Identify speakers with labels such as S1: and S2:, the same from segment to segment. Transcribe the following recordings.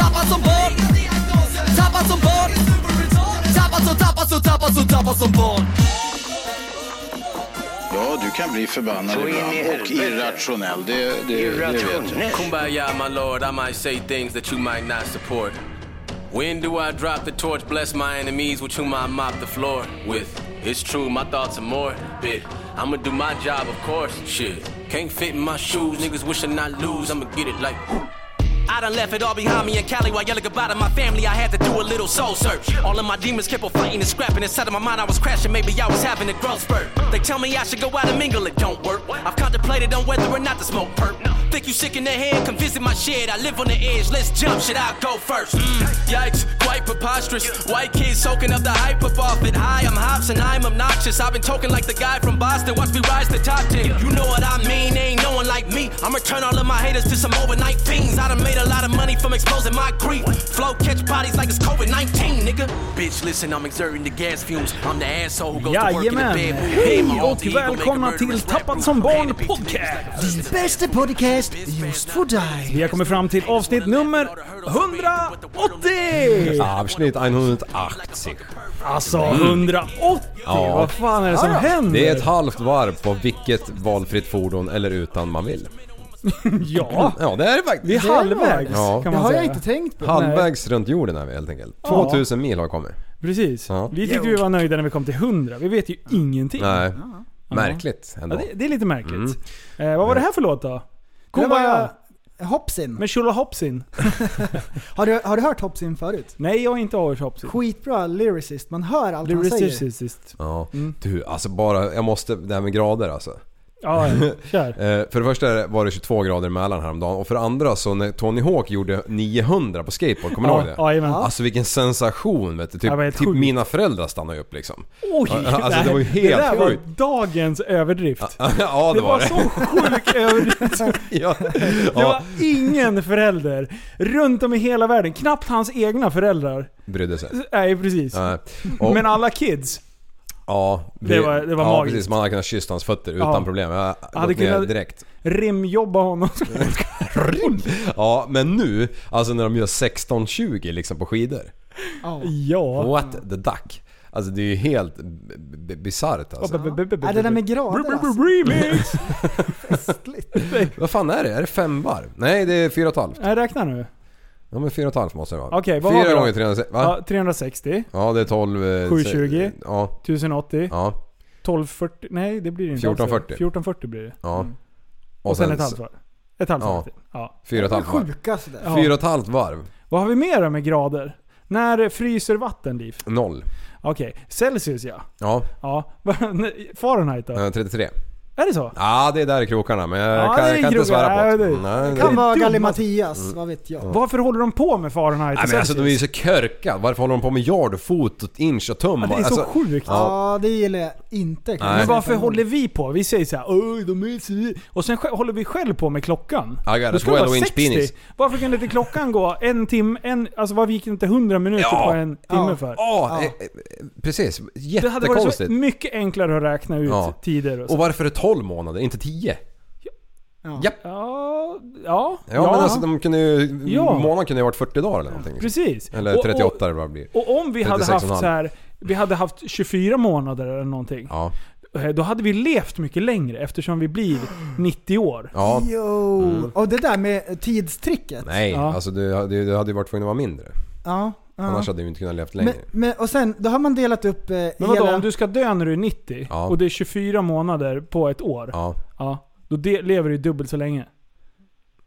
S1: Tappad som barn Tappad som barn Tappad som, tappad som, tappad som, tappad som barn
S2: Ja, du kan bli förbannad
S3: Så in i
S2: ibland och
S3: helvete.
S2: irrationell. Det, det, det vet jag.
S4: Kumbaya, my lord, I might say things that you might not support. When do I drop the torch? Bless my enemies, with whom I mop the floor with. It's true, my thoughts are morbid. I'ma do my job, of course. Shit, can't fit in my shoes. Niggas wishing I lose. I'ma get it like.
S1: I done left it all behind me in Cali while yelling goodbye to my family. I had to do a little soul search. All of my demons kept on fighting and scrapping. Inside of my mind, I was crashing. Maybe I was having a growth spurt. They tell me I should go out and mingle. It don't work. I've contemplated on whether or not to smoke perp. Think you sick in the head? Come visit my shed. I live on the edge. Let's jump. Should I go first? Mm, yikes, quite preposterous. White kids soaking up the hype up off it. High, I'm hops and I'm obnoxious. I've been talking like the guy from Boston. Watch me rise to top 10. You know what I mean? Ain't no one like me. I'ma turn all of my haters to some overnight fiends. I done made a lot of money from exposing my greed. Flow catch bodies like it's COVID 19, nigga. Bitch, listen, I'm exerting the gas fumes. I'm the asshole who goes to work in the
S5: Jajamän!
S1: bed.
S5: Hej och välkomna till Tappad som barn podcast!
S6: Bästa podcast just för dig.
S5: Vi har kommit fram till avsnitt nummer 180!
S7: Abschnitt 180.
S5: Alltså 180!
S7: Mm. Ja.
S5: Vad fan är det som
S7: Ja,
S5: händer?
S7: Det är ett halvt varv på vilket valfritt fordon eller utan man vill.
S5: Ja!
S7: Ja, det är det faktiskt.
S5: Vi är
S6: Det är
S5: halvvägs
S7: Ja.
S5: kan
S6: Det
S5: man
S6: har
S5: säga.
S6: jag inte tänkt på.
S7: Halvvägs runt jorden är vi helt enkelt. 2000 mil har vi kommit.
S5: Precis.
S7: Ja.
S5: Vi tyckte vi var nöjda när vi kom till 100. Vi vet ju ingenting.
S7: Nej. Märkligt
S5: Ja,
S7: ändå.
S5: det, det är lite märkligt.
S7: Mm.
S5: Eh, vad var det här för låt då?
S6: Det var jag.
S5: Kumbaya
S6: Hopsin.
S5: med Shula Hopsin.
S6: Har du, har du hört Hopsin förut?
S5: Nej, jag har inte Irish Hopsin.
S6: Skitbra lyricist, man hör allt
S5: The
S6: han säger.
S5: Resistance.
S7: Ja.
S5: Mm.
S7: Du, alltså bara, jag måste, det här med grader alltså.
S5: Ja, kör.
S7: Eh, för det första var det 22 grader i Mälaren häromdagen och för det andra så när Tony Hawk gjorde 900 på skateboard, kommer ni
S5: Ja,
S7: ihåg det?
S5: jajamän.
S7: Alltså vilken sensation vet du.
S5: Det var
S7: Typ,
S5: helt
S7: typ
S5: sjukt.
S7: mina föräldrar stannade upp liksom.
S5: Oj!
S7: alltså, det
S5: här-
S7: var ju
S5: det där
S7: helt
S5: var
S7: sjukt.
S5: dagens överdrift.
S7: ja det
S5: Det
S7: var
S5: var
S7: det.
S5: så sjuk överdrift.
S7: ja.
S5: Det var
S7: ja.
S5: ingen förälder runt om i hela världen, knappt hans egna föräldrar.
S7: Brydde sig.
S5: Nej, precis.
S7: Nej. Och,
S5: Men alla kids.
S7: ja, vi,
S5: det var- det var
S7: ja,
S5: magiskt.
S7: precis, man hade kunnat kyssa hans fötter utan
S5: Ja.
S7: problem. Jag hade
S5: Hade
S7: gått ner
S5: kunnat-
S7: direkt.
S5: Rimjobba honom.
S7: Ja, men nu, alltså när de gör 16-20 liksom på skidor.
S6: Ja.
S5: Ja.
S7: What the duck? Alltså det är ju helt b- b- bisarrt alltså.
S6: Ja, det där med grader alltså.
S5: Remix!
S6: Festligt.
S7: Vad fan är det? Är det fem varv? Nej det är fyra och ett halvt.
S5: Nej, räkna nu.
S7: Ja men fyra och ett halvt måste det vara.
S5: Okej, vad har vi
S7: fyra
S5: då?
S7: gånger 360, va?
S5: Ja,
S7: Ja.
S5: 360,
S7: det är 12... eh,
S5: 720.
S7: Ja,
S5: 1080,
S7: ja,
S5: 1240. Nej, det blir det inte. alls.
S7: 1440.
S5: 1440 blir det.
S7: ja.
S5: Mm. Och sen ett
S7: så-
S5: halvt varv. Ett halvt
S7: Ja.
S5: varv till. Ja.
S7: Fyra och ett
S6: Det
S7: halvt varv.
S6: sjukaste där.
S5: Ja.
S7: Fyra och ett halvt varv.
S5: Vad har vi mer då med grader? När fryser vatten, Liv?
S7: Noll.
S5: Okej, Celsius ja.
S7: Ja,
S5: Ja. Fahrenheit då?
S7: eh, 33.
S5: Är det så?
S7: Ja, det är där i krokarna men jag
S5: Ja,
S7: kan,
S5: det är
S7: jag kan inte
S5: krokarna.
S7: svära
S5: Ja,
S7: på det.
S5: det-
S7: Nej, det- Mm.
S6: Kan vara
S5: dummaste-
S6: Gallimatias, vad vet jag.
S5: Varför håller de på med Fahrenheit
S7: Nej
S5: och
S7: men alltså de är ju
S5: Celsius?
S7: så körka. Varför håller de på med yard och fot och inch och tum?
S5: Ja, det är så
S7: alltså,
S5: sjukt.
S6: Ja, det gillar jag inte.
S7: Nej.
S5: Men varför håller vi på? Vi säger såhär Oj, de är så... Och sen sj- håller vi själv på med klockan.
S7: I got
S5: Då
S7: a
S5: ska det vara
S7: 12-inch
S5: 60.
S7: penis.
S5: Varför kunde inte klockan gå en timme, en... Alltså varför gick inte 100 minuter
S7: Ja.
S5: på en timme
S6: Ja.
S5: för?
S7: Ja, eh, eh, precis.
S5: Det hade varit så
S7: Jättekonstigt.
S5: mycket enklare att räkna ut
S7: Ja.
S5: tider och så.
S7: Och varför är det 12 månader, inte 10?
S5: Ja, ja,
S7: Ja, men alltså de kunde ju...
S5: Ja.
S7: Månaden kunde ju ha varit 40 dagar eller någonting.
S5: precis.
S7: Eller
S5: Och-
S7: 38 eller vad det blir.
S5: Och, och om vi hade
S7: 36,5.
S5: haft så här, vi hade haft 24 månader eller någonting.
S7: Ja.
S5: Eh, Då hade vi levt mycket längre eftersom vi blir 90 år.
S7: Ja.
S6: Jo! Oh,
S7: Mm.
S6: Och det där med tidstricket.
S7: Nej,
S5: Ja.
S7: alltså du, hade- du hade ju varit tvungen att vara mindre.
S6: Ja. ja.
S7: Annars hade du inte kunnat levt
S6: men,
S7: längre.
S6: men, och sen, då har man delat upp eh,
S5: Men vadå,
S6: hela...
S5: om du ska dö när du är 90
S7: Ja.
S5: och det är 24 månader på ett år.
S7: Ja.
S5: Ja, då de, lever du dubbelt så länge.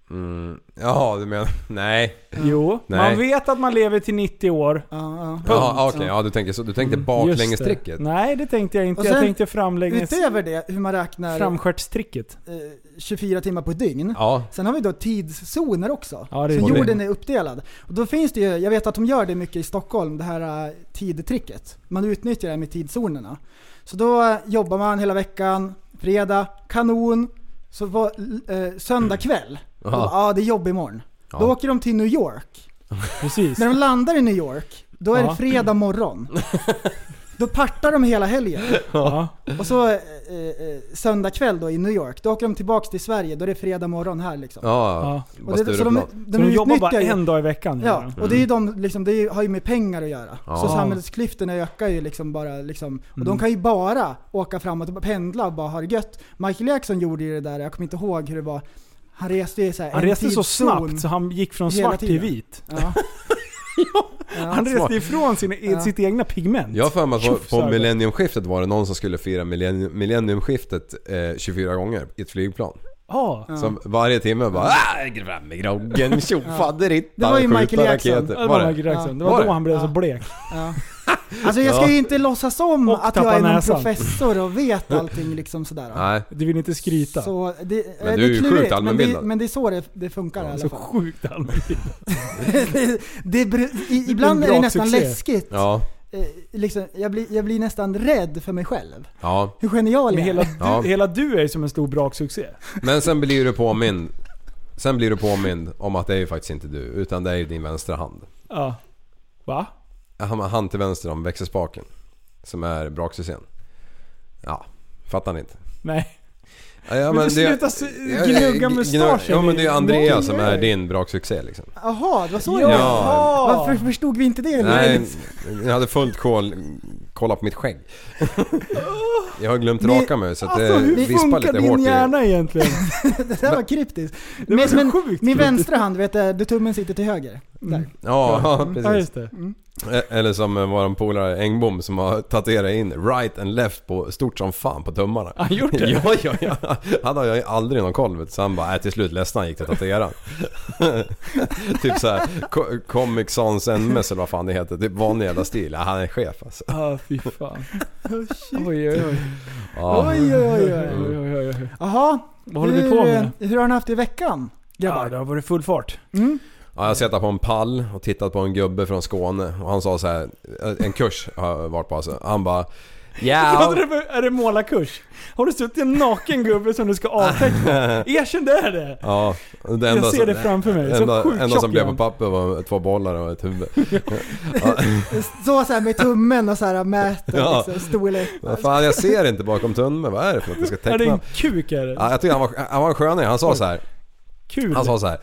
S7: Mm. Jaha, du menar... Nej.
S5: Jo,
S7: Nej.
S5: man vet att man lever till 90 år.
S6: Ja, ja.
S7: Jaha, okej. Ja, du tänker så. Du tänkte
S5: Mm. Just det.
S7: baklängestricket.
S5: Nej, det tänkte jag inte.
S6: Och
S5: jag
S6: sen-
S5: tänkte framlänges...
S6: Utöver det, hur man räknar
S5: Framstjärtstricket.
S6: eh, 24 timmar på ett dygn.
S7: Ja.
S6: Sen har vi då tidszoner också.
S5: Ja, det är
S6: så
S5: det.
S6: jorden är uppdelad. Och då finns det ju, jag vet att de gör det mycket i Stockholm, det här eh, tidtricket. Man utnyttjar det här med tidszonerna. Så då eh, jobbar man hela veckan, fredag, kanon. Så var, eh, söndag
S5: Mm.
S6: kväll, då
S7: Aha.
S6: bara, ah, det är jobb imorgon. Då
S7: Ja.
S6: åker de till New York.
S5: Precis.
S6: När de landar i New York, då är
S5: Ja.
S6: det fredag morgon. Då partar de hela helgen.
S5: Ja.
S6: Och så eh, eh, söndag kväll då i New York, då åker de tillbaks till Sverige, då är det fredag morgon här liksom.
S7: Ja,
S5: Ja.
S7: bara
S6: Och det, så de,
S7: Stureplan.
S6: de,
S5: Så de jobbar
S6: utnyttjar
S5: bara
S6: ju-
S5: en dag i veckan. gör
S6: Ja,
S5: de.
S6: och det är ju de, liksom, det är, ju- har ju med pengar att göra. Så
S7: Ja. Mm.
S6: samhällsklyftorna ökar ju liksom bara liksom. Och de kan ju bara åka fram och tillbaka, pendla och bara ha det gött. Michael Jackson gjorde ju det där, jag kommer inte ihåg hur det var. Han reste ju så här,
S5: Han
S6: en
S5: reste så
S6: tidszon.
S5: snabbt så han gick från
S6: Hela
S5: svart till
S6: tiden.
S5: vit.
S6: Ja.
S5: Han
S7: Smart.
S5: reste ifrån sin,
S6: Ja.
S5: sitt egna pigment.
S7: Jag har för mig att
S5: Tjoff,
S7: på,
S5: så
S7: på
S5: här.
S7: millenniumskiftet var det någon som skulle fira millennium, millenniumskiftet eh, 24 gånger i ett flygplan.
S5: Ja.
S7: Som varje timme bara "Ah, fram med groggen, tjofaderittan,
S6: Det var ju
S7: skjuta
S6: Michael Jackson.
S7: raketer."
S5: Det
S7: Var
S5: var,
S7: det?
S5: Michael Jackson.
S6: Ja.
S5: det var,
S7: Var
S5: då
S7: det?
S5: han blev så
S6: Ja.
S5: blek.
S6: Ja. Alltså jag ska
S7: Ja.
S6: ju inte låtsas om
S5: Och
S6: att jag
S5: tappa
S6: är någon
S5: näsan.
S6: professor och vet allting liksom sådär.
S7: Nej.
S5: Du vill inte skryta. Så,
S6: Så det,
S7: Men
S6: eh,
S7: du är
S6: det
S7: ju
S6: klurigt,
S7: sjukt
S6: men det,
S7: allmänbildad.
S6: men det är så det, det funkar i alla fall.
S5: sjukt allmänt.
S6: det, det, br- i, ibland
S5: Det är
S6: är,
S5: en bra
S6: det nästan
S5: succé.
S6: läskigt.
S7: Ja,
S6: Eh, liksom, jag, blir, jag blir nästan rädd för mig själv.
S7: ja.
S6: Hur genial
S5: Men
S6: jag är.
S5: hela,
S7: Ja.
S5: du, hela du är ju som en stor braksuccé.
S7: Men sen blir du påmind. Sen blir du påmind om att det är ju faktiskt inte du, utan det är ju din vänstra hand.
S5: Ja. Va?
S7: Han, han till vänster om växelspaken. Som är braksuccén. Ja, fattar ni inte?
S5: Nej.
S7: Ja, ja,
S5: Men du
S7: det-
S5: slutar s-
S7: Ja,
S5: gnugga
S7: gnu-
S5: mustaschen
S7: Ja men det är ju
S5: i-
S7: Andrea som
S5: Nej.
S7: är din braksuccé liksom.
S6: Jaha, det var så
S5: Ja.
S6: det var.
S7: Ja.
S6: Varför förstod vi inte det?
S7: Nej, jag hade fullt koll, kolla på mitt skägg. Jag har glömt
S6: Ni-
S7: raka mig så att
S5: Alltså
S7: det
S5: hur
S7: vispar
S5: funkar
S7: lite
S5: din
S7: hårt i...
S5: hjärna egentligen?
S6: Det där var kryptiskt.
S5: Det var
S6: Men,
S5: så
S6: men,
S5: sjukt. Mm.
S6: min vänstra hand, vet du, där tummen sitter till höger. Där.
S7: Ja,
S5: Ja
S7: precis.
S5: just det.
S7: E- Eller som eh, våran polare Engbom som har tatuerat in right and left på stort som fan på tummarna.
S5: Har han gjort det?
S7: Ja, ja, ja. Han har ju aldrig någon koll vet du. så han bara, äh, till slut ledsna gick till tatueraren. typ såhär, Co- Comic Sans MS eller vad fan det heter. Typ vanlig jävla stil. Ja, han är chef alltså.
S5: Ja ah, fy fan. Oj oj oj.
S7: Ja.
S6: Oh, Oj, oj, eh, oj.
S5: oj, oj, oj, oj.
S6: Jaha,
S5: Vad håller vi på med?
S6: hur har ni haft det i veckan?
S5: Ja, det har varit full fart.
S7: Ja, jag har suttit på en pall och tittat på en gubbe från Skåne och han sa så här, eh, en kurs har jag varit på alltså. Han bara
S5: Ja.
S7: Ja,
S5: det är det målarkurs? Har du suttit en naken gubbe som du ska avteckna? Erkänn det är det!
S7: ja det
S5: Jag ser
S7: som-
S5: det framför mig. Så
S7: enda,
S5: sjukt
S7: enda
S5: tjock
S7: som blev
S5: är
S7: på
S5: han.
S7: papper var två bollar och ett huvud.
S6: Så, så här med tummen och så här mäter
S7: Ja.
S6: liksom, storlek.
S7: Vad fan, jag ser inte bakom tunneln. Vad är det för något jag ska
S5: Är det
S7: teckna?
S5: en kuk är det?
S7: Ja, jag tycker han var, han var en sköning. Han sa så här.
S5: Kul?
S7: Han sa så här.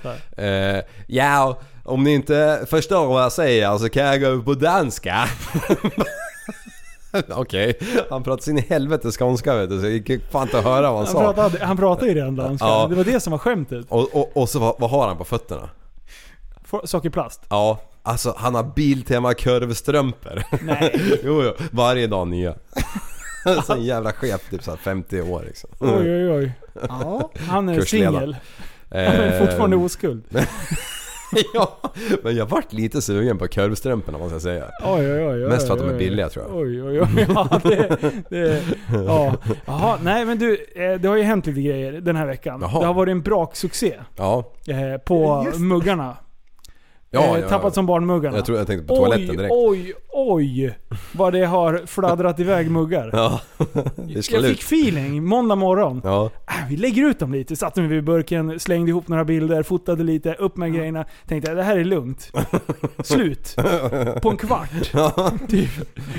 S7: Eh, ja, om ni inte förstår vad jag säger så kan jag gå över på danska. Okej, han pratade sin helvete skånska vet du så jag gick fan inte att höra vad
S5: Han
S7: han sa.
S5: pratade, han pratade ju redan danska.
S7: Ja.
S5: Det var det som var skämtet.
S7: Och, och, och så vad, vad har han på fötterna?
S5: F- Sockerplast.
S7: Ja, alltså han har Biltema kurvstrumpor. Nej. jo, jo, varje dag nya. så en jävla chef, typ såhär 50 år liksom.
S5: Oj oj oj.
S6: Ja.
S5: Han är
S7: Kursledare.
S5: singel. Han är fortfarande oskuld.
S7: ja, men jag vart lite sugen på kurvstrumporna måste jag säga.
S5: Oj, oj, oj, oj,
S7: Mest för att de
S5: oj,
S7: är billiga, tror jag.
S5: Oj, oj, oj. Ja, det, det, ja. Jaha, nej men du. eh, Det har ju hänt lite grejer den här veckan.
S7: Jaha.
S5: Det har varit en braksuccé
S7: Ja,
S5: eh, på
S6: Just det.
S5: muggarna.
S7: ja,
S5: eh,
S7: ja.
S5: tappat som barnmuggarna.
S7: Jag tror jag tänkte på toaletten direkt.
S5: Oj, oj, oj. Vad det har fladdrat iväg muggar.
S7: Ja, det
S5: jag
S7: slår
S5: fick
S7: ut.
S5: feeling måndag morgon.
S7: Ja,
S5: Äh, vi lägger ut dem lite. Satte mig vid burken, slängde ihop några bilder, fotade lite, upp med grejerna. Tänkte det här är lugnt. Slut. På en kvart. Typ.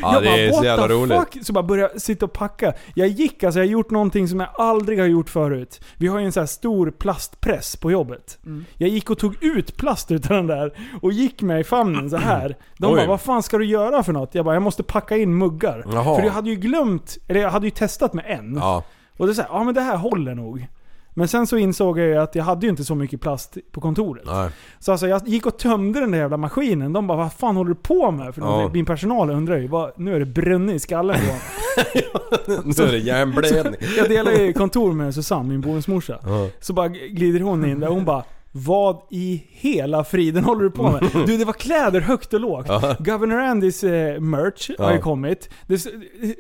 S7: ja
S5: jag
S7: det är så
S5: "What
S7: jävla
S5: the
S7: roligt.
S5: fuck? Så bara började jag sitta och packa. Jag gick alltså, jag har gjort någonting som jag aldrig har gjort förut. Vi har ju en sån här stor plastpress på jobbet.
S7: Mm.
S5: Jag gick och tog ut plast utav den där och gick med i famnen så här. De
S7: Oj.
S5: bara, vad fan ska du göra för något? Jag bara, jag måste packa in muggar.
S7: Jaha.
S5: För jag hade ju glömt, eller jag hade ju testat med en.
S7: Ja,
S5: Och det är såhär, ja men det här håller nog. Men sen så insåg jag ju att jag hade ju inte så mycket plast på kontoret.
S7: nej.
S5: Så alltså jag gick och tömde den där jävla maskinen. De bara vad fan håller du på med? För
S7: Ja.
S5: ja. min personal undrar ju, vad, nu är det brunnit i skallen på honom.
S7: Nu är det hjärnblödning.
S5: Jag delar ju kontor med Susanne, min bonusmorsa.
S7: Ja.
S5: Så bara glider hon in där och hon bara Vad i hela friden håller du på med? Du, det var kläder högt och lågt. Governor Andys eh, merch har ju
S7: Ja.
S5: kommit. Det är s-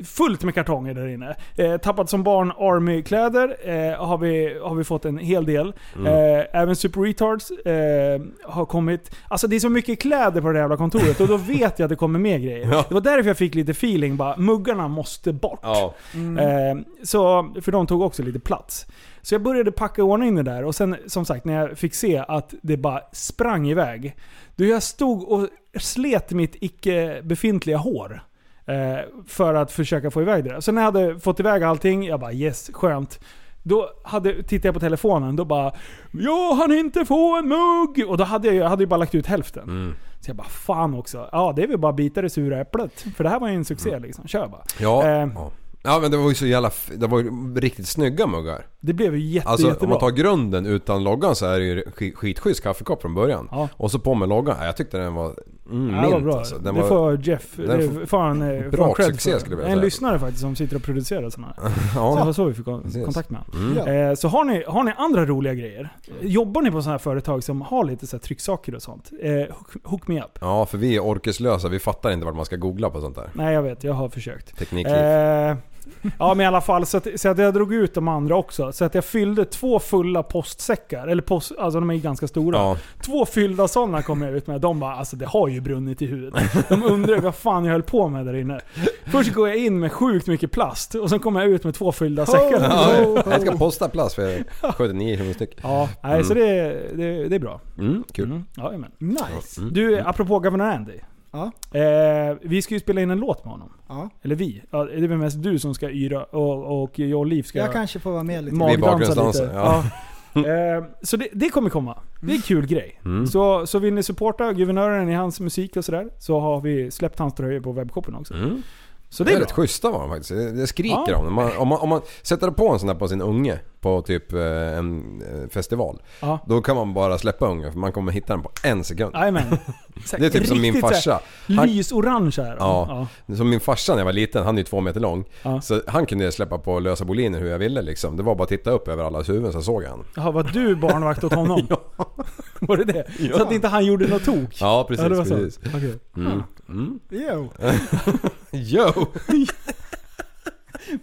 S5: fullt med kartonger där inne. Eh, tappat som barn Army-kläder eh, har, vi, har vi fått en hel del.
S7: Mm.
S5: Eh, även Super Retards eh, har kommit. Alltså det är så mycket kläder på det här jävla kontoret och då vet jag att det kommer mer grejer.
S7: Ja.
S5: Det var därför jag fick lite feeling bara, muggarna måste bort.
S7: Ja. Mm.
S5: Eh, så, för de tog också lite plats. Så jag började packa i ordning det där och sen som sagt när jag fick se att det bara sprang iväg. Du, jag stod och slet mitt icke befintliga hår. Eh, för att försöka få iväg det där. Så när jag hade fått iväg allting, jag bara yes, skönt. Då hade, tittade jag på telefonen, då bara Jag han inte få en mugg! Och då hade jag, ju- jag hade ju bara lagt ut hälften.
S7: Mm.
S5: Så jag bara fan också. Ja det är väl bara att bita det sura äpplet. För det här var ju en succé
S7: Mm.
S5: liksom. Kör bara.
S7: Ja.
S5: Eh,
S7: ja. Ja men det var ju så jävla... f- Det var ju riktigt snygga muggar.
S5: Det blev ju jätte,
S7: Alltså om
S5: jättebra.
S7: man tar grunden utan loggan så är det ju sk- skitschysst kaffekopp från början.
S5: Ja.
S7: Och så på med loggan. Ja, Jag tyckte den var... Mm,
S5: Ja, det var
S7: mint
S5: bra.
S7: alltså.
S5: det
S7: Den var,
S5: får Jeff,
S7: den
S5: det
S7: får-
S5: får han eh,
S7: Bra
S5: får cred
S7: succé
S5: för.
S7: skulle jag vilja
S5: En
S7: säga.
S5: lyssnare faktiskt som sitter och producerar sådana här. Så det
S7: ja.
S5: var så vi fick kon-
S7: Precis. Mm.
S5: kontakt med honom.
S6: Ja.
S5: Eh, Så har ni, har ni andra roliga grejer? Jobbar ni på sådana här företag som har lite så här trycksaker och sånt? Eh, hook, hook me up.
S7: ja, för vi är orkeslösa. Vi fattar inte vart man ska googla på sånt där.
S5: Nej jag vet, jag har försökt.
S7: Teknikliv.
S5: Eh, ja men i alla fall, så att, så att jag drog ut de andra också. Så att jag fyllde två fulla postsäckar. Eller post, alltså de är ju ganska stora.
S7: ja.
S5: Två fyllda sådana kom jag ut med. De bara alltså det har ju brunnit i huvudet. De undrar vad fan jag höll på med där inne. Först går jag in med sjukt mycket plast och sen kommer jag ut med två fyllda
S6: Oh.
S5: säckar.
S7: Ja, jag ska posta plats för 79 kronor styck.
S5: Ja, nej, så det, det, det är bra.
S7: Mm, kul.
S5: Mm. Ja, jajamän.
S6: Nice.
S5: Du, apropå Governor Andy.
S6: Ja.
S5: Eh, vi ska ju spela in en låt med honom.
S6: Ja.
S5: Eller vi. Ja, det är väl mest du som ska yra och, och jag och Liv ska
S6: Jag kanske får vara med lite.
S7: Vi
S5: magdansa
S7: bakgrundsdansar,
S5: lite.
S7: ja.
S5: Ja. Eh, Så det, det kommer komma. Det är en kul grej.
S7: Mm.
S5: Så, så vill ni supporta guvernören i hans musik och sådär, så har vi släppt hans tröjor på webbshoppen också.
S7: Mm.
S5: Så
S7: Det är
S5: bra.
S7: rätt schyssta var de faktiskt. Det det skriker
S5: Ja.
S7: om dem. Man, om, man, om man sätter på en sån där på sin unge på typ eh, en eh, festival.
S5: Ja.
S7: Då kan man bara släppa ungen för man kommer hitta den på en sekund.
S5: Jajamän.
S7: Det är typ som min
S5: Riktigt
S7: farsa.
S5: så här
S7: Han-
S5: Lysorange är de.
S7: Ja. Som min farsa när jag var liten, han är ju två meter lång.
S5: Ja.
S7: Så han kunde släppa på lösa boliner hur jag ville liksom. Det var bara att titta upp över allas huvuden så såg jag han.
S5: Jaha, var du barnvakt åt honom? Var det det? Så
S7: Ja.
S5: att inte han gjorde något tok?
S7: Ja precis,
S5: det var så.
S7: precis. Mm.
S5: Okej.
S6: Jo.
S7: Yo!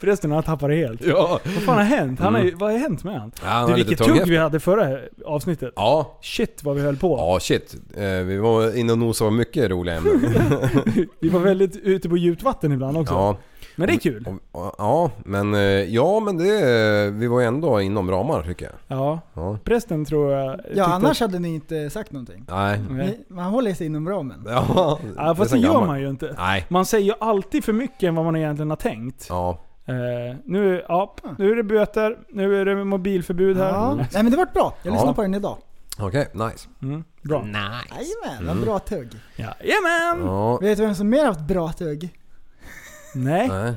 S5: Förresten, han tappade helt.
S7: Ja!
S5: Vad fan har hänt? Han har ju, vad har hänt med han?
S7: Mm. han
S5: du,
S7: har lite
S5: vilket
S7: tung
S5: tugg
S7: efter.
S5: vi hade förra avsnittet.
S7: Ja.
S5: Shit vad vi höll på.
S7: Ja shit. Eh, Vi var inne och nosade på mycket roliga ämnen.
S5: Vi var väldigt ute på djupt vatten ibland också.
S7: Ja. Mm.
S5: Men det är kul.
S7: Och- och- Ja men, eh, ja, men det, eh, vi var ju ändå inom ramar tycker jag.
S5: Ja.
S7: Ja.
S5: Prästen tror jag... tyckte
S6: Ja,
S5: att-
S6: annars Mm. hade ni inte sagt någonting.
S7: Nej.
S5: Nej.
S6: Ni- Man håller sig inom ramen.
S7: Ja,
S5: Ja, fast
S7: sen
S5: det gör
S7: gammalt.
S5: man ju inte.
S7: Nej.
S5: Man säger ju alltid för mycket än vad man egentligen har tänkt.
S7: Ja.
S5: Eh, nu, ja, nu är det böter, nu är det mobilförbud här.
S6: Ja. Nej men det vart bra. Jag lyssnade
S7: Ja.
S6: på den idag.
S7: Okej, nice.
S5: Mm, bra.
S6: Jajamän, vad bra tugg.
S5: Ja, jajamän!
S7: Ja.
S6: Vet du vem som mer haft bra tugg?
S5: Nej.
S7: Nej.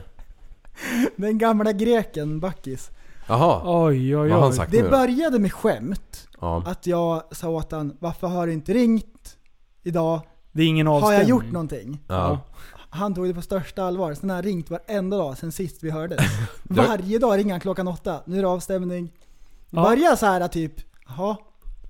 S6: Den gamla greken Backis.
S7: Jaha.
S5: Oj, oj,
S7: Vad har han
S5: oj.
S7: sagt
S6: Det
S7: nu då?
S6: började med skämt.
S7: Ja.
S6: Att jag sa åt han, varför har du inte ringt idag?
S5: Det är ingen
S6: Har
S5: avstämning.
S6: jag gjort någonting?
S7: Ja.
S6: Han tog det på största allvar. Sen har han ringt varenda dag sen sist vi hördes. Varje dag ringer han klockan åtta. Nu är det avstämning.
S5: Ja.
S6: Börjar så här typ, jaha,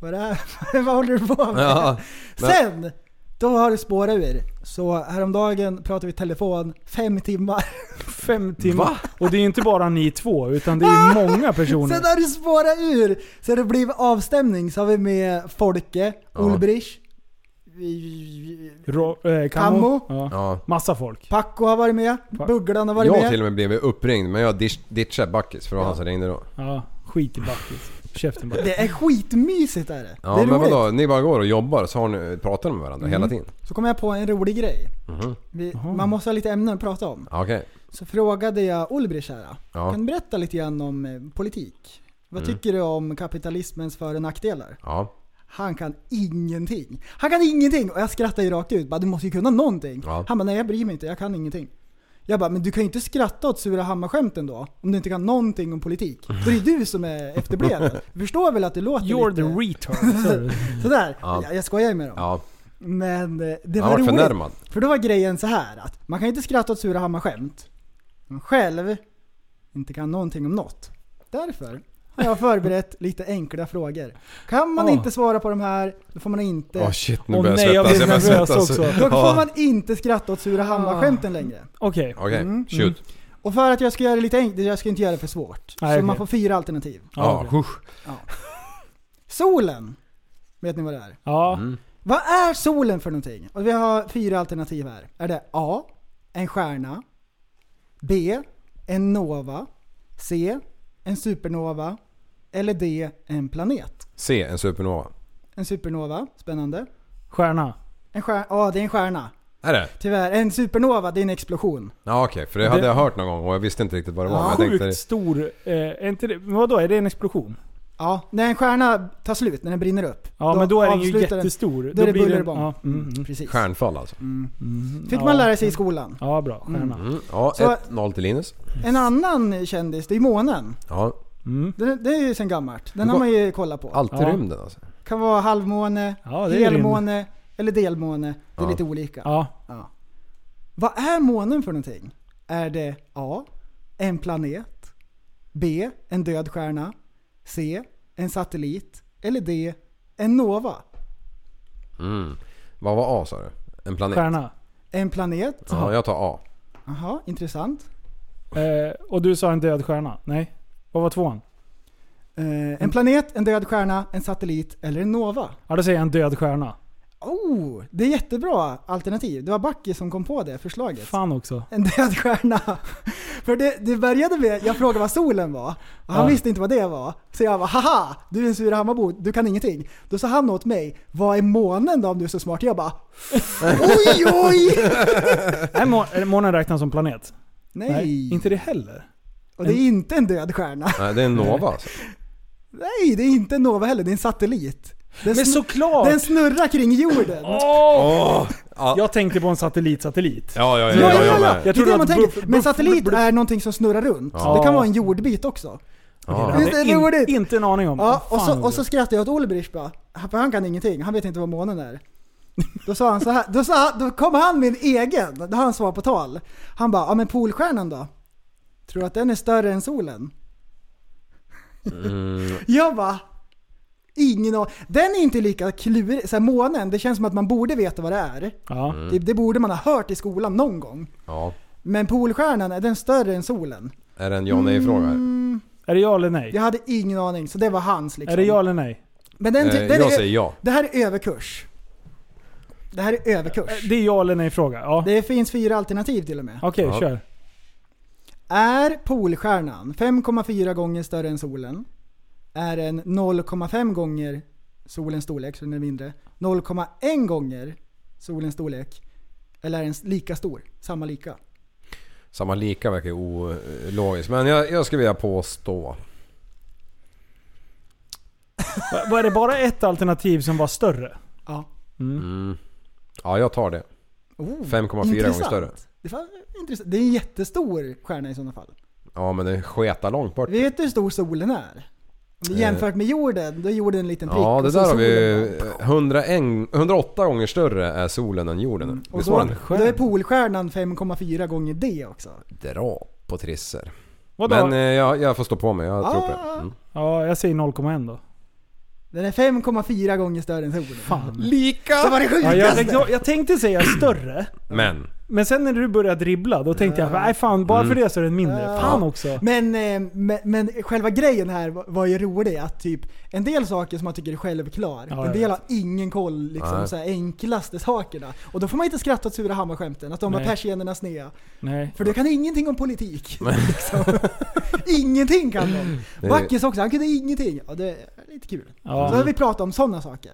S6: vad, är det här? vad håller du på med?
S7: Ja. men-
S6: Sen, då har det spårat ur. Så häromdagen pratade vi i telefon fem timmar.
S5: Fem timmar. Och det är ju inte bara ni två, utan det är ju många personer.
S6: Sen har det spårat ur. Så det blev avstämning. Så har vi med Folke, Ulbrich,
S5: Ro, eh, Kammo.
S6: Kammo.
S5: Ja.
S7: Ja.
S5: Massa folk.
S6: Paco har varit med,
S5: Pa-
S6: Bugglan har varit
S7: Jag har
S6: med.
S7: till och med blivit uppringd men jag ditch- ditchade Backis för det var han som ringde då.
S5: Ja, skit i backis. Käften bara.
S6: Det är skitmysigt är det.
S7: Ja
S6: det är
S7: men
S6: roligt. Mm.
S7: vadå, ni bara går och jobbar så har ni, pratar ni med varandra hela tiden?
S6: Så kom jag på en rolig grej.
S7: Mhm.
S6: Vi, man måste ha lite ämnen att prata om.
S7: Ja, Okej.
S6: Så frågade jag Ulbrich här.
S7: Ja. Mm.
S6: Kan du berätta lite grann om eh, politik? Vad tycker du om kapitalismens för och nackdelar?
S7: Ja.
S6: Han kan ingenting. Han kan ingenting! Och jag skrattade ju rakt ut. Bara, du måste ju kunna någonting.
S7: Ja.
S6: Han bara, nej jag bryr mig inte, jag kan ingenting. Jag bara, men du kan ju inte skratta åt sura hammarskämten då? Om du inte kan någonting om politik. Då är det ju du som är efterbliven. Du förstår väl att det låter
S5: You're the
S6: lite...
S5: retard. sa du.
S6: Sådär.
S7: Ja.
S6: Jag, jag skojar med dem.
S7: Ja.
S6: Men eh, det
S7: Han
S6: var
S7: vart
S6: roligt.
S7: förnärmad.
S6: För då var grejen så här att man kan inte skratta åt sura hammarskämt. Man själv inte kan någonting om något. Därför har har jag förberett lite enkla frågor. Kan man
S5: Åh.
S6: inte svara på de här, då får man inte...
S7: Åh shit, nu
S5: Åh,
S7: börjar jag
S5: nej, jag
S7: svettas.
S5: blir
S7: Jag börjar
S5: nervös
S7: svettas.
S5: också.
S6: Då får
S7: Ja.
S6: man inte skratta åt sura hammar-skämten längre.
S5: Okej.
S7: Okej,
S6: Mm.
S7: shoot.
S6: Och för att jag ska göra det lite enkelt, jag ska inte göra det för svårt.
S5: Nej,
S6: så
S5: okej.
S6: man får fyra alternativ.
S5: Ja,
S7: Ja,
S5: okej.
S7: husch.
S6: Solen. Vet ni vad det är?
S5: Ja.
S7: Mm.
S6: Vad är solen för någonting? Och vi har fyra alternativ här. Är det A. En stjärna. B. En nova. C. En supernova. Eller D. En planet.
S7: Se en supernova.
S6: En supernova. Spännande.
S5: Stjärna.
S6: En stjärna. Ja, det är en stjärna.
S7: Är det?
S6: Tyvärr. En supernova, det är en explosion.
S7: Ja okej, för det hade jag hört någon gång och jag visste inte riktigt vad det var.
S6: Ja,
S7: men jag
S5: Sjukt
S7: tänkte,
S5: stor. Eh, är inte det, men vadå, är det en explosion?
S6: Ja, när en stjärna tar slut, när den brinner upp.
S5: Ja, men då är den ju
S6: avslutar
S5: jättestor.
S6: Då är det
S5: blir
S6: bullerbomb.
S5: Ja, mm, mm.
S6: Precis.
S7: stjärnfall alltså.
S6: Mm. Fick
S5: Ja.
S6: man lära sig i skolan.
S5: ja bra. Stjärna.
S7: Mm. Ja,
S6: Så-
S7: 1-0 till Linus.
S6: En annan kändis, det är månen.
S7: Ja,
S6: Det, det är ju sen gammalt. Den har man ju kollat på.
S7: alltid
S5: Ja.
S7: rymden alltså.
S6: Kan vara halvmåne,
S5: Ja, det är
S6: helmåne eller delmåne. Det är
S7: Ja.
S6: lite olika.
S5: Ja.
S6: Ja. Vad är månen för någonting? Är det A. En planet? B. En död stjärna? C. En satellit? Eller D. En nova?
S7: Mm. Vad var A sa du? En planet?
S5: Stjärna.
S6: En planet?
S7: Ja, jag tar A.
S6: Jaha, intressant.
S5: Eh, och du sa en död stjärna? Nej. Vad var tvåan?
S6: Eh, en planet, en död stjärna, en satellit eller en nova?
S5: Ja, då säger jag en död stjärna.
S6: Oh, det är jättebra alternativ. Det var Backe som kom på det förslaget.
S5: Fan också.
S6: En död stjärna. För det, det började med, jag frågade vad solen var och han
S5: Ja.
S6: visste inte vad det var. Så jag var haha, du är en sur Hammarbo, du kan ingenting. Då sa han åt mig, vad är månen då om du är så smart? Jag bara, oj oj!
S5: Nej, må- eh, månen räknas som planet?
S6: Nej,
S5: Inte det heller?
S6: och det är inte en död stjärna.
S7: Nej, det är en Nova alltså.
S6: Nej, det är inte en Nova heller, det är en satellit. Den,
S5: Men
S6: snu-
S5: såklart!
S6: den snurrar kring jorden.
S7: Åh! Ja, ja,
S5: Jag tänkte på en satellit-satellit.
S7: ja, ja,
S6: Ja, ja, ja,
S7: jag
S6: ja.
S7: med.
S6: Det är
S5: Jag trodde
S6: det man
S5: att
S6: tänker.
S5: buff-
S6: Men
S5: buff-
S6: satellit
S5: buff-
S6: är någonting som snurrar runt.
S7: Ja.
S6: Det kan vara en jordbit också.
S5: Det
S7: Ja.
S5: hade
S6: Visst är det
S5: in-
S6: roligt?
S5: Inte en aning om.
S6: Ja,
S5: Fan
S6: och så,
S5: vad
S6: och så skrattade jag åt Olbrich bara. Han- För han kan ingenting, han vet inte vad månen är. Då sa han så här, då, sa, han- då kom han med en egen, då har han svar på tal. Han bara, ja men Polstjärnan då? Tror du att den är större än solen?
S7: Mm.
S6: jag bara, ingen aning. Den är inte lika klurig, så här, månen, det känns som att man borde veta vad det är.
S5: Ja.
S7: Mm.
S6: Det, det borde man ha hört i skolan någon gång.
S7: ja.
S6: Men Polstjärnan, är den större än solen?
S7: Är det en ja nej-fråga här?
S6: Mm,
S5: Är det ja eller nej?
S6: Jag hade ingen aning, så det var hans liksom.
S5: Är det ja eller nej?
S6: Men den,
S7: Eh,
S6: den
S7: jag
S6: är-
S7: säger ja.
S6: Det här är överkurs. Det här är överkurs.
S5: Eh, Det är ja eller nej-fråga? Ja.
S6: Det finns fyra alternativ till och med.
S5: Okej,
S7: Ja.
S5: kör.
S6: Är Polstjärnan 5,4 gånger större än solen? Är den 0,5 gånger solens storlek, så den är mindre? 0,1 gånger solens storlek? Eller är den lika stor? Samma lika?
S7: Samma lika verkar ju ologiskt. Men jag, jag skulle vilja påstå...
S5: Va- Var det bara ett alternativ som var större?
S6: Ja.
S7: Mm. Ja, jag tar det.
S6: Oh,
S7: 5,4 gånger
S6: intressant.
S7: större.
S6: Det, var intressant. det är en jättestor stjärna i sådana fall.
S7: Ja, men den sketar långt bort.
S6: Vet du hur stor solen är? Om du
S7: Eh.
S6: jämfört med jorden, då är jorden en liten prick.
S7: Ja,
S6: och
S7: det
S6: så
S7: där har
S6: solen
S7: vi...
S6: bara-
S7: 101, 108 gånger större är solen än jorden.
S5: Mm.
S6: Och
S7: Visst
S6: då,
S7: var den
S6: då är Polstjärnan 5,4 gånger det också.
S7: Dra på trisser.
S5: Vadå?
S7: Men eh, jag, jag får stå på mig, jag tror på
S6: Ah.
S7: det. Mm.
S5: ja, jag säger 0,1 då.
S6: Den är 5,4 gånger större än solen.
S5: Fan.
S6: Det var det
S5: Ja, jag,
S6: sjukaste!
S5: jag, jag tänkte säga större,
S7: Men,
S5: men sen när du började dribbla då tänkte jag nej fan, bara
S7: Mm.
S5: för det så är den mindre.
S6: Ja.
S5: Fan också.
S6: Men, eh, men, men själva grejen här var- var ju rolig att typ en del saker som man tycker är självklar,
S5: Ja, jag
S6: en del
S5: vet.
S6: har ingen koll liksom
S7: Nej.
S6: så här enklaste sakerna. Och då får man inte skratta åt sura hammarskämten, att de var
S5: Nej.
S6: persiennerna snea.
S5: Nej.
S6: För du kan ingenting om politik. liksom. ingenting kan de. Backes också, han kunde ingenting. Ja, det är lite kul. Så har
S5: Ja.
S6: vi pratat om sådana saker.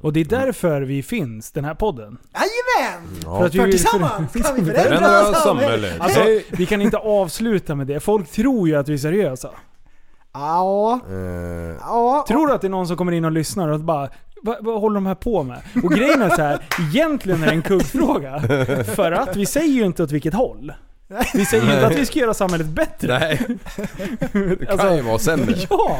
S5: Och det är därför vi finns, den här podden.
S6: Jajamän!
S5: För att vi
S6: För
S5: vill
S6: tillsammans kan vi förändra
S7: förändra
S6: samhället!
S7: samhället.
S5: Alltså,
S7: Hej.
S5: vi kan inte avsluta med det. Folk tror ju att vi är seriösa.
S6: Ja,
S7: Eh,
S6: ja.
S5: Tror du att det är någon som kommer in och lyssnar och bara vad, vad håller de här på med? Och grejen är så här, egentligen är det en kuggfråga. För att vi säger ju inte åt vilket håll. Vi säger ju inte att vi ska göra samhället bättre.
S7: nej, det kan
S5: Alltså,
S7: ju vara sämre.
S5: ja!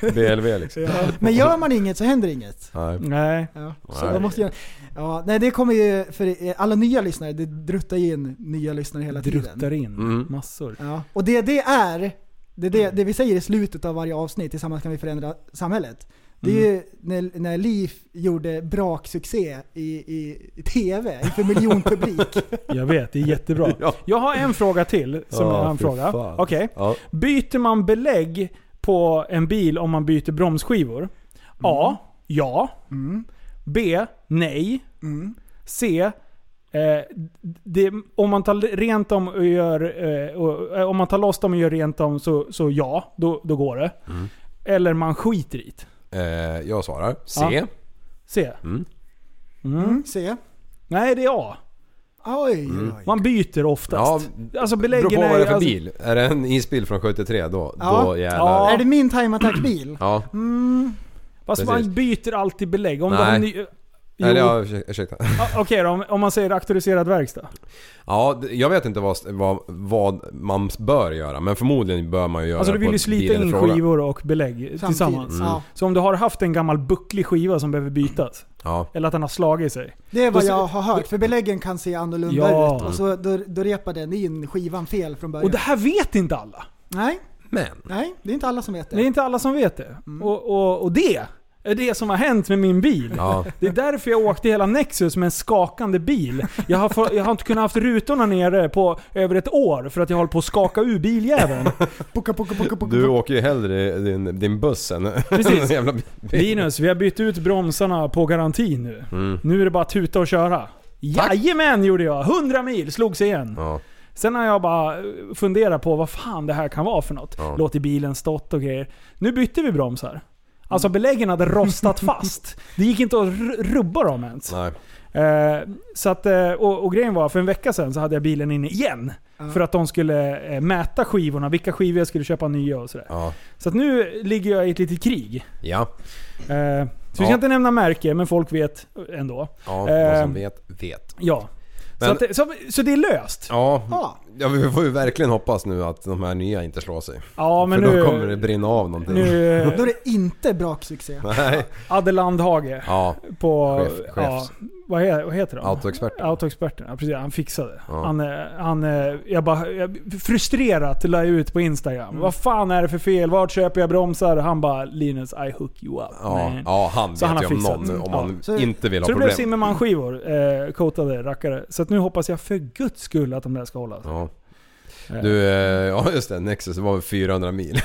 S7: BLV liksom.
S6: Men gör man inget så händer inget.
S7: Nej.
S5: Nej.
S6: Ja, så
S7: Nej.
S6: man måste göra. Ja, nej, det kommer ju för er- alla nya lyssnare, det druttar ju in nya lyssnare hela tiden.
S5: Druttar in
S7: Mm.
S5: massor.
S6: Ja, och det det är, Det, är det, det vi säger i slutet av varje avsnitt, tillsammans kan vi förändra samhället. Det är ju när, när Liv gjorde braksuccé i, i, i TV inför miljonpublik.
S5: Jag vet, det är jättebra.
S7: Ja.
S5: Jag har en fråga till som
S7: Ja,
S5: är en
S7: fy
S5: fråga.
S7: fan.
S5: Okej.
S7: Ja.
S5: Byter man belägg på en bil om man byter bromsskivor? A. Ja. B. Nej. C. Eh, det, om man tar rent dem och gör... Eh, och, eh, om man tar loss dem och gör rent dem så, så ja, då, då går det.
S7: Mm.
S5: Eller man skiter i det.
S7: Eh, jag svarar C.
S5: Ja. C.
S6: Se.
S5: Nej, det är A.
S6: Oj, oj.
S5: Man byter oftast.
S7: Ja,
S5: alltså
S7: Beror
S5: beläggen
S7: på vad det är för
S5: alltså-
S7: bil. Är det en isbil från 73 då,
S6: Ja.
S7: då jävlar.
S5: Ja. Mm.
S6: Är det min time attack-bil?
S7: Ja.
S5: Fast
S7: Precis.
S5: man byter alltid belägg. Om du
S7: Nej.
S5: har ny... Jo.
S7: Eller ja, ursä- ursäkta.
S5: Ah, Okej då, om, om man säger auktoriserad verkstad.
S7: Ja, d- jag vet inte vad, vad, vad man bör göra, men förmodligen bör man ju göra
S5: Alltså du
S7: på
S5: vill ju slita
S7: bilen
S5: in
S7: i fråga.
S5: skivor och belägg tillsammans.
S6: Mm. Ja.
S5: Så om du har haft en gammal bucklig skiva som behöver bytas,
S7: Ja.
S5: eller att den har slagit sig.
S6: Det är
S5: Då
S6: vad
S5: se-
S6: jag har hört, för beläggen kan se annorlunda
S5: Ja.
S6: ut. Och så då, då repar den in skivan fel från början.
S5: Och det här vet inte alla.
S6: Nej,
S7: Men.
S6: nej, det är inte alla som vet det.
S5: Det är inte alla som vet det. Och, och, och det är det som har hänt med min bil.
S7: Ja.
S5: Det är därför jag åkte hela Nexus med en skakande bil. Jag har, få- jag har inte kunnat haft rutorna nere på över ett år för att jag håller på att skaka ur biljäveln.
S6: Puka, puka, puka, puka,
S7: Du
S6: puka.
S7: åker ju hellre din, din buss än
S5: Precis.
S7: en jävla bil.
S5: Linus, vi har bytt ut bromsarna på garantin nu.
S7: Mm.
S5: Nu är det bara att tuta och köra. Jajamän gjorde jag! 100 mil, slogs igen.
S7: Ja.
S5: Sen har jag bara eh, funderat på vad fan det här kan vara för något.
S7: Ja.
S5: Låter bilen stått och grejer. Nu bytte vi bromsar. Alltså beläggen hade rostat fast. Det gick inte att ru- rubba dem ens.
S7: Nej.
S5: Eh, så att, eh, och, och grejen var, för en vecka sedan så hade jag bilen inne igen. För att de skulle eh, mäta skivorna, vilka skivor jag skulle köpa nya och sådär.
S7: Ja.
S5: Så att nu ligger jag i ett litet krig.
S7: Ja.
S5: Eh, så vi ska
S7: Ja.
S5: inte nämna märke, men folk vet ändå.
S7: Ja,
S5: Eh,
S7: vad som vet, vet.
S5: Ja.
S7: Men-
S5: Så, att, det- så, så det är löst. Ja,
S7: Ja.
S6: Ja.
S7: ja, vi får ju verkligen hoppas nu att de här nya inte slår sig.
S5: men
S7: För
S5: nu...
S7: då kommer det brinna av någonting.
S5: nu eh,
S6: Då är det inte braksuccé.
S7: Nej.
S5: Adde Landhage
S7: Ja,
S5: på...
S7: Chef-
S5: ja,
S7: chefs.
S5: vad, he, vad heter de?
S7: autoexperten.
S5: Autoexperten, ja precis. Han fixade.
S7: Ja.
S5: Han, eh, han, eh, jag bara, jag, frustrerat la jag ut på Instagram.
S7: Mm.
S5: Vad fan är det för fel? Vart köper jag bromsar? Han bara Linus, I hook you up.
S7: Ja,
S5: man."
S7: ja, han
S5: Så
S7: vet
S5: han har
S7: ju om
S5: fixat.
S7: någon om
S5: Ja.
S7: man
S6: Så-
S7: inte vill ha
S5: Så det blev
S7: problem.
S5: Zimmerman-skivor, eh, coatade rackare. Så att nu hoppas jag för guds skull att de där ska hållas.
S7: Ja. Du, eh, ja just det, Nexus det var väl 400 mil.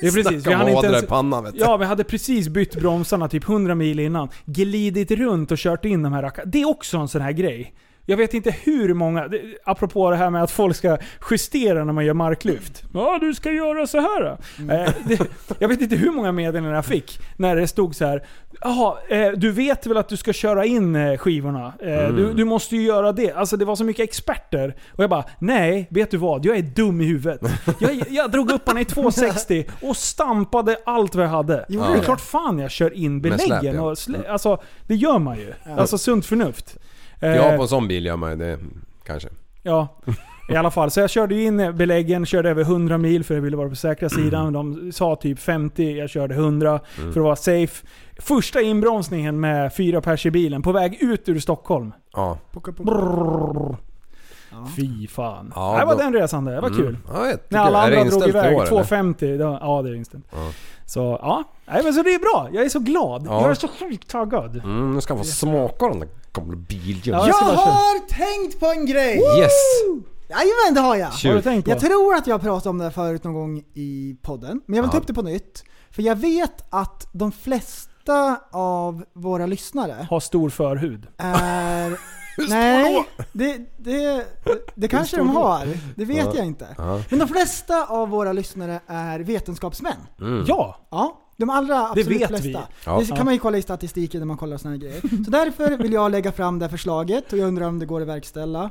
S5: Det är precis, vi
S7: Snacka
S5: hann
S7: om
S5: inte
S7: ådra i
S5: ens,
S7: pannan vet du.
S5: Ja, vi hade precis bytt bromsarna typ 100 mil innan. Glidit runt och kört in de här rackarna. Det är också en sån här grej. Jag vet inte hur många, det- apropå det här med att folk ska justera när man gör marklyft. Ja, du ska göra så här. då." Eh, det, jag vet inte hur många meddelanden jag fick när det stod så här. Jaha, eh, du vet väl att du ska köra in eh, skivorna? Eh,
S7: Mm.
S5: du, du måste ju göra det. Alltså det var så mycket experter. Och jag bara, nej, vet du vad? Jag är dum i huvudet. Jag, jag drog upp honom i 260 och stampade allt vad jag hade.
S6: Gjorde
S5: Det
S6: du
S5: är
S6: det?
S5: klart fan jag kör in
S7: Med släp,
S5: beläggen.
S7: ja.
S5: Och slä, alltså, det gör man ju. Alltså sunt förnuft. Eh,
S7: Ja, på en sån bil gör man ju det. Kanske.
S5: Ja, i alla fall. Så jag körde ju in beläggen, körde över 100 mil för jag ville vara på säkra
S7: Mm.
S5: sidan. De sa typ 50, jag körde 100 för att vara safe. Första inbromsningen med fyra pers i bilen på väg ut ur Stockholm.
S7: Ja.
S6: Puka, puka.
S5: Brrrr. Fy fan.
S7: Ja,
S5: det var
S7: då-
S5: den resan det. Det var kul.
S7: Ja, jag tycker,
S5: När alla
S7: är det
S5: andra
S7: inställt
S5: drog
S7: i år,
S5: iväg
S7: eller?
S5: 250. Det var, ja, det är inställt. Så ja. Nej, men så det är bra. Jag är så glad.
S7: Ja.
S5: Jag är så sjukt taggad.
S7: Mm, nu ska han få smaka den där gamla bilen.
S5: Ja.
S6: Jag
S5: ska bara köra.
S6: har tänkt på en grej!
S7: Yes!
S6: Jajamän, det har jag!
S5: Vad har du
S7: Shoot.
S5: tänkt på?
S6: Jag tror att jag har pratat om det här förut någon gång i podden, men jag vill ta upp det på nytt. För jag vet att de flesta av våra lyssnare
S5: Har stor förhud.
S6: är... Nej, det, det, det kanske de har. Det vet jag inte. Men de flesta av våra lyssnare är vetenskapsmän.
S7: Mm.
S5: Ja!
S6: Ja, de allra absolut
S5: vet
S6: flesta.
S5: vi.
S7: Ja.
S6: Det kan man ju kolla i statistiken när man kollar såna här grejer. Så därför vill jag lägga fram det här förslaget och jag undrar om det går att verkställa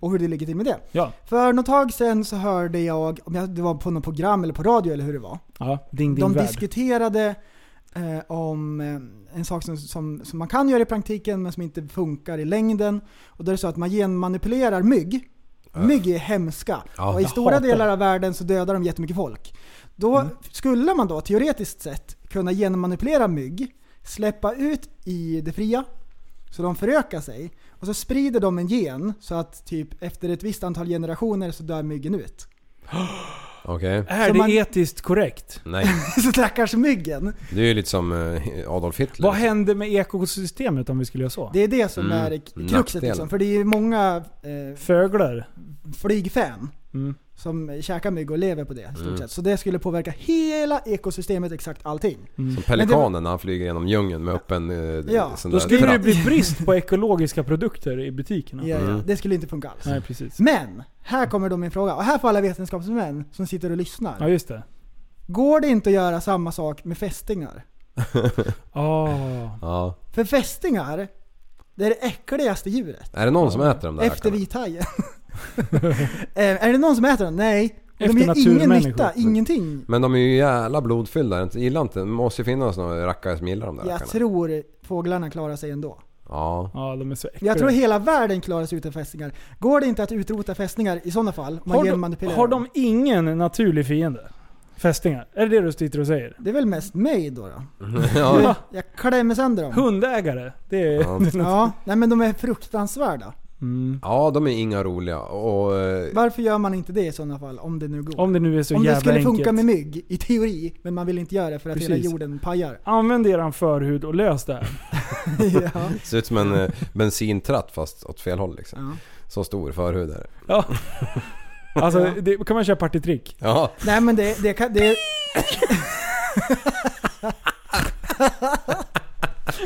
S6: och hur det ligger till med det.
S5: Ja.
S6: För något tag sedan så hörde jag, om jag- det var på något program eller på radio eller hur det var.
S5: ja ding, ding,
S6: De
S5: värld.
S6: diskuterade eh, om eh, en sak som, som, som man kan göra i praktiken men som inte funkar i längden. Och då är det så att man genmanipulerar mygg. Mygg är hemska.
S7: Ja,
S6: och
S5: Äh.
S6: i
S5: jag
S6: stora
S5: hatar Mm.
S6: delar av världen så dödar de jättemycket folk. Då skulle man då teoretiskt sett kunna genmanipulera mygg, släppa ut i det fria, så de förökar sig. Och så sprider de en gen så att typ efter ett visst antal generationer så dör myggen ut.
S7: Okej.
S5: Är
S6: Så
S5: det
S6: man-
S5: etiskt korrekt?
S7: Nej.
S6: Så stackars myggen.
S7: Det är ju lite som eh, Adolf Hitler.
S5: Vad händer med ekosystemet om vi skulle göra så?
S6: Det är det som
S7: Mm.
S6: är
S7: Nackdelen.
S6: kruxet liksom. För det är ju många eh,
S5: Fåglar?
S6: flygfän
S5: Mm.
S6: som käkar mygg och lever på det i stort
S7: Mm.
S6: sett. Så det skulle påverka hela ekosystemet exakt allting.
S7: Som
S6: Men
S7: pelikanen när han flyger genom djungeln med öppen eh,
S6: Ja.
S7: sån
S5: Då
S7: där
S5: skulle det ju
S7: tratt.
S5: bli brist på ekologiska produkter i butikerna.
S6: Ja, Mm. ja.
S7: Mm.
S6: Det skulle inte funka alls.
S5: Nej, precis.
S6: Men, här kommer då min fråga. Och här får alla vetenskapsmän som sitter och lyssnar.
S5: Ja, just det.
S6: Går det inte att göra samma sak med fästingar?
S5: Ah.
S7: Ja.
S6: För fästingar, det är det äckligaste djuret.
S7: Är det någon som äter de där
S6: efter
S7: rackarna?
S6: vithajen. Eh, är det någon som äter dem? Nej. Och
S5: Efter
S6: de gör ingen
S5: naturmänniskor.
S6: nytta, ingenting.
S7: Men de är ju jävla blodfyllda. Jag Gillar inte. Det måste ju finnas några rackare som gillar de där
S6: Jag
S7: rackarna.
S6: tror fåglarna klarar sig ändå.
S7: Ja.
S5: Ja, de är så äckliga.
S6: Jag tror hela världen klarar sig utan fästingar. Går det inte att utrota fästingar i sådana fall? om Man
S5: har, de,
S6: genmanipulerar
S5: har
S6: dem?
S5: de ingen naturlig fiende? Fästingar? Är det det du sitter och säger?
S6: Det är väl mest mig då. då.
S7: ja.
S6: Jag klämmer sönder dem.
S5: Hundägare? Det är...
S7: Ja.
S6: Ja, nej men de är fruktansvärda.
S5: Mm.
S7: Ja, de är inga roliga. Och... eh,
S6: Varför gör man inte det i sådana fall? Om det nu går.
S5: Om det nu är så
S6: Om det
S5: jävla
S6: skulle funka
S5: enkelt.
S6: med mygg, i teori, men man vill inte göra det för att
S5: Precis.
S6: hela jorden pajar.
S5: Använd eran förhud och lös det här.
S6: ja.
S7: Ser ut som en eh, bensintratt fast åt fel håll liksom.
S6: Ja.
S7: Så stor förhud är det.
S5: Ja. Alltså, det, kan man köra partitrick?
S7: Ja.
S6: Nej men det, det kan... Det,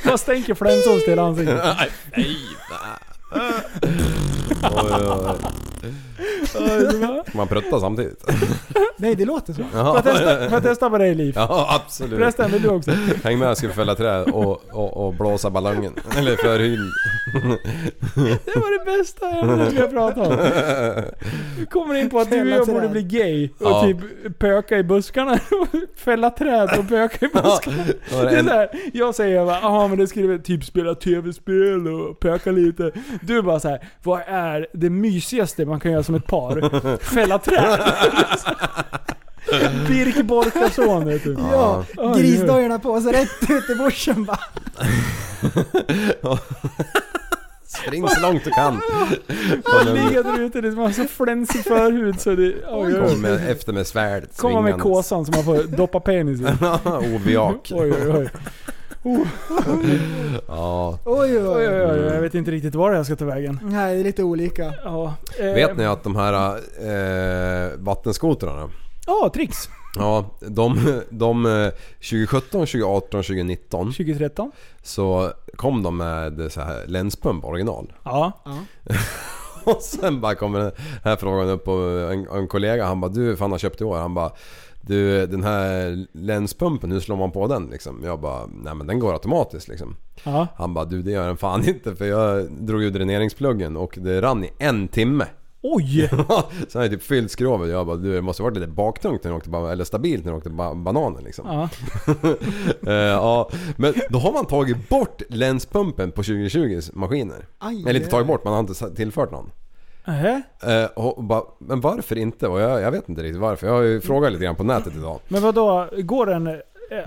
S5: Vad stänker flänsås till ansiktet?
S7: Nej, nej. Oj, oj, oj. Ska man prutta samtidigt?
S6: nej det låter så.
S5: Får jag
S7: Ja,
S5: testa, får jag testa på dig Liv?
S7: ja absolut.
S5: Förresten, vill du också?
S7: Häng med jag ska fälla träd och, och, och blåsa ballongen. Eller förhyn.
S5: Det var det bästa ämnet vi har pratat om. Vi kommer in på att du och jag
S6: Fälla
S5: borde
S6: träd.
S5: bli gay och
S7: Ja.
S5: typ pöka i buskarna. Fälla träd och pöka i
S7: Ja,
S5: buskarna.
S7: det var
S5: Det är
S7: en-
S5: såhär, jag säger bara aha men det skulle väl typ spela tv-spel och pöka lite. Du bara så här, vad är det mysigaste man kan göra som ett par? Fälla träd. Birk Borkason heter du.
S6: Ja,
S5: Oj,
S6: grisdojorna på så rätt ut i bushen bara.
S7: Spring så långt du kan.
S5: Han ligger där ute, det var så flänsig förhud så det... Oj, oj,
S7: Kom
S5: oj.
S7: med, efter med svärdet
S5: Komma med
S7: svingandes.
S5: kåsan som man får doppa penis i.
S7: Oviak.
S5: Oj, oj, oj.
S7: Ja.
S6: Oj oj
S5: Oj,
S6: oj.
S5: oj, oj. Jag vet inte riktigt var jag ska ta vägen.
S6: Nej, det är lite olika.
S5: Ja. eh,
S7: Vet ni att de här eh, vattenskotrarna.
S5: Ja, Trix.
S7: Ja, de, de eh, 2017, 2018, 2019
S5: 2013.
S7: så kom de med så här länspump original.
S5: Ja.
S7: Och sen bara kommer den här frågan upp och en, en kollega han bara du fan har köpt i år. Han bara du den här länspumpen hur slår man på den liksom? Jag bara nej men den går automatiskt liksom.
S5: Ja.
S7: Han bara du det gör den fan inte för jag drog ju dräneringspluggen och det rann i en timme.
S5: Oj!
S7: Sen hade jag typ fyllt skrovet jag bara du det måste ha varit lite baktungt när jag åkte, ba- eller stabilt när jag åkte ba- bananen liksom.
S5: Ja.
S7: Eh, ja, men då har man tagit bort länspumpen på 2020s maskiner.
S6: Aj.
S7: Eller inte tagit bort, man har inte sa- tillfört någon.
S5: Nähä.
S7: Eh, och och bara, men varför inte? Och jag, jag vet inte riktigt varför. Jag har ju frågat lite grann på nätet idag.
S5: Men vad då går den eh,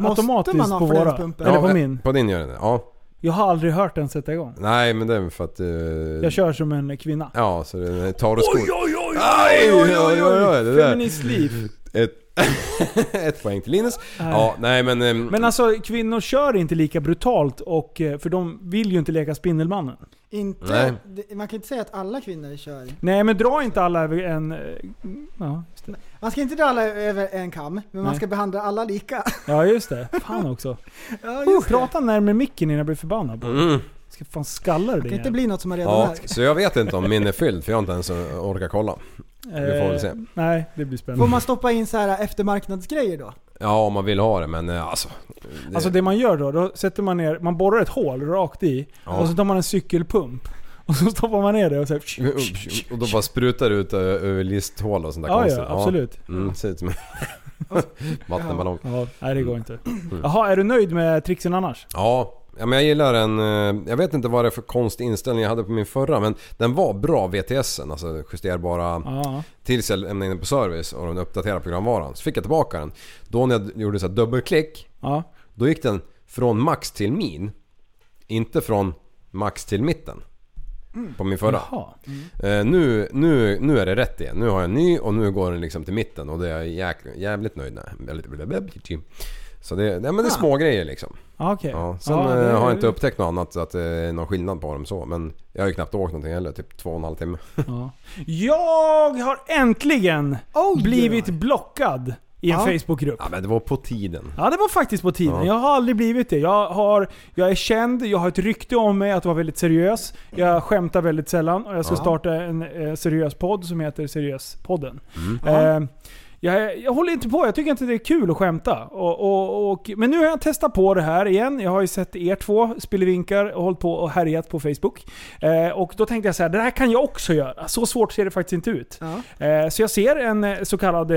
S5: automatiskt
S6: man ha
S5: på våra?
S6: flänspumpen?
S5: Eller
S7: Ja,
S5: på
S7: eh,
S5: min?
S7: På din gör den det. Ja.
S5: Jag har aldrig hört den sätta igång.
S7: Nej men det är väl för att... eh,
S5: Jag kör som en kvinna.
S7: Ja, så det tar och skor.
S5: oj, oj!
S7: Aj, oj, oj, oj, det där.
S5: Feministliv.
S7: Ett, ett poäng till Linus.
S5: Nej.
S7: Ja, nej men... ehm,
S5: Men alltså kvinnor kör inte lika brutalt och, eh, för de vill ju inte leka Spindelmannen.
S6: Inte,
S7: Nej.
S6: det- Man kan inte säga att alla kvinnor kör.
S5: Nej men dra inte alla över en... eh, Ja just det.
S6: Man ska inte dra alla över en kam, men man
S5: Nej.
S6: ska behandla alla lika.
S5: Ja just det. Fan också.
S6: Ja,
S5: Oh,
S6: just det.
S5: prata närmare micken innan jag blir förbannad på dig.
S7: Mm.
S5: Ska fan skalla
S6: Det
S5: dig
S6: kan inte bli något som är redan
S7: Ja,
S6: är.
S7: så jag vet inte om min är fylld för jag har inte ens orkat kolla. Vi får väl se.
S5: Eh, Nej, det blir
S6: Får
S5: spännande.
S6: man stoppa in så här eftermarknadsgrejer då?
S7: Ja, om man vill ha det men eh, alltså...
S5: Alltså det man gör då, då sätter man ner, man borrar ett hål rakt i
S7: Ja.
S5: och så tar man en cykelpump. Och så stoppar man ner det och så här,
S7: Och då bara sprutar det ut ö- över listhål och sånt där
S5: Ja,
S7: konstigt.
S5: ja absolut.
S7: Mm, ser ut som en vattenballong.
S5: Ja, nej det går inte.
S7: Mm.
S5: Jaha, är du nöjd med trixen annars?
S7: Ja. ja, men jag gillar den. eh, Jag vet inte vad det är för konstig inställning jag hade på min förra men den var bra VTSen. Alltså justerbara
S5: Ja.
S7: tills jag lämnade in den på service och den uppdaterade programvaran. Så fick jag tillbaka den. Då när jag gjorde så här dubbelklick,
S5: ja.
S7: då gick den från max till min. Inte från max till mitten. På min förra.
S5: Mm. Jaha. Mm.
S7: Eh, nu, nu, nu är det rätt igen. Nu har jag en ny och nu går den liksom till mitten och det är jag jäk, jävligt nöjd med. Väldigt- blablabla. Så det, ja, men det är små grejer liksom.
S5: Ah. Ja, okej.
S7: Ja, sen
S5: Ja, det-
S7: eh, har jag inte upptäckt något annat så att det är någon skillnad på dem så. Men jag har ju knappt åkt någonting heller. Typ två och en halv timme.
S5: Ja. Jag har äntligen
S6: Oj!
S5: blivit blockad i en
S6: Ja.
S5: Facebookgrupp.
S7: Ja men det var på tiden.
S5: Ja, det var faktiskt på tiden.
S7: Ja.
S5: Jag har aldrig blivit det. Jag, har, jag är känd, jag har ett rykte om mig att vara väldigt seriös. Jag skämtar väldigt sällan och jag ska
S7: Ja.
S5: starta en eh, seriös podd som heter Seriöspodden.
S7: Mm.
S6: Ja.
S5: Eh, jag, jag håller inte på, jag tycker inte det är kul att skämta. Och, och, och, men nu har jag testat på det här igen. Jag har ju sett er två spillevinkar och hållit på och härjat på Facebook. Eh, och då tänkte jag så här, det här kan jag också göra. Så svårt ser det faktiskt inte ut.
S6: Ja.
S5: Eh, Så jag ser en eh, så kallad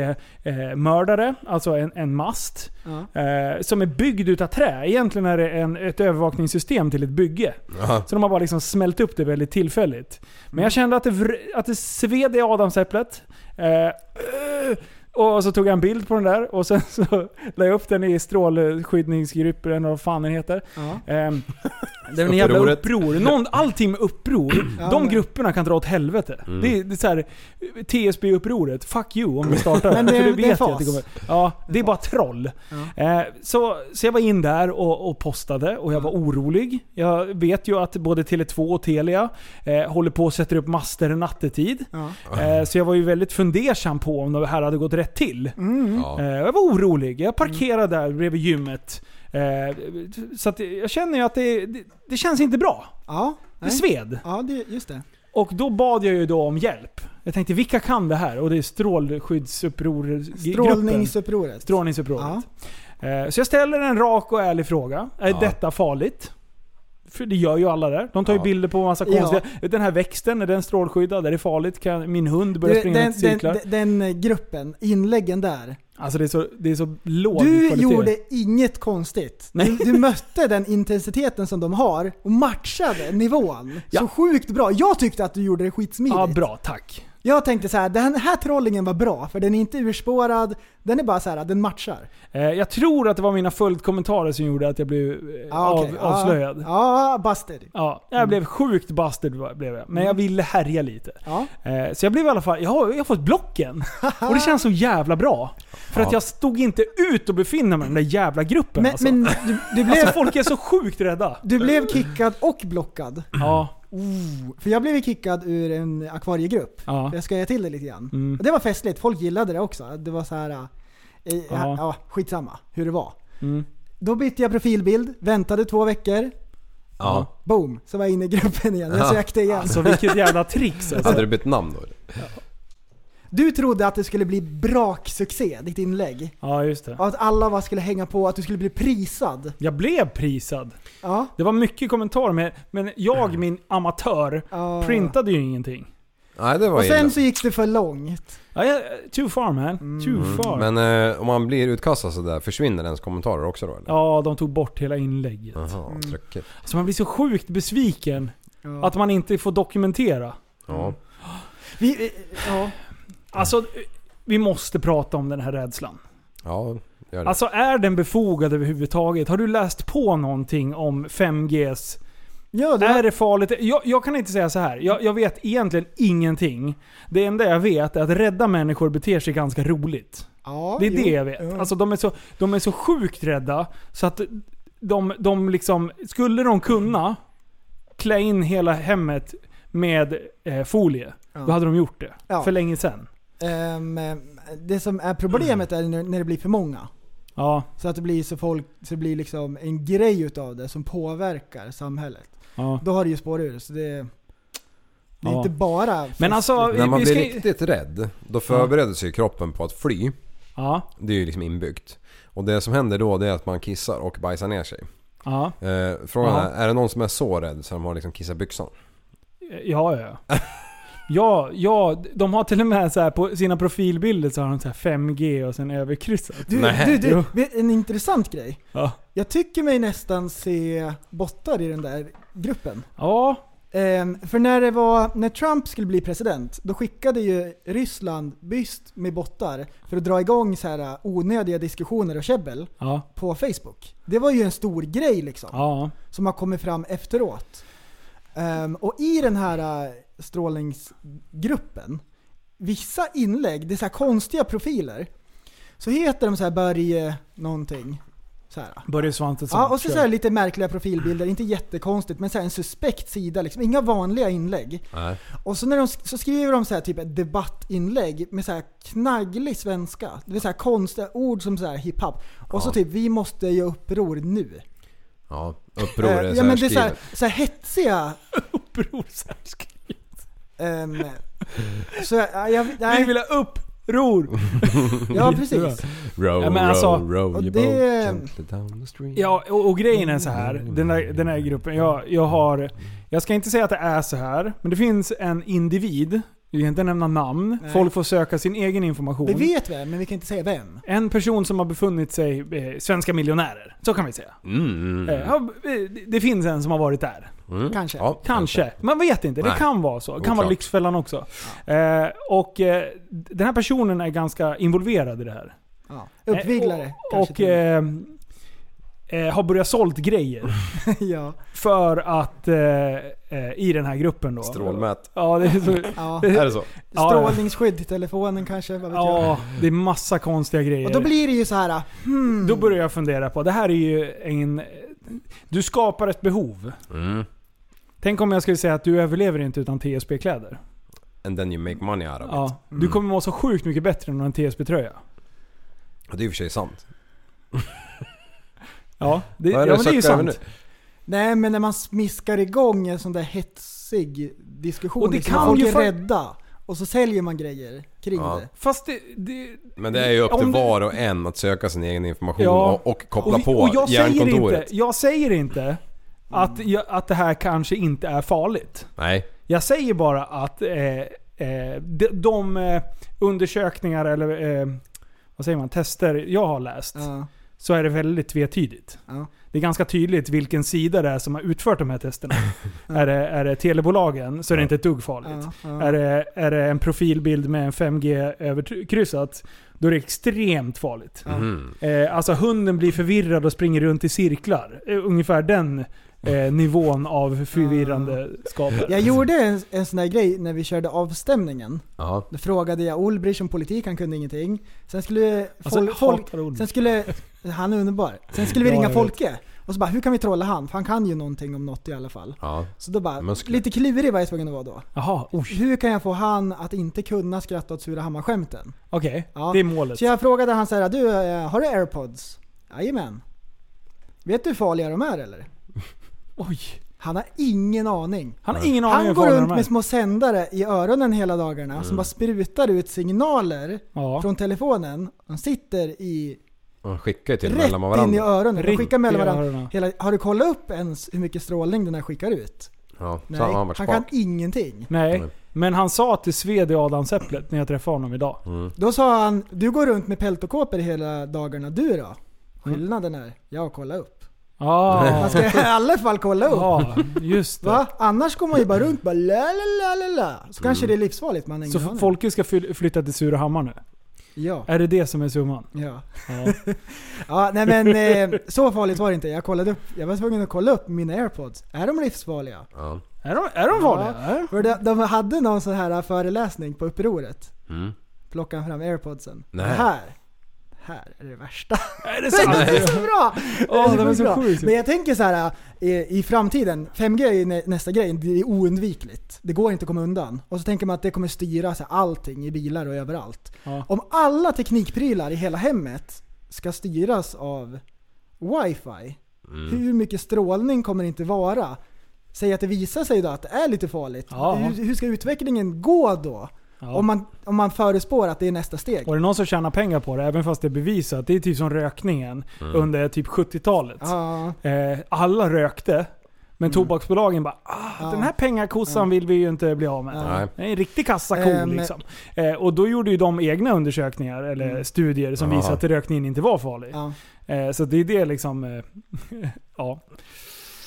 S5: 5G-mördare, alltså en, en mast,
S6: Ja.
S5: eh, som är byggd utav trä. Egentligen är det en, ett övervakningssystem till ett bygge.
S7: Ja.
S5: Så de har bara liksom smält upp det väldigt tillfälligt. Men jag kände att det, vr- att det sved i adamsäpplet. Eh, eh, Och så tog jag en bild på den där och sen så la jag upp den i strålskyddsgruppen eller vad fan den heter.
S6: Ja.
S5: Ehm, det är en jävla
S7: Upproret.
S5: uppror. Någon, allting med uppror.
S6: Ja,
S5: De
S6: men- Mm.
S5: grupperna kan dra åt helvete. Det är, det är så här, TSB-upproret, fuck you om vi startar.
S6: Men det-
S5: För
S6: det är
S5: jag
S6: fas.
S5: ja, det är bara troll.
S6: Ja.
S5: Eh, så, så jag var in där och, och postade och jag
S6: Mm.
S5: var orolig. Jag vet ju att både Tele2 och Telia eh, håller på och sätter upp master nattetid.
S6: Ja.
S5: Eh, så jag var ju väldigt fundersam på om det här hade gått rätt till.
S7: Ja.
S5: Eh, Jag var orolig. Jag parkerade där bredvid gymmet. Eh, Så att jag känner ju att det, det, det känns inte bra.
S6: Ja.
S5: Det
S6: Nej.
S5: sved.
S6: Ja, det, just det.
S5: Och då bad jag ju då om hjälp. Jag tänkte, vilka kan det här? Och det är strålskyddsuppror...
S6: Strålningsupproret.
S5: Strålningsupproret. Eh, Så jag ställer en rak och ärlig fråga. Är
S7: Ja.
S5: detta farligt? För det gör ju alla där. De tar ju
S7: Ja.
S5: bilder på massa
S6: Ja.
S5: konstiga... Den här växten, är den strålskyddad? Är det farligt? Kan min hund börja
S6: Du,
S5: springa
S6: den,
S5: runt i
S6: den,
S5: cirklar?
S6: den, den gruppen, inläggen där.
S5: alltså det är så, det är så låg
S6: Du
S5: kvalitet.
S6: gjorde inget konstigt.
S5: Nej.
S6: Du, du mötte den intensiteten som de har och matchade nivån.
S5: Ja.
S6: Så sjukt bra. Jag tyckte att du gjorde det skitsmidigt.
S5: Ja, bra. Tack.
S6: Jag tänkte så här, den här trollingen var bra för den är inte urspårad. Den är bara så här, den matchar.
S5: Eh, Jag tror att det var mina följdkommentarer som gjorde att jag blev eh,
S6: Ja, Ah, okej. Mm.
S5: av, avslöjad. Ja.
S6: Ja, ja busted.
S5: jag blev sjukt bastard var- blev jag. Men jag
S6: Mm.
S5: ville härja lite.
S6: Ja.
S5: Eh, Så jag blev i alla fall, jag har, jag har fått blocken. Och det känns så jävla bra. För att
S7: Ja.
S5: jag stod inte ut och befinna mig i den där jävla gruppen
S6: Men,
S5: alltså.
S6: men du, du, blev,
S5: alltså folk är så sjukt rädda.
S6: du blev kickad och blockad.
S5: Ja.
S6: För jag blev ju kickad ur en akvariegrupp.
S5: Oh. ja.
S6: Jag skojar till det lite grann.
S5: Mm.
S6: Och Det var festligt, folk gillade det också. Det var så här, eh, eh,
S5: Ja.
S6: ja, skitsamma hur det var.
S5: Mm.
S6: Då bytte jag profilbild, väntade två veckor,
S7: Ja.
S6: boom, så var jag inne i gruppen igen. Jag
S7: Ja.
S6: sökte igen.
S5: Alltså vilket jävla trix alltså.
S7: Hade du bytt namn då?
S6: Du trodde att det skulle bli braksuccé, ditt inlägg.
S5: Ja, just det.
S6: Och att alla bara skulle hänga på, att du skulle bli prisad.
S5: Jag blev prisad.
S6: Ja.
S5: Det var mycket kommentarer med, men jag, min amatör,
S6: Ja.
S5: printade ju ingenting.
S7: Nej det var
S6: Och sen
S7: illa.
S6: så gick det för långt.
S5: Ja, ja, too far man.
S6: Mm.
S5: Too far.
S7: Men eh, om man blir utkastad sådär, försvinner ens kommentarer också då eller?
S5: Ja, de tog bort hela inlägget.
S7: Jaha, tråkigt.
S5: Så man blir så sjukt besviken
S6: Ja.
S5: att man inte får dokumentera.
S7: Ja.
S5: Mm.
S6: Vi, eh, ja.
S5: Alltså, vi måste prata om den här rädslan.
S7: Ja, gör det.
S5: Alltså är den befogad överhuvudtaget? Har du läst på någonting om 5Gs?
S6: Ja, det
S5: Är
S6: var,
S5: det farligt? Jag, jag kan inte säga så här. Jag, jag vet egentligen ingenting. Det enda jag vet är att rädda människor beter sig ganska roligt.
S6: ja,
S5: Det är
S6: jo.
S5: det jag vet.
S6: Ja.
S5: Alltså de är, så, de är så sjukt rädda så att de, de liksom... Skulle de kunna klä in hela hemmet med eh, folie,
S6: Ja.
S5: då hade de gjort det.
S6: Ja.
S5: För länge sedan.
S6: Ehm, eh, det som är problemet är när- när det blir för många.
S5: Ja.
S6: Så att det blir, så folk, så det blir liksom en grej utav det som påverkar samhället.
S5: ja.
S6: Då har det ju spår ur. Så det, det är
S5: Ja.
S6: inte bara...
S5: Men alltså...
S7: När man
S5: vi
S7: blir
S5: ska,
S7: riktigt rädd, då förbereder sig kroppen på att fly.
S5: ja,
S7: Det är ju liksom inbyggt. Och det som händer då det är att man kissar och bajsar ner sig.
S5: ja,
S7: Eh, frågan
S5: Ja.
S7: är, är det någon som är så rädd så de har liksom kissat byxan?
S5: ja, ja. Ja, ja, de har till och med så här på sina profilbilder så har de så här 5G och sen överkryssat.
S6: Du,
S7: Nej.
S6: du, du,
S5: Jo.
S6: vet- en intressant grej.
S5: Ja.
S6: Jag tycker mig nästan se bottar i den där gruppen.
S5: ja,
S6: Ehm, för när, det var, när Trump skulle bli president, då skickade ju Ryssland byst med bottar för att dra igång så här äh, onödiga diskussioner och käbbel
S5: ja,
S6: på Facebook. Det var ju en stor grej liksom,
S5: ja.
S6: som har kommit fram efteråt. Ehm, och i den här eh, strålningsgruppen, vissa inlägg, det är så här konstiga profiler. Så heter de så här Börje någonting. Så här.
S5: Börje Svantesson.
S6: Ja, och så,
S5: kör.
S6: så här lite märkliga profilbilder, inte jättekonstigt, men så här en suspekt sida liksom. Inga vanliga inlägg.
S7: Nej.
S6: Och så, när de, så skriver de så här typ ett debattinlägg med så här knagglig svenska. Det vill säga konstiga ord som så här hiphop. Och så
S7: Ja.
S6: typ vi måste göra uppror nu.
S7: Ja, uppror är
S6: Eh,
S7: så
S6: ja,
S7: här
S6: men det är så här,
S7: skrivet.
S6: så här hetsiga...
S5: Uppror särskilt.
S6: ehm, så ja, jag,
S5: Vi
S6: nej,
S5: vill ha uppror!
S6: ja, precis.
S7: Row,
S5: Ja, men alltså-
S7: row, row
S6: och
S7: your
S6: det-
S7: boat gently down the stream.
S5: Ja, och, och grejen är så här. Den där, den här gruppen. Jag, jag har... Jag ska inte säga att det är så här, men det finns en individ. Vi kan inte nämna namn.
S6: Nej.
S5: Folk får söka sin egen information.
S6: Det vet vi, men vi kan inte säga vem.
S5: En person som har befunnit sig, eh, svenska miljonärer. Så kan vi säga.
S7: Mm.
S5: Eh, har- eh, det- det finns en som har varit där.
S7: Mm.
S6: Kanske.
S7: Ja,
S5: Kanske. Man vet inte. Det
S7: Nej.
S5: kan vara så. Det kan vara
S7: Oklart.
S5: Lyxfällan också. Eh, och eh, den här personen är ganska involverad i det här.
S6: Ja.
S5: Eh,
S6: Uppviglare.
S5: Och,
S6: kanske
S5: och
S6: till och med.
S5: eh, eh, har börjat sålt grejer.
S6: ja.
S5: För att eh, eh, i den här gruppen då.
S7: Strålmät.
S5: Ja, det är så,
S6: ja.
S7: Är det så?
S5: Ja.
S6: Strålningsskydd till telefonen kanske, vad vet jag.
S5: ja, det är massa konstiga grejer.
S6: Och då blir det ju så här. Hmm,
S5: Då börjar jag fundera på, det här är ju en... Du skapar ett behov.
S7: Mm.
S5: Tänk om jag skulle säga att du överlever inte utan TSB-kläder.
S7: And then you make money out of it.
S5: Ja,
S6: Mm.
S5: du kommer må så sjukt mycket bättre än en TSB-tröja.
S7: Och det är i och för sig sant.
S5: Ja, det,
S7: Vad
S5: ja,
S7: är
S5: men
S7: det jag
S5: det är ju
S7: söker även
S5: sant.
S7: nu?
S6: Nej men när man smiskar igång en sån där hetsig diskussion.
S5: Och det
S6: liksom,
S5: kan
S6: folk
S5: ju
S6: är
S5: fan-
S6: rädda. Och så säljer man grejer kring
S7: Ja.
S6: det.
S5: Fast det... det
S7: Men det är ju upp till
S5: Om du-
S7: var och en att söka sin egen information
S5: Ja.
S7: och, och koppla
S5: vi-
S7: på
S5: jag säger
S7: hjärnkontoret.
S5: inte, jag säger inte att,
S6: Mm.
S5: jag, att det här kanske inte är farligt.
S7: Nej.
S5: Jag säger bara att eh, eh, de, de eh, undersökningar eller eh, vad säger man, tester jag har läst
S6: Ja.
S5: så är det väldigt tvetydigt.
S6: Ja.
S5: Det är ganska tydligt vilken sida det är som har utfört de här testerna. är, det, är det telebolagen så är det inte ett dugg farligt.
S6: Ja, ja.
S5: Är, det, är det en profilbild med en 5G överkryssat, då är det extremt farligt.
S7: Mhm.
S5: Eh, alltså hunden blir förvirrad och springer runt i cirklar. Eh, ungefär den eh, nivån av förvirrande skapar.
S6: Jag gjorde en, en sån där grej när vi körde avstämningen.
S7: Ja.
S6: Då frågade jag Ulbrich om politik, han kunde ingenting. Sen skulle,
S5: Alltså,
S6: fol-
S5: jag
S6: folk,
S5: hatar Ulbrich.
S6: sen skulle han är underbar. Sen skulle vi
S5: Ja,
S6: ringa
S5: jag vet.
S6: Folke. Och så bara, hur kan vi trolla han? För han kan ju någonting om något i alla fall.
S7: Ja.
S6: Så då bara,
S7: Muskler.
S6: lite klurig var jag tvungen att vara då.
S5: Jaha, oj.
S6: Hur kan jag få han att inte kunna skratta åt Surahammar-skämten?
S5: Okej,
S6: Ja.
S5: det är målet.
S6: Så jag frågade han så här, du eh, har du airpods? Jajamän. Vet du hur farliga de är eller?
S5: Oj.
S6: Han har ingen aning.
S5: Han har ingen aning
S6: Han
S5: om
S6: går
S5: vad de
S6: runt
S5: är.
S6: med små sändare i öronen hela dagarna som bara sprutar ut signaler
S5: Ja.
S6: från telefonen. De sitter i
S7: De skickar ju till
S6: rätt
S7: mellan
S6: in i
S7: varandra.
S6: öronen. De
S5: Rätt
S6: skickar mellan
S5: i
S6: varandra.
S5: öronen.
S6: Hela, har du kollat upp ens hur mycket strålning den här skickar ut?
S7: Ja.
S6: Nej,
S7: Så har han
S6: han,
S7: varit
S6: kan
S7: spak.
S6: ingenting.
S5: Nej,
S7: Nej.
S5: men han sa att det sved i adamsäpplet när jag träffade honom idag.
S6: Då sa han, du går runt med peltokåpor hela dagarna du då? Skillnaden är, jag kollar upp.
S5: Ah,
S6: Man ska i alla fall kolla upp.
S5: ja, just det.
S6: Va? Annars går man ju bara runt bara la la la la la. Så kanske det är livsfarligt man har
S5: Mm. Så
S6: ingen aning.
S5: Folke ska fly- flytta till Surahammar nu?
S6: Ja.
S5: Är det det som är summan?
S6: Ja.
S5: Ja.
S6: ja, nej men eh, så farligt var det inte. Jag kollade upp, jag var tvungen att kolla upp mina airpods. Är de livsfarliga?
S7: Ja.
S5: Är de, är de farliga?
S6: För de, de hade någon sån här föreläsning på upproret.
S7: Mm.
S6: Plockade fram airpodsen.
S7: Nej.
S6: Det här. det Här är det värsta.
S5: Är det
S6: Det
S5: sant?
S6: är så bra!
S5: Åh,
S6: Det
S5: de är
S6: sjukt
S5: så
S6: bra.
S5: sjukt.
S6: Men jag tänker så här i, i framtiden, 5G är ju nä- nästa grej, det är oundvikligt. Det går inte att komma undan. Och så tänker man att det kommer styra så här, allting i bilar och överallt.
S5: Ja.
S6: Om alla teknikprylar i hela hemmet ska styras av wifi, hur mycket strålning kommer det inte vara? Säg att det visar sig då att det är lite farligt.
S5: Ja.
S6: Hur, hur ska utvecklingen gå då?
S5: Ja.
S6: Om, man, om man förespår att det är nästa steg.
S5: Och det är någon som tjänar pengar på det, även fast det är bevisat. Det är typ som rökningen under typ 70-talet.
S6: Ja, Mm.
S5: Eh, alla rökte, men tobaksbolagen bara ah,
S6: Ja.
S5: den här pengakossan vill vi ju inte bli av med.
S7: Nej.
S5: Det är en riktig kassako
S6: Ehm,
S5: liksom. Eh, och då gjorde ju de egna undersökningar, eller
S6: Mm.
S5: studier, som
S7: Ja.
S5: visade att rökningen inte var farlig.
S6: ja.
S5: Eh, så det är det liksom... Eh, ja.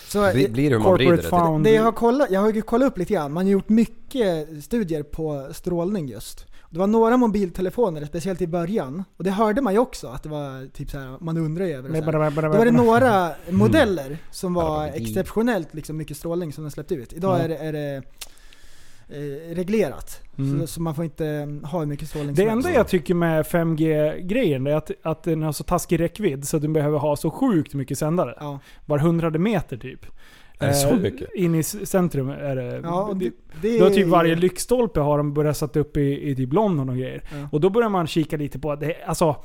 S6: Så
S7: Bli- Blir det hur man vrider det
S5: Corporate
S7: till.
S5: found.
S6: Det jag har kollat, jag har ju kollat upp lite grann. Man har gjort mycket studier på strålning just. Det var några mobiltelefoner, speciellt i början. Och det hörde man ju också att det var typ så här, man undrar ju över det. så här. Då var det några
S5: Mm.
S6: modeller som var exceptionellt liksom mycket strålning som den släppte ut. Idag
S5: Ja.
S6: är det, är det eh, reglerat.
S5: Mm.
S6: Så, så man får inte mm, ha hur mycket strålning
S5: Det
S6: som
S5: enda
S6: helst.
S5: jag tycker med 5G-grejen är att, att den har så taskig räckvidd så att den behöver ha så sjukt mycket sändare.
S6: Ja,
S5: Var hundrade meter typ.
S7: Är det så
S5: Eh,
S7: mycket?
S5: In i s- centrum är det.
S6: ja och det, det
S5: Då har typ varje lyktstolpe har de börjat sätta upp i, i typ London och grejer.
S6: Ja.
S5: Och då börjar man kika lite på att det, alltså,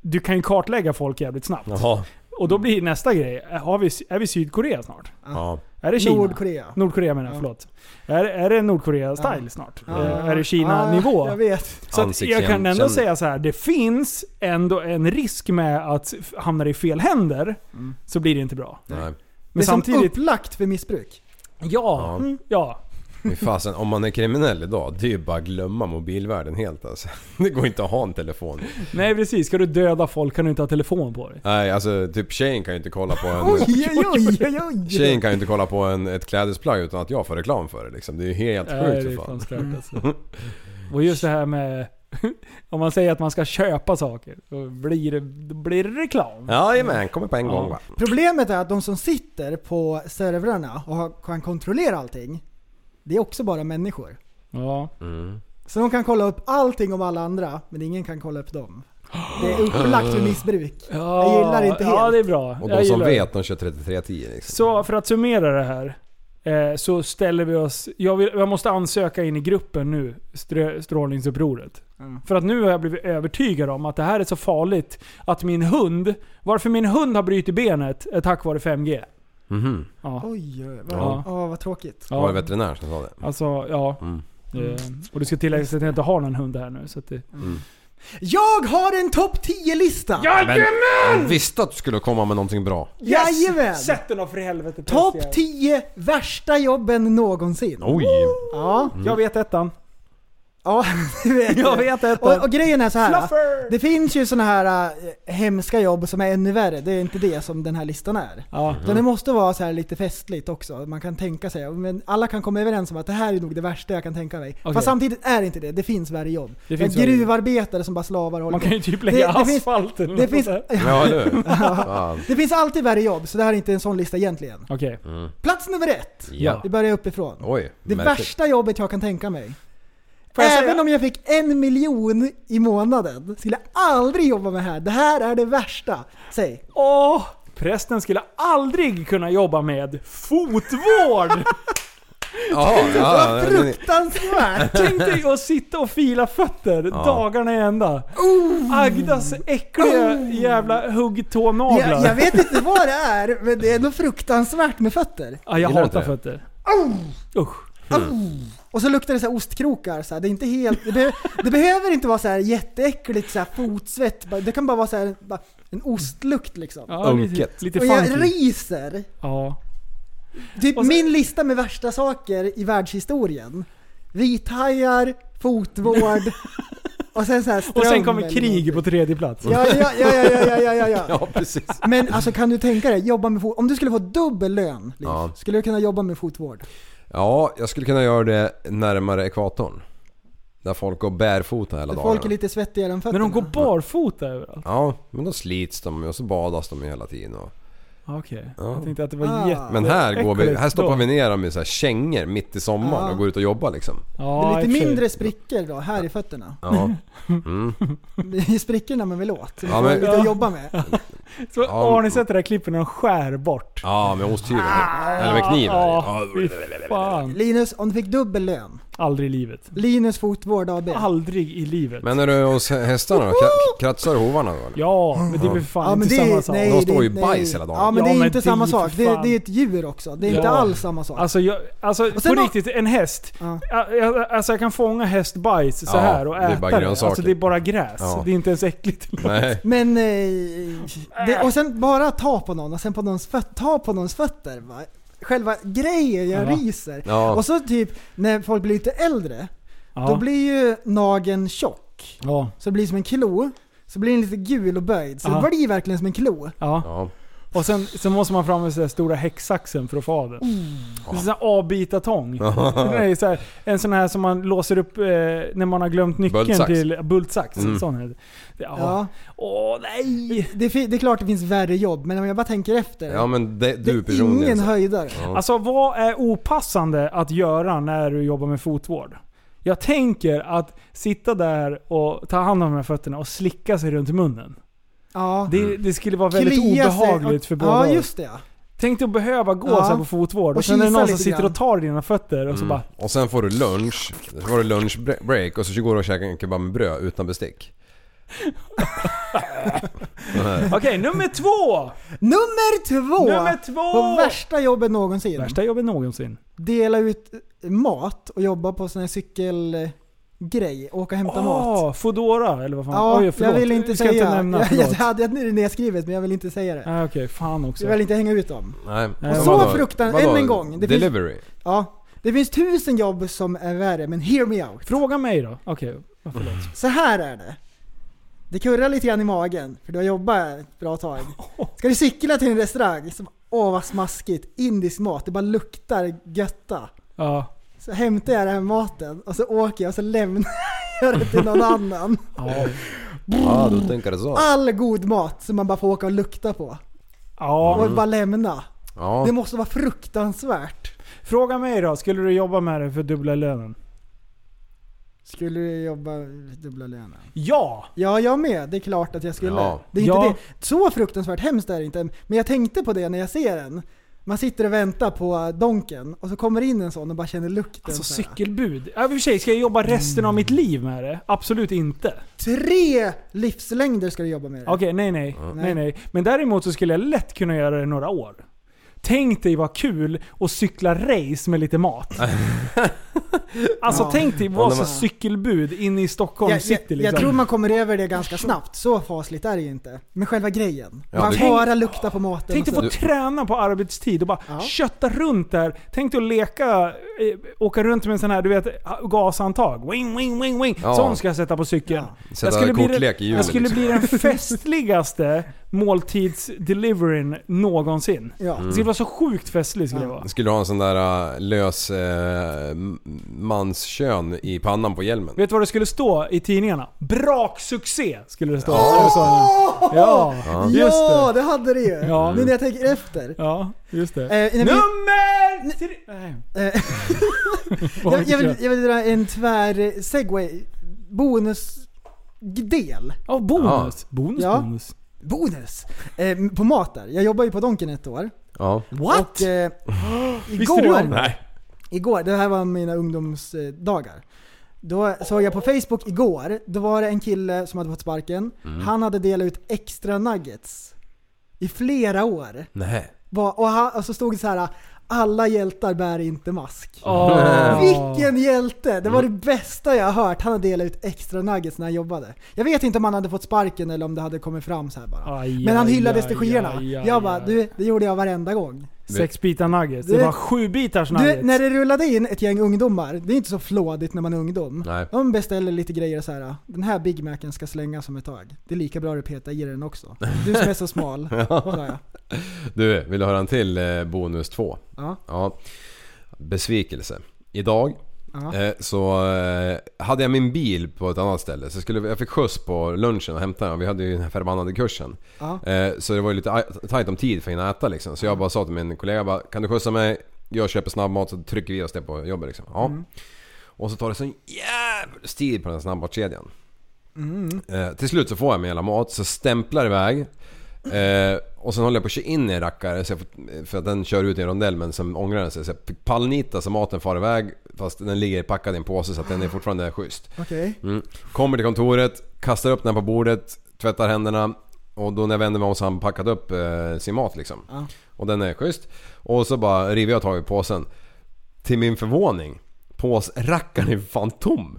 S5: du kan ju kartlägga folk jävligt snabbt.
S7: Jaha.
S5: Och då blir nästa grej, har vi, är vi Sydkorea snart?
S7: Ja.
S5: Är det Kina?
S6: Nordkorea.
S5: Nordkorea menar jag,
S6: Ja.
S5: förlåt. Är, är det Nordkorea-style
S6: Ja.
S5: snart?
S6: Ja.
S5: Eh, Är det Kina-nivå?
S6: Ja, jag vet.
S5: Så att jag kan ändå
S7: Ansiktsigenkänning.
S5: säga så här, det finns ändå en risk med att f- hamnar det i fel händer så blir det inte bra.
S7: Nej.
S5: Men
S6: Mm. det är som
S5: samtidigt,
S6: upplagt för missbruk.
S5: ja,
S7: Ja.
S5: mm, ja.
S7: Men fasen, om man är kriminell idag, det är ju bara att glömma mobilvärlden helt alltså. Det går inte att ha en telefon.
S5: Nej precis, ska du döda folk kan du inte ha telefon på dig.
S7: Nej, alltså typ tjejen kan ju inte kolla på en...
S6: Oj, oj, oj, oj, oj.
S7: Tjejen kan ju inte kolla på en, ett klädesplagg utan att jag får reklam för det liksom. Det är ju helt
S5: Nej,
S7: sjukt
S5: det är
S7: för
S5: fan
S7: fan.
S6: Mm.
S5: stört alltså. Och just det här med, om man säger att man ska köpa saker, då blir det, då blir det reklam.
S7: Jajamän, kommer på en
S5: Ja.
S7: gång va.
S6: Problemet är att de som sitter på servrarna och har- kan kontrollera allting, det är också bara människor.
S5: Ja.
S6: Så de kan kolla upp allting om alla andra, men ingen kan kolla upp dem. Det är upplagt för missbruk.
S5: ja.
S6: Jag gillar det inte
S5: Ja,
S6: helt.
S5: det är bra.
S7: Och
S5: Jag
S7: de som
S5: gillar det.
S7: vet, de kör 3310 liksom.
S5: Så för att summera det här. eh, Så ställer vi oss... Jag, vill, jag måste ansöka in i gruppen nu, strö, Strålningsupproret.
S6: Mm.
S5: För att nu har jag blivit övertygad om att det här är så farligt att min hund... Varför min hund har brutit benet är tack vare 5G.
S7: Mhm.
S5: Ja.
S6: Oj, oj, vad,
S5: Ja.
S6: åh, vad tråkigt.
S7: Det var det
S5: ja.
S7: veterinär som sa det.
S5: Alltså, ja.
S7: Mm.
S5: Eh, Och det ska tilläggas att jag inte har någon hund här nu. Så att det,
S6: Mm. Jag har en topp 10-lista!
S7: Jag visste att du skulle komma med någonting bra.
S6: Jajamän!
S5: Sätt den då för helvete!
S6: Topp 10 värsta jobben någonsin.
S7: Oj!
S6: Ja,
S5: Jag vet ettan.
S6: ja, det vet
S5: Jag
S6: jag.
S5: vet
S6: Och,
S5: ettan.
S6: och grejen är så här.
S5: Fluffer!
S6: Det finns ju såna här äh, hemska jobb som är ännu värre. Det är inte det som den här listan är.
S5: Ja.
S6: Utan det måste vara så här lite festligt också. Man kan tänka sig, men alla kan komma överens om att det här är nog det värsta jag kan tänka mig.
S5: Okej.
S6: Fast samtidigt är det inte det. Det finns värre jobb.
S5: Det finns
S6: Men
S5: värre jobb.
S6: gruvarbetare som bara slavar och håller
S5: Man kan
S6: på.
S5: ju typ lägga
S6: Det- det finns-
S5: asfalten. eller
S6: det,
S5: något
S6: finns,
S5: sånt där.
S7: Ja du. Fan.
S6: det finns alltid värre jobb, så det här är inte en sån lista egentligen.
S5: Okej.
S6: Plats nummer ett.
S7: Mm. Ja.
S6: Vi börjar uppifrån.
S7: Oj.
S6: det
S7: märkligt.
S6: värsta jobbet jag kan tänka mig.
S5: Får jag
S6: Även
S5: säga-
S6: om jag fick en miljon i månaden skulle jag aldrig jobba med det här. Det här är det värsta. Säg.
S5: Åh! Prästen skulle aldrig kunna jobba med fotvård!
S7: Jaha, ja,
S6: Vad
S7: men-
S6: fruktansvärt!
S5: Tänk dig att sitta och fila fötter dagarna i ända.
S7: Oh!
S5: Agdas äckliga jävla huggtånaglar.
S6: Jag,
S5: Jag,
S6: jag vet inte vad det är, men det är nog fruktansvärt med fötter.
S5: ah, jag
S7: Gillar
S5: hatar
S7: inte det? Oh!
S5: fötter. Usch.
S6: Och så luktar det så här ostkrokar. Så här. Det, är inte helt, det, be, det behöver inte vara så här jätteäckligt så här fotsvett. Bara- Det kan bara vara så här, bara en ostlukt liksom.
S5: Ja, lite,
S7: Unket.
S5: lite
S6: och jag
S5: funky.
S6: ryser.
S5: Ja.
S6: Typ
S5: Och så-
S6: min lista med värsta saker i världshistorien. Vithajar, fotvård och sen så här ström
S5: Och sen
S6: eller
S5: kommer krig på
S6: någonting.
S5: tredje plats.
S7: Mm.
S6: Ja, ja, ja, ja, ja, ja, ja, ja.
S7: Ja precis.
S6: Men alltså kan du tänka dig, jobba med fot- om du skulle få dubbel lön, Liv,
S7: Ja.
S6: skulle du kunna jobba med fotvård?
S7: Ja, jag skulle kunna göra det närmare ekvatorn. Där folk går bärfota hela dagarna.
S6: Folk är lite svettigare än fötterna.
S5: Men de går barfota överallt.
S7: Ja, men då slits de ju och så badas de ju hela tiden. Och...
S5: Ah, Okej.
S7: Ja.
S5: Jag tänkte att det var
S6: Ah.
S5: jätte...
S7: Men här, går vi,
S5: äckligt
S7: här stoppar
S5: då.
S7: vi ner dem i så här kängor mitt i sommaren
S6: Ja.
S7: och går ut och jobbar liksom.
S5: Ja,
S6: Det är
S5: i och
S6: lite
S5: för sig.
S6: mindre sprickor då, här i fötterna.
S7: Ja. Mm.
S6: Det är ju sprickorna man vill åt.
S7: Ja,
S6: Ja,
S7: men-
S6: men, lite
S5: Ja.
S6: att jobba med.
S5: Så,
S7: Ja.
S5: har ni sett det där klippet när de skär bort?
S7: ja, med osthyveln. Eller med kniven.
S5: Ja,
S7: Ja.
S5: fy fan.
S6: Linus, om du fick dubbel lön.
S5: Aldrig i livet.
S6: Linus fotvård AB.
S5: Aldrig i livet.
S7: Men är du hos hästarna då? Kra- Kratsar du hovarna då? eller?
S5: Ja, men det är väl fan
S6: Ja, men
S5: inte
S6: det är-
S5: samma sak.
S6: nej,
S7: De står
S6: det är-
S7: ju i bajs
S6: nej.
S7: hela dagen.
S6: Ja men
S5: Ja,
S6: det är
S5: men
S6: inte
S5: det är
S6: samma
S5: ju
S6: sak.
S5: för
S6: Det,
S5: fan.
S6: det är ett djur också. Det är
S5: Ja.
S6: inte alls samma sak.
S5: Alltså, jag, alltså
S6: Och
S5: på
S6: sen har-
S5: riktigt, en häst.
S6: Ja.
S5: Jag, jag, alltså jag kan fånga hästbajs så
S7: Ja,
S5: här och
S7: det är
S5: äta
S7: bara
S5: det.
S7: grönsaker.
S5: Alltså det är bara gräs.
S7: Ja.
S5: Det är inte ens äckligt.
S7: Nej.
S6: men... Eh,
S5: Äh.
S6: det, och sen bara ta på någon och sen på någons fötter. Ta på någons fötter. Va? Själva grejen, jag
S5: Ja.
S6: ryser.
S7: Ja.
S6: Och så typ när folk blir lite äldre,
S5: Ja.
S6: då blir ju nageln tjock.
S5: ja.
S6: Så det blir som en klo. Så blir den lite gul och böjd. Så
S5: Ja.
S6: det blir verkligen som en klo.
S5: ja.
S7: Ja.
S5: Och sen så måste man fram med så här stora häcksaxen för att få av den. Det är sån här avbitartång. Det är så här, en sån här som man låser upp eh, när man har glömt nyckeln
S7: Bultsax.
S5: till bultsax. Sån här. Ja.
S6: Ja.
S5: Åh nej!
S6: Det, fi- det är klart det finns värre jobb, men om jag bara tänker efter.
S7: Ja men det,
S6: det
S7: du
S6: är ingen
S7: personligen. så.
S6: höjdare.
S5: Alltså vad är opassande att göra när du jobbar med fotvård? Jag tänker att sitta där och ta hand om de här fötterna och slicka sig runt munnen.
S6: Ja.
S5: Det, det skulle vara väldigt
S6: Klia sig
S5: obehagligt
S6: och-
S5: för båda.
S6: Ja,
S5: håll.
S6: just det ja.
S5: Tänk dig att behöva gå
S6: Ja.
S5: så här på fotvård och,
S6: Och
S5: sen är det
S6: kisa
S5: någon som
S6: lite
S5: sitter
S6: grann.
S5: och tar i dina fötter och så bara
S7: Och sen får du lunch, så får du lunchbreak och så går du och käkar en kebab med bröd utan bestick.
S5: Okej, nummer två!
S6: Nummer två!
S5: Nummer två!
S6: På värsta jobbet någonsin.
S5: Värsta jobbet någonsin.
S6: Dela ut eh, mat och jobba på sån här cykelgrej. Åka och hämta mat.
S5: Åh, Foodora eller vad fan?
S6: Ja,
S5: Ah! Oj,
S6: jag
S5: förlåt.
S6: vill inte
S5: Vi ska
S6: säga.
S5: inte nämna,
S6: jag, jag
S5: förlåt.
S6: hade det nedskrivet men jag vill inte säga det.
S5: Ah, Okej, fan också.
S6: Jag vill inte hänga ut dem.
S7: Nej.
S5: Och
S7: sen
S5: så
S7: vadå?
S6: fruktan-
S7: Vadå?
S6: än en gång, det finns-
S7: Delivery.
S6: Ja. Det finns tusen jobb som är värre, men hear me out.
S5: Fråga mig då. Okej, ja, förlåt.
S6: Så här är det. Det kurrar lite grann i magen, för du har jobbat ett bra tag. Ska du cykla till en restaurang? Som, åh vad smaskigt, indisk mat, det bara luktar götta.
S5: Ja.
S6: Så hämtar jag den här maten och så åker jag och så lämnar jag det till någon annan.
S5: Ja.
S7: Ja, du tänker så.
S6: All god mat som man bara får åka och lukta på.
S5: ja.
S6: Och bara lämna.
S7: Ja.
S6: Det måste vara fruktansvärt.
S5: Fråga mig då, skulle du jobba med det för dubbla lönen?
S6: Skulle du jobba dubbla lönen?
S5: Ja!
S6: Ja, jag med. Det är klart att jag skulle.
S7: Ja.
S6: Det är inte
S5: Ja.
S6: det. Så fruktansvärt hemskt är det inte. Men jag tänkte på det när jag ser den. Man sitter och väntar på donken och så kommer in en sån och bara känner lukten.
S5: Alltså
S6: så här.
S5: cykelbud. Ja, i och för sig, ska jag jobba resten av mitt liv med det? Absolut inte.
S6: Tre livslängder ska du jobba med det.
S5: Okej, nej, nej, nej nej. Men däremot så skulle jag lätt kunna göra det några år. Tänk dig vad kul att cykla race med lite mat. alltså tänk dig vara så cykelbud inne i Stockholm
S6: Jag, jag,
S5: city liksom.
S6: jag tror man kommer över det ganska snabbt. Så fasligt är det ju inte. Men själva grejen.
S7: Ja,
S6: man
S7: det-
S6: bara lukta på maten.
S5: Tänk dig
S6: och
S5: få
S6: så-
S5: träna på arbetstid och bara
S6: Ja.
S5: kötta runt där. Tänk dig att leka, eh, åka runt med en sån här, du vet, gashandtag. Wing, wing, wing, wing.
S7: Ja.
S5: Sån ska jag sätta på cykeln.
S6: Ja.
S7: Sätta
S5: Jag skulle, bli, den-
S7: kortlek i hjulet,
S5: jag skulle
S7: liksom.
S5: bli den festligaste måltidsdeliveryn någonsin.
S6: Ja.
S7: Mm.
S5: Det skulle vara så sjukt festligt skulle det vara.
S7: Skulle du ha en sån där äh, lös äh, manskön i pannan på hjälmen?
S5: Vet du vad det skulle stå i tidningarna? Braksuccé skulle det stå. Eller så. Ja, just
S6: ja,
S5: det.
S6: det. hade det ju.
S5: Ja.
S6: Nu när jag tänker efter.
S5: Ja, just det.
S6: Eh, när vi-
S5: Nummer tre! Nej.
S6: Eh,
S5: Vad
S6: jag, jag,
S5: vi
S6: vill,
S5: kör.
S6: jag vill dra en tvär segway. Bonusdel.
S5: Ja, bonus. Bonus,
S6: Ja.
S5: bonus.
S6: Bonus! Eh, på mat där. Jag jobbade ju på Donken ett år.
S7: Ja.
S5: What?
S6: Och, eh,
S5: Visste du om
S6: igår,
S5: det?
S6: igår, det här var mina ungdomsdagar. Då såg jag på Facebook igår, då var det en kille som hade fått sparken.
S5: Mm.
S6: Han hade delat ut extra nuggets i flera år.
S7: Nej.
S6: Bara- Och, han, och så stod det så här alla hjältar bär inte mask.
S5: Åh.
S6: Vilken hjälte! Det var det bästa jag har hört. Han hade delat ut extra nuggets när han jobbade. Jag vet inte om han hade fått sparken eller om det hade kommit fram så här bara.
S5: Aj,
S6: Men han
S5: aj,
S6: hyllades till
S5: aj,
S6: skyarna.
S5: aj, aj,
S6: Jag bara,
S5: aj.
S6: du, det gjorde jag varenda gång.
S5: Sex bitar nuggets.
S6: Du-
S5: Det var sju bitars
S6: Du,
S5: nuggets.
S6: när det rullade in ett gäng ungdomar, det är inte så flådigt när man är ungdom.
S7: Nej.
S6: De beställer lite grejer så här. den här Big Macen ska slängas om ett tag. Det är lika bra du petar i den också. Du som är så smal, sa jag.
S7: Du, vill du höra en till eh, bonus 2?
S6: Ja.
S7: Ja. Besvikelse. Idag
S6: Ja.
S7: eh, så eh, hade jag min bil på ett annat ställe. Så jag, skulle, jag fick skjuts på lunchen och hämtade den. Vi hade ju den här förbannade kursen.
S6: Ja.
S7: Eh, så det var ju lite aj- tajt om tid för att hinna äta liksom. Så jag bara sa till min kollega bara, kan du skjutsa mig? Jag köper snabbmat så trycker vi oss det på jobbet liksom. Ja.
S6: Mm.
S7: Och så tar det sån jävla tid på den här snabbmatskedjan. Eh, till slut så får jag min jävla mat, så stämplar iväg. Eh, och sen håller jag på att köra in i en rackare så jag får, för att den kör ut i en rondell men sen ångrar den sig. Så jag fick pallnita så maten far iväg fast den ligger packad i en påse så att den är fortfarande schysst.
S6: Okej.
S7: Mm. Kommer till kontoret, kastar upp den på bordet, tvättar händerna. Och då när jag vänder mig om så har han packat upp eh, sin mat liksom. Och den är schysst. Och så bara river jag tag i påsen. Till min förvåning, påsrackaren är fan tom.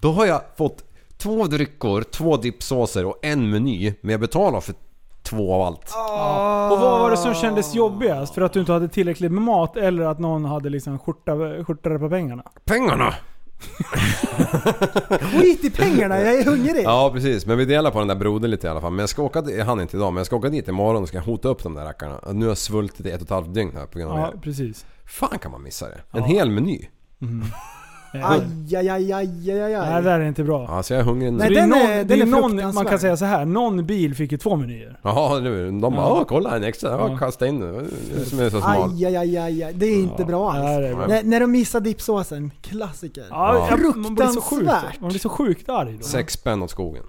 S7: Då har jag fått två drycker, två dippsåser och en meny. Men jag betalar för två av allt.
S5: Och vad var det som kändes jobbigast? För att du inte hade tillräckligt med mat eller att någon hade liksom skjorta- skjortade på pengarna?
S7: Pengarna!
S6: Skit i pengarna, jag är hungrig!
S7: Ja precis, men vi delar på den där brodern lite i alla fall. Men jag ska åka, jag hann inte idag, men jag ska åka dit imorgon och ska hota upp de där rackarna. Nu har jag svultit i ett och ett halvt dygn här på grund av
S5: Ja,
S7: er.
S5: precis.
S7: Fan kan man missa det? En hel meny.
S6: Aj, aj, aj, aj, aj, aj.
S5: Nej, det där är inte bra.
S7: Alltså jag är hungrig nu.
S5: Så
S6: Nej,
S5: det är
S6: den
S5: någon,
S6: är-
S5: det
S6: den
S5: är
S6: är
S5: någon, man
S6: fruktansvärd.
S5: kan säga så här, någon bil fick ju två menyer.
S7: Jaha, nu- de bara
S5: Ja.
S7: Åh, kolla en extra. Ja, kasta in nu. Du som är så smal.
S6: Aj, aj, aj, aj, aj. Det är inte bra
S5: det här
S6: alls.
S5: är bra.
S6: När, när de missar dippsåsen, klassiker.
S5: Ja,
S7: Ja.
S5: jag- Man blir så sjukt,
S6: Fruktansvärt.
S5: man blir så sjukt arg då.
S7: Sex spänn åt skogen.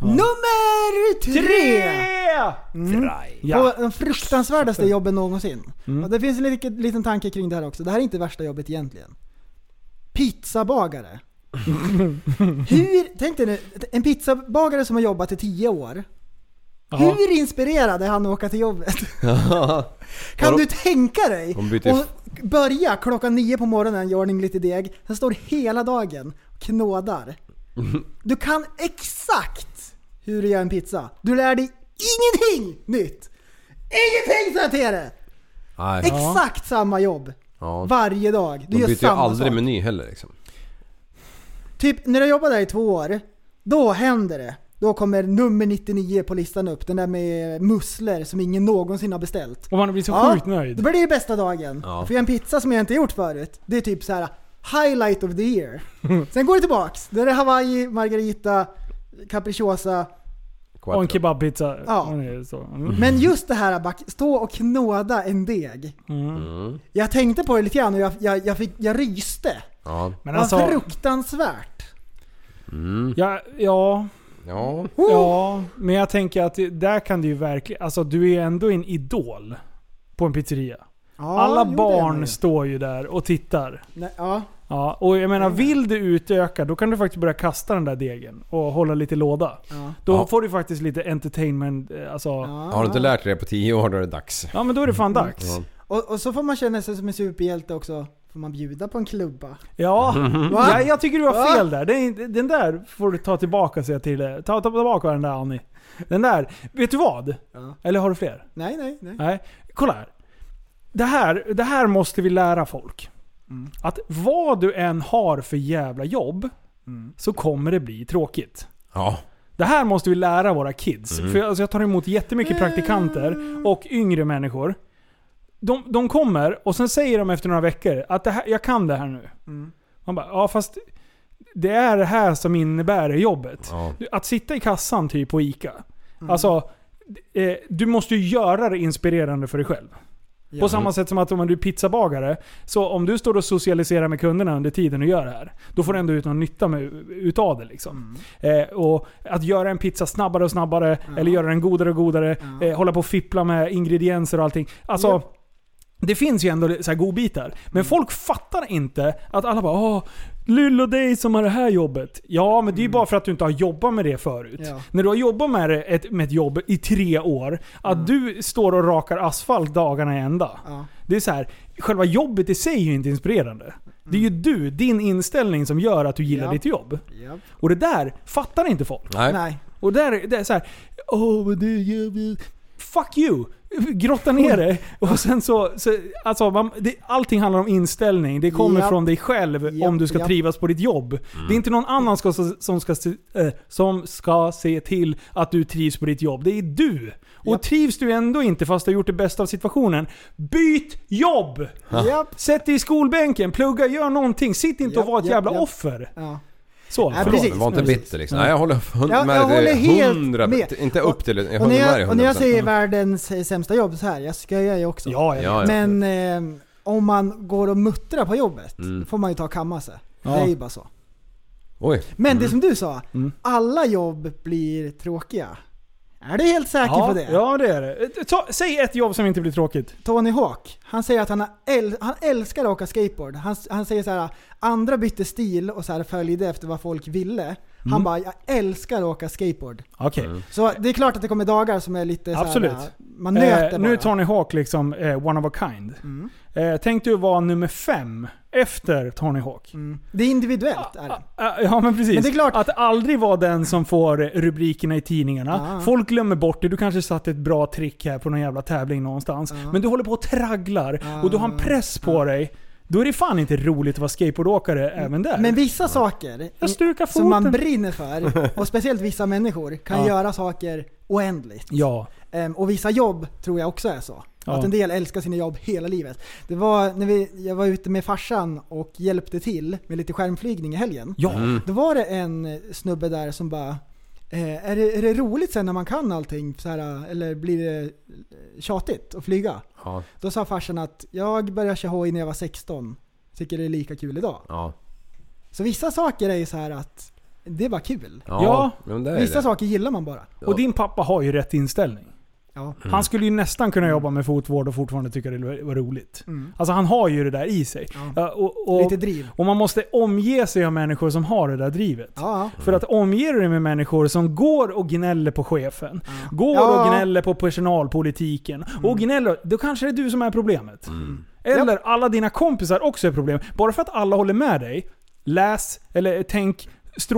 S6: Nummer tre! Mm.
S5: Ja. Mm.
S6: Och de fruktansvärdaste jobben någonsin. Och det finns en liten, liten tanke kring det här också. Det här är inte värsta jobbet egentligen. Pizzabagare. Hur, tänk dig nu, en pizzabagare som har jobbat i tio år.
S5: Ja.
S6: Hur inspirerad är han att åka till jobbet? Kan du tänka dig?
S7: De byter-
S6: Och börja klockan nio på morgonen, gör ordning lite deg. Sen står du hela dagen och knådar. Du kan exakt hur du gör en pizza. Du lär dig ingenting nytt! Ingenting sa jag till dig!
S7: Nej.
S6: Exakt samma jobb.
S7: Ja.
S6: Varje dag. Du
S7: De
S6: gör
S7: byter ju
S6: samma
S7: aldrig
S6: sak.
S7: meny heller liksom.
S6: Typ när jag jobbade där i två år, då händer det. Då kommer nummer 99 på listan upp. Den där med musslor som ingen någonsin har beställt.
S5: Och man blir så sjukt
S6: Det
S5: nöjd.
S6: blir det ju bästa dagen.
S7: Ja.
S6: För jag en pizza som jag inte gjort förut. Det är typ så här highlight of the year. Sen går det tillbaks. Då är det hawaii, margarita, capricciosa.
S5: Och en
S7: Quattro.
S5: kebabpizza.
S6: Ja.
S5: Man är så. Mm.
S6: Men just det här att bara stå och knåda en deg.
S5: Mm.
S7: Mm.
S6: Jag tänkte på det lite grann och jag, jag, jag, fick, jag ryste.
S7: Ja. Mm.
S5: Men
S6: Vad
S5: alltså,
S6: fruktansvärt.
S5: ja, ja,
S7: Ja.
S6: Oh!
S5: ja, men jag tänker att det- där kan du ju verkligen, alltså du är ändå en idol på en pizzeria.
S6: Ja,
S5: Alla
S6: jo, det är man ju.
S5: barn står ju där och tittar.
S6: Nej, ja.
S5: Ja, och jag menar vill du utöka då kan du faktiskt börja kasta den där degen och hålla lite låda.
S6: Ja.
S5: Då
S7: Ja.
S5: får du faktiskt lite entertainment, eh, alltså. Ja,
S7: Har du inte lärt dig det på 10 år då är det dags.
S5: men då är det fan dags.
S6: Och, och så får man känna sig som en superhjälte också. Får man bjuda på en klubba?
S5: Ja,
S6: Va?
S5: ja jag tycker du har
S6: Va?
S5: fel där. Den, den där får du ta tillbaka säger jag till dig. Ta, ta tillbaka den där Annie. Den där, vet du vad?
S6: Ja.
S5: Eller har du fler?
S6: Nej, nej, nej.
S5: Nej. Kolla här. Det här, det här måste vi lära folk. Att vad du än har för jävla jobb, så kommer det bli tråkigt.
S7: Ja.
S5: Det här måste vi lära våra kids. För jag, alltså, jag tar emot jättemycket praktikanter och yngre människor. De, de kommer och sen säger de efter några veckor att det här, jag kan det här nu.
S6: Mm.
S5: Man bara, ja fast det är det här som innebär jobbet.
S7: Ja.
S5: Du- Att sitta i kassan typ på ICA. Alltså, eh, du måste ju göra det inspirerande för dig själv. På samma sätt som att om du är pizzabagare, så om du står och socialiserar med kunderna under tiden du gör det här, då får du ändå ut någon nytta med, utav det. Liksom. Eh, och att göra en pizza snabbare och snabbare, eller göra den godare och godare, eh, hålla på och fippla med ingredienser och allting. Alltså,
S6: Japp.
S5: det finns ju ändå så här godbitar. Men folk fattar inte att alla bara Åh, Lull och dig som har det här jobbet. Ja, men det är ju bara för att du inte har jobbat med det förut.
S6: Ja.
S5: När du har jobbat med, det, ett, med ett jobb i tre år, att du står och rakar asfalt dagarna i ända.
S6: Ja.
S5: Det är så här, själva jobbet i sig är ju inte inspirerande. Det är ju du, din inställning som gör att du gillar
S6: Ja.
S5: ditt jobb.
S6: Japp.
S5: Och det där fattar inte folk.
S7: Nej.
S6: Nej.
S5: Och där, det är så här, Åh, vad du gör... Fuck you! Grotta ner det. Och sen så, så alltså, man, det, allting handlar om inställning. Det kommer
S6: Japp.
S5: från dig själv
S6: Japp,
S5: om du ska
S6: japp.
S5: trivas på ditt jobb. Det är inte någon annan ska, som, ska, se- eh, som ska se till att du trivs på ditt jobb. Det är du! Och
S6: Japp.
S5: trivs du ändå inte fast du har gjort det bästa av situationen, byt jobb!
S6: Japp.
S5: Sätt dig i skolbänken, plugga, gör någonting. Sitt inte
S6: Japp,
S5: och var ett
S6: japp,
S5: jävla
S6: japp.
S5: offer.
S6: Ja.
S5: Så,
S6: Nej,
S5: förlåt.
S6: precis.
S7: Var inte bitter liksom. Nej jag håller hund-
S6: Jag-
S7: med
S6: jag
S7: dig.
S6: håller helt
S7: 100
S6: med.
S7: Inte upp till det. Jag
S6: Och när
S7: håller med dig
S6: jag, och när jag
S7: 100%.
S6: säger världens sämsta jobb så här, jag skojar ju också.
S5: Ja, ja.
S7: Ja, ja.
S6: Men eh, om man går och muttrar på jobbet,
S7: Mm.
S6: då får man ju ta och kamma sig.
S5: Ja. Mm.
S6: Det är ju bara så.
S7: Oj.
S6: Men det som du sa, alla jobb blir tråkiga. Är du helt säker
S5: ja,
S6: på det?
S5: Ja, det är det. Ta, säg ett jobb som inte blir tråkigt.
S6: Tony Hawk, han säger att han, har äl- han älskar att åka skateboard. Han, han säger så här, andra bytte stil och så här följde efter vad folk ville. Han
S5: Mm.
S6: bara, jag älskar att åka skateboard.
S5: Okej.
S6: Så det är klart att det kommer dagar som är lite så här,
S5: Absolut.
S6: man nöter
S5: Eh,
S6: bara. Mm.
S5: nu är Tony Hawk liksom eh, one of a kind. Eh, tänk du vara nummer fem efter Tony Hawk.
S6: Det är individuellt. Är det.
S5: Ah, ah, Ja men precis.
S6: Mm. Men det är klart-
S5: Att aldrig vara den som får rubrikerna i tidningarna.
S6: Ja.
S5: Folk glömmer bort det. Du kanske satt ett bra
S6: Ah.
S5: trick här på någon jävla tävling någonstans. Men du håller på och tragglar och du har en press på dig. Då är det fan inte roligt att vara skateboardåkare även där.
S6: Mm. Men vissa saker
S5: jag stukar foten.
S6: som man brinner för, och speciellt vissa människor, kan
S5: Ja.
S6: göra saker oändligt.
S5: ja.
S6: Ehm, och vissa jobb tror jag också är så.
S5: Ja.
S6: Att en del älskar sina jobb hela livet. Det var när vi, jag var ute med farsan och hjälpte till med lite skärmflygning i helgen.
S5: Ja.
S6: Då var det en snubbe där som bara eh, är, det, är det roligt sen när man kan allting? Så här, eller blir det eh, tjatigt att flyga?
S7: Ja.
S6: Då sa farsan att jag började köra hoj när jag var 16. Tycker det är lika kul idag.
S7: Ja.
S6: Så vissa saker är ju så här att det är bara kul.
S5: Ja.
S7: men det är
S6: Vissa
S7: det.
S6: saker gillar man bara.
S5: Och din pappa har ju rätt inställning.
S6: Ja.
S5: Han skulle ju nästan kunna jobba med fotvård och fortfarande tycka det var roligt.
S6: Mm.
S5: Alltså han har ju det där i sig.
S6: Ja.
S5: Ja, Och, och,
S6: Lite driv.
S5: och man måste omge sig av människor som har det där drivet.
S6: Ja,
S5: För att omger du dig med människor som går och gnäller på chefen, går
S6: Ja. Mm.
S5: och gnäller på personalpolitiken, och gnäller, då kanske det är du som är problemet. Eller alla dina kompisar också är problem. Bara för att alla håller med dig, läs, eller tänk,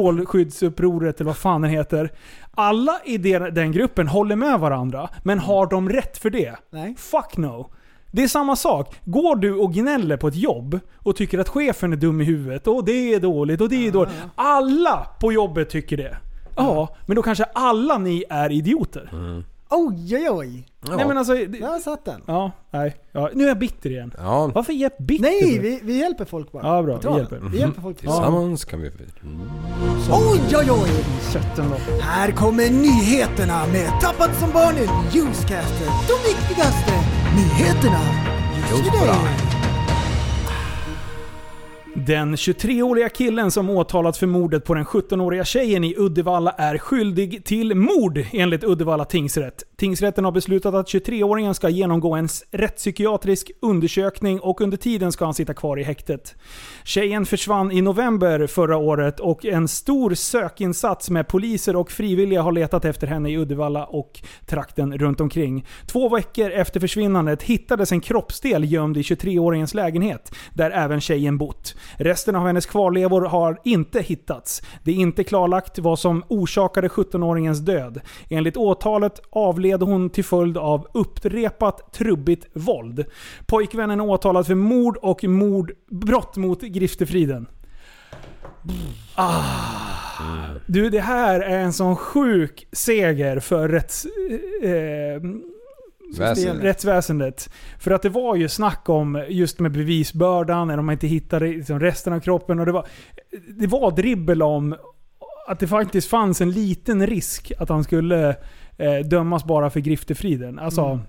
S5: strålskyddsupproret eller vad fan den heter. Alla i den den gruppen håller med varandra, men har de rätt för det?
S6: Mm. nej.
S5: Fuck no. Det är samma sak. Går du och gnäller på ett jobb och tycker att chefen är dum i huvudet och det är dåligt och det
S6: Ah.
S5: är dåligt. Alla på jobbet tycker det. Ja,
S6: Mm.
S5: men då kanske alla ni är idioter.
S6: Oj, oj, oj.
S5: Nej men alltså... Det,
S6: Där satt den.
S5: ja, nej. Ja, nu är jag bitter igen.
S7: Ja.
S5: Varför är jag bitter?
S6: Nej,
S5: då?
S6: vi, vi hjälper folk bara.
S5: Ja, bra.
S6: På
S5: Vi
S6: traven.
S5: hjälper.
S6: vi hjälper folk. på traven.
S7: Tillsammans kan vi...
S6: Oj, oj, oj!
S5: Kötten då.
S6: Här kommer nyheterna med Tappad som barn i Newscaster. De viktigaste nyheterna just för dig.
S5: Den 23-åriga killen som åtalats för mordet på den 17-åriga tjejen i Uddevalla är skyldig till mord enligt Uddevalla tingsrätt. Tingsrätten har beslutat att 23-åringen ska genomgå en s- rättspsykiatrisk undersökning och under tiden ska han sitta kvar i häktet. Tjejen försvann i november förra året och en stor sökinsats med poliser och frivilliga har letat efter henne i Uddevalla och trakten runt omkring. Två veckor efter försvinnandet hittades en kroppsdel gömd i 23-åringens lägenhet, där även tjejen bott. Resten av hennes kvarlevor har inte hittats. Det är inte klarlagt vad som orsakade 17-åringens död. Enligt åtalet avled hon till följd av upprepat trubbigt våld. Pojkvännen är åtalad för mord och mord, brott mot griftefriden. Ah. Du, det här är en sån sjuk seger för rätts... Eh,
S7: Väsen.
S5: rättsväsendet. För att det var ju snack om just med bevisbördan, när de inte hittade liksom resten av kroppen. Och det, var, det var dribbel om att det faktiskt fanns en liten risk att han skulle eh, dömas bara för griftefriden. Alltså,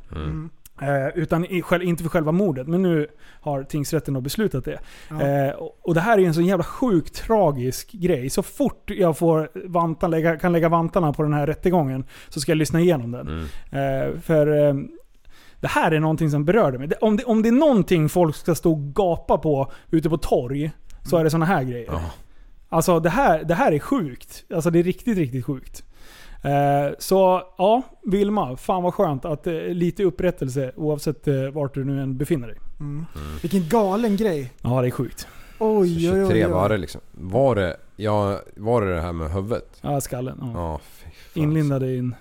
S5: Eh, utan i, själv, inte för själva mordet. Men nu har tingsrätten då beslutat det.
S6: Ja.
S5: Eh, och, och det här är ju en så jävla sjukt tragisk grej. Så fort jag får vantan, lägga, kan lägga vantarna på den här rättegången så ska jag lyssna igenom den. Eh, för eh, det här är någonting som berörde mig. Det- Om det, om det är någonting folk ska stå och gapa på ute på torg så är det såna här grejer.
S7: Ja.
S5: Alltså det här, det här är sjukt. Alltså det är riktigt, riktigt sjukt. Eh, så ja, Vilma. Fan vad skönt att eh, lite upprättelse oavsett eh, vart du nu än befinner dig.
S6: Mm. Vilken galen grej.
S5: Ja, det är sjukt.
S6: Oj, oj, oj.
S7: 23 var
S6: oj.
S7: det liksom. Var det, ja, var det det här med huvudet?
S5: Ja, skallen. Ja.
S7: Ja, fy fan.
S5: Inlindad i en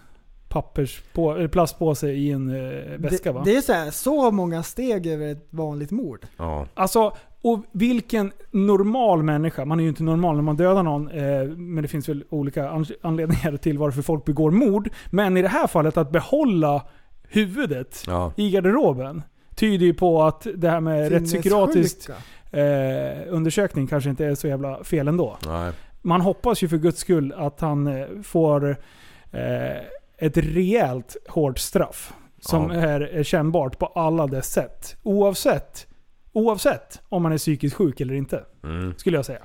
S5: pappers på, eller plastpåse i en eh, väska va?
S6: Det, det är så, här, så många steg över ett vanligt mord.
S7: Ja.
S5: Alltså, och vilken normal människa, man är ju inte normal när man dödar någon, eh, men det finns väl olika an- anledningar till varför folk begår mord. Men i det här fallet, att behålla huvudet
S7: Ja.
S5: i garderoben tyder ju på att det här med rättspsykiatrisk
S6: Sinnessjuka.
S5: eh, undersökning kanske inte är så jävla fel ändå.
S7: Nej.
S5: Man hoppas ju för guds skull att han eh, får eh, ett rejält hårt straff. Som
S7: Ja.
S5: är, är kännbart på alla dess sätt. Oavsett, oavsett om man är psykiskt sjuk eller inte.
S7: Mm.
S5: Skulle jag säga.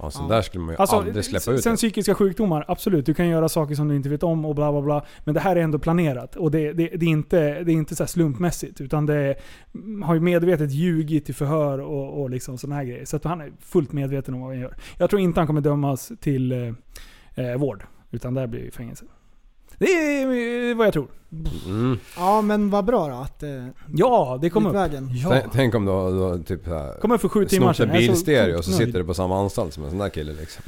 S7: Ja, sån
S6: Ja.
S7: där skulle man ju aldrig släppa ut.
S5: Alltså, sen
S7: det.
S5: psykiska sjukdomar, absolut. Du kan göra saker som du inte vet om och bla bla bla. Men det här är ändå planerat. Och det, det, det är inte, det är inte så här slumpmässigt. Utan det är, har ju medvetet ljugit i förhör och, och liksom sådana här grejer. Så att han är fullt medveten om vad han gör. Jag tror inte han kommer dömas till eh, eh, vård. Utan det här blir ju fängelse. Det är eh, vad jag tror.
S7: Mm.
S6: Ja, men vad bra då att eh,
S5: Ja, det kommer
S6: gick
S5: upp.
S6: vägen.
S5: Ja.
S7: Tänk, tänk om du har- du har typ så här,
S5: Kommer för sju timmar Alltså,
S7: snott
S5: sedan.
S7: en
S5: Jag är så
S7: bilstereo och så
S5: nöjd.
S7: sitter du på samma anstalt som en sån där kille liksom.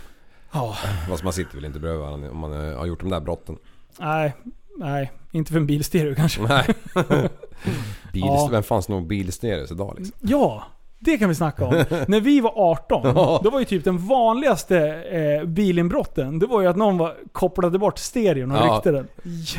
S5: Ja,
S7: Fast man sitter väl inte bredvid varandra om man eh, har gjort de där brotten.
S5: nej, nej. Inte för en bilstereo kanske.
S7: Nej. Bil,
S5: Ja.
S7: Vem fan snor bilstereo idag liksom?
S5: Ja, Det kan vi snacka om. När vi var 18,
S7: Ja.
S5: då var ju typ den vanligaste eh, bilinbrotten, det var ju att någon var, kopplade bort stereon och
S7: Ja.
S5: ryckte den.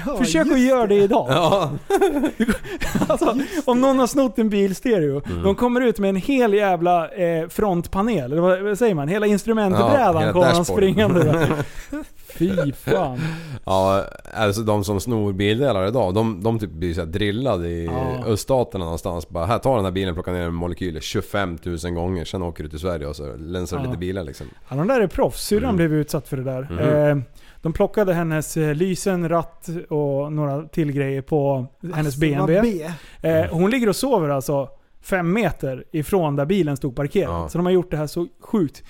S6: Ja,
S5: Försök
S6: just-
S5: att göra det idag.
S7: Ja,
S5: Alltså, om någon har snott en bilstereo,
S7: Mm.
S5: de kommer ut med en hel jävla eh, frontpanel, eller vad, vad säger man? Hela
S7: Ja,
S5: instrumentbrädan
S7: hela
S5: kommer han
S7: dashboarden.
S5: springande där. Fy fan.
S7: ja, alltså de som snor bildelar idag, de, de typ blir så här drillade i
S5: Ja.
S7: öststaterna någonstans. Bara, här, ta den här bilen, plocka ner en molekyler 25 000 gånger, sen åker du till Sverige och så länsar du
S5: Ja.
S7: lite bilar liksom.
S5: Ja, de där är proffs. Syrran
S7: Mm.
S5: blev utsatt för det där. Eh, de plockade hennes eh, lysen, ratt och några till grejer på hennes
S6: Alltså, Vad
S5: BMW.
S6: B.
S5: Eh, hon ligger och sover alltså fem meter ifrån där bilen stod parkerad.
S7: Ja.
S5: Så de har gjort det här så sjukt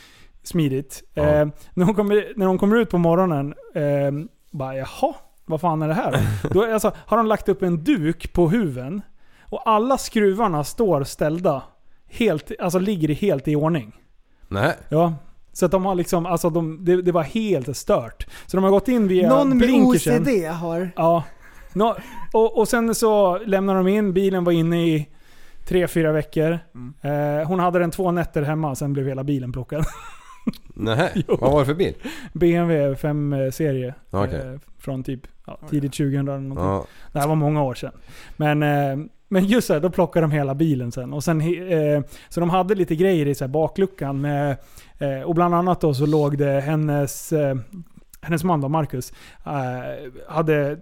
S5: smidigt.
S7: Ja.
S5: Eh, när, hon kommer, när hon kommer ut på morgonen, eh, bara jaha, vad fan är det här? Då är, alltså, har de lagt upp en duk på huven och alla skruvarna står ställda. Helt, alltså ligger i- helt i ordning.
S7: Nej.
S5: Ja. Så att de har liksom, alltså de, det, det var helt stört. Så de har gått in via
S6: Någon med
S5: blinkersen.
S6: OCD har...
S5: Ja. Nå, och, och sen så lämnade de in, bilen var inne i tre, fyra veckor. Eh, hon hade den två nätter hemma, sen blev hela bilen plockad.
S7: Nej. Vad var det för bil?
S5: BMW 5-serie.
S7: Okej.
S5: eh, från typ ja, tidigt 2000 eller någonting.
S7: Ja.
S5: Det här var många år sedan. Men, eh, men just så här, då plockade de hela bilen sen. Och sen he- eh, så de hade lite grejer i så här bakluckan. Med, eh, och bland annat då så låg det hennes, eh, hennes man då, Marcus, eh, hade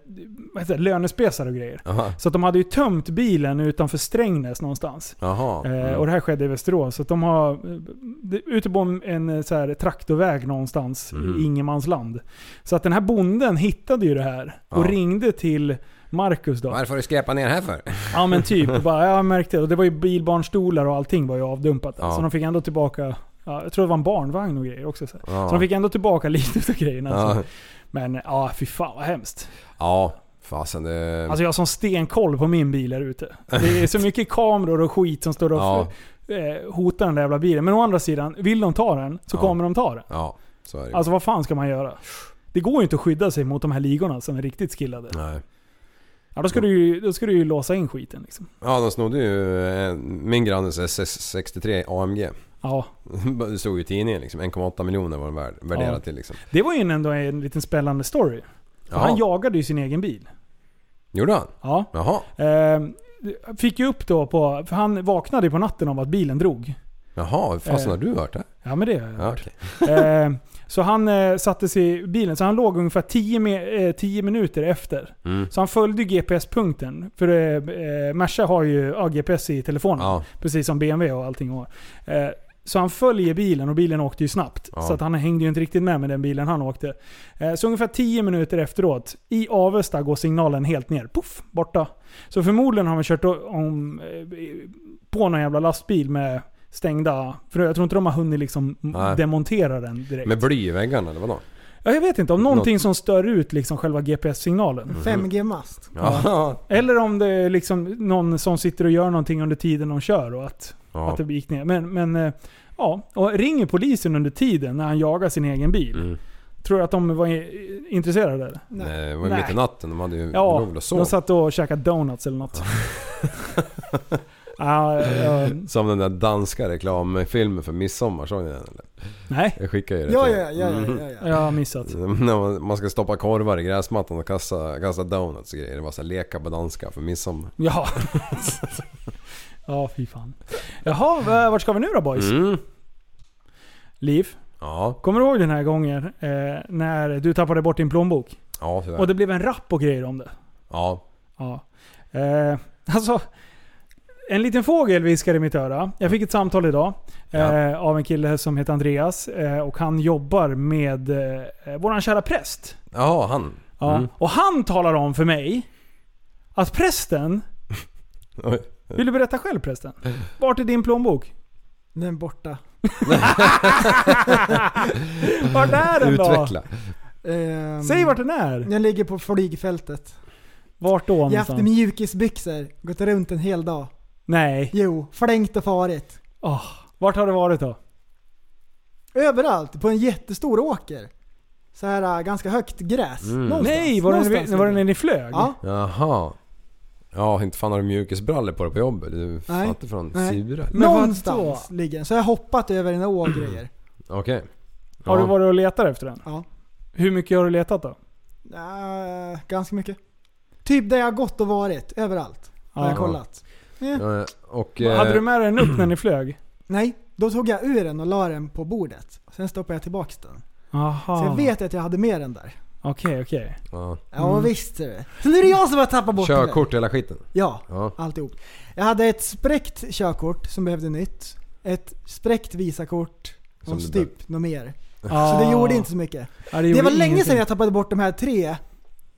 S5: vad heter det, lönespesar och grejer.
S7: Aha.
S5: Så att de hade ju tömt bilen utanför Strängnäs någonstans.
S7: Jaha.
S5: Eh, och det här skedde i Västerås. Så att de har, eh, det- ute på en, en eh, så här, traktorväg någonstans
S7: Mm.
S5: i ingenmansland. Så att den här bonden hittade ju det här och
S7: Ja.
S5: ringde till Marcus då.
S7: Varför har du skräpat ner här för?
S5: Ja men typ. Och bara, jag märkte det. Och det var ju bilbarnstolar och allting var ju avdumpat.
S7: Ja.
S5: Så de fick ändå tillbaka, ja, jag tror det var en barnvagn och grejer också. Så, här.
S7: Ja.
S5: så de fick ändå tillbaka lite utav grejerna.
S7: Ja,
S5: Alltså. Men eh, ja, fy fan vad hemskt.
S7: ja fasen det...
S5: Alltså jag har sån stenkoll på min bil här ute. Det är så mycket kameror och skit som står och
S7: Ja.
S5: eh, hotar den där jävla bilen. Men å andra sidan, vill de ta den så
S7: Ja.
S5: kommer de ta den.
S7: Ja, så är det.
S5: Alltså vad fan ska man göra? Det går ju inte att skydda sig mot de här ligorna som är riktigt skillade.
S7: Nej.
S5: Ja, då, ska du ju, då ska du ju låsa in skiten liksom.
S7: Ja, de snodde ju eh, min grannes SS63 AMG.
S5: Ja,
S7: Det stod ju i tidningen liksom. 1,8 miljoner var den värd, värderad
S5: Ja.
S7: till liksom.
S5: det var ju ändå en liten spännande story. För
S7: Jaha.
S5: Han jagade ju sin egen bil.
S7: Gjorde han?
S5: Ja.
S7: Jaha.
S5: Eh, fick ju upp då på... För han vaknade ju på natten av att bilen drog.
S7: Jaha, hur fasen
S5: Eh.
S7: har du varit där?
S5: Ja men det har jag
S7: Ja,
S5: hört.
S7: okej.
S5: Eh, så han eh, satte sig i bilen, så han låg ungefär 10 me- eh, 10 minuter efter.
S7: Mm.
S5: Så han följde GPS-punkten. För eh, eh, Merca har ju ja, GPS i telefonen.
S7: Ja.
S5: Precis som BMW och allting har. Eh, så han följer bilen och bilen åkte ju snabbt.
S7: Ja.
S5: Så att han hängde ju inte riktigt med med den bilen han åkte. Eh, så ungefär 10 minuter efteråt, i Avesta går signalen helt ner. Puff, borta. Så förmodligen har man kört o- om, eh, på någon jävla lastbil med stängda... För jag tror inte de har hunnit liksom
S7: Nej.
S5: demontera den direkt.
S7: Med bly i väggarna eller vadå?
S5: ja, jag vet inte, om någonting som stör ut liksom själva GPS-signalen.
S7: Mm.
S6: 5G-mast.
S7: Ja.
S5: Eller om det är liksom någon som sitter och gör någonting under tiden de kör och att,
S7: Ja.
S5: att det gick ner. Men, men eh, ja, och ringer polisen under tiden när han jagar sin egen bil.
S7: Mm.
S5: Tror du att de var i- intresserade? Eller?
S7: Nej, det var ju
S5: Nej.
S7: mitt i natten. De hade ju... de
S5: Ja,
S7: låg väl och sov.
S5: de satt och käkade donuts eller något. Ja, eh,
S7: Som den där danska reklamfilmen för midsommar, såg ni den eller?
S5: nej,
S7: Jag skickade ju det
S6: Ja,
S7: till- Mm.
S6: ja, ja, ja, ja, ja.
S5: jag har missat.
S7: När man- man ska stoppa korvar i gräsmattan och kasta, kasta donuts och grejer. Det var så här leka på danska för midsommar.
S5: Ja. ja, fy fan. Jaha, v- vart ska vi nu då boys?
S7: Mm.
S5: Liv,
S7: Ja,
S5: kommer du ihåg den här gången eh, när du tappade bort din plånbok?
S7: ja tyvärr.
S5: Och det blev en rapp och grejer om det.
S7: Ja.
S5: Ja. Eh, alltså, en liten fågel viskade i mitt öra. Jag fick ett samtal idag eh,
S7: Ja.
S5: av en kille som heter Andreas eh, och han jobbar med eh, våran kära präst.
S7: Jaha, han.
S5: Ja.
S7: Mm.
S5: Och han talar om för mig att prästen...
S7: Oj.
S5: Vill du berätta själv prästen? Vart är din plånbok?
S6: Nu är den borta.
S5: Vart är den då?
S7: Utveckla.
S6: Ehm,
S5: Säg vart den är.
S6: Den ligger på flygfältet.
S5: Vart då
S6: Jag har haft
S5: någonstans?
S6: mjukisbyxor, gått runt en hel dag.
S5: Nej.
S6: Jo, flängt och farit.
S5: Åh, Vart har det varit då?
S6: Överallt, på en jättestor åker. Så här äh, ganska högt gräs.
S7: Mm.
S6: Någonstans,
S5: Nej, var det,
S6: någonstans
S5: var det
S6: ligger
S5: när ni flög?
S6: Ja,
S7: Jaha. Ja, inte fan har du mjukisbrallor på dig på jobbet. Du
S6: Nej.
S7: fattar från
S6: Nej.
S7: sura.
S5: Men vad
S6: Någonstans ligger den. Så jag har hoppat över den och grejer.
S7: Okej.
S5: Har
S7: Ja.
S5: du varit och letat efter den?
S6: Ja.
S5: Hur mycket har du letat då?
S6: Äh, ganska mycket. Typ där jag har gått och varit. Överallt. Har
S5: Ja.
S6: jag kollat.
S7: Ja, Och...
S5: Hade
S7: eh,
S5: du med den upp när ni flög?
S6: Nej, då tog jag ur den och la den på bordet. Sen stoppade jag tillbaks den.
S5: Aha.
S6: Så jag vet att jag hade med den där.
S5: Okej, okej.
S7: ja.
S6: Ja
S5: Mm.
S6: visst ser du. Så nu är det jag som har tappat bort den.
S7: Körkort hela skiten.
S6: Ja,
S7: Ja.
S6: alltihop. Jag hade ett spräckt körkort som behövde nytt. Ett spräckt visakort.
S7: Som
S6: Och
S7: du
S6: typ något mer.
S5: Ah.
S6: Så det gjorde inte så mycket.
S5: Ja,
S6: Det
S5: gjorde
S6: var länge sedan
S5: ingenting.
S6: jag tappade bort de här tre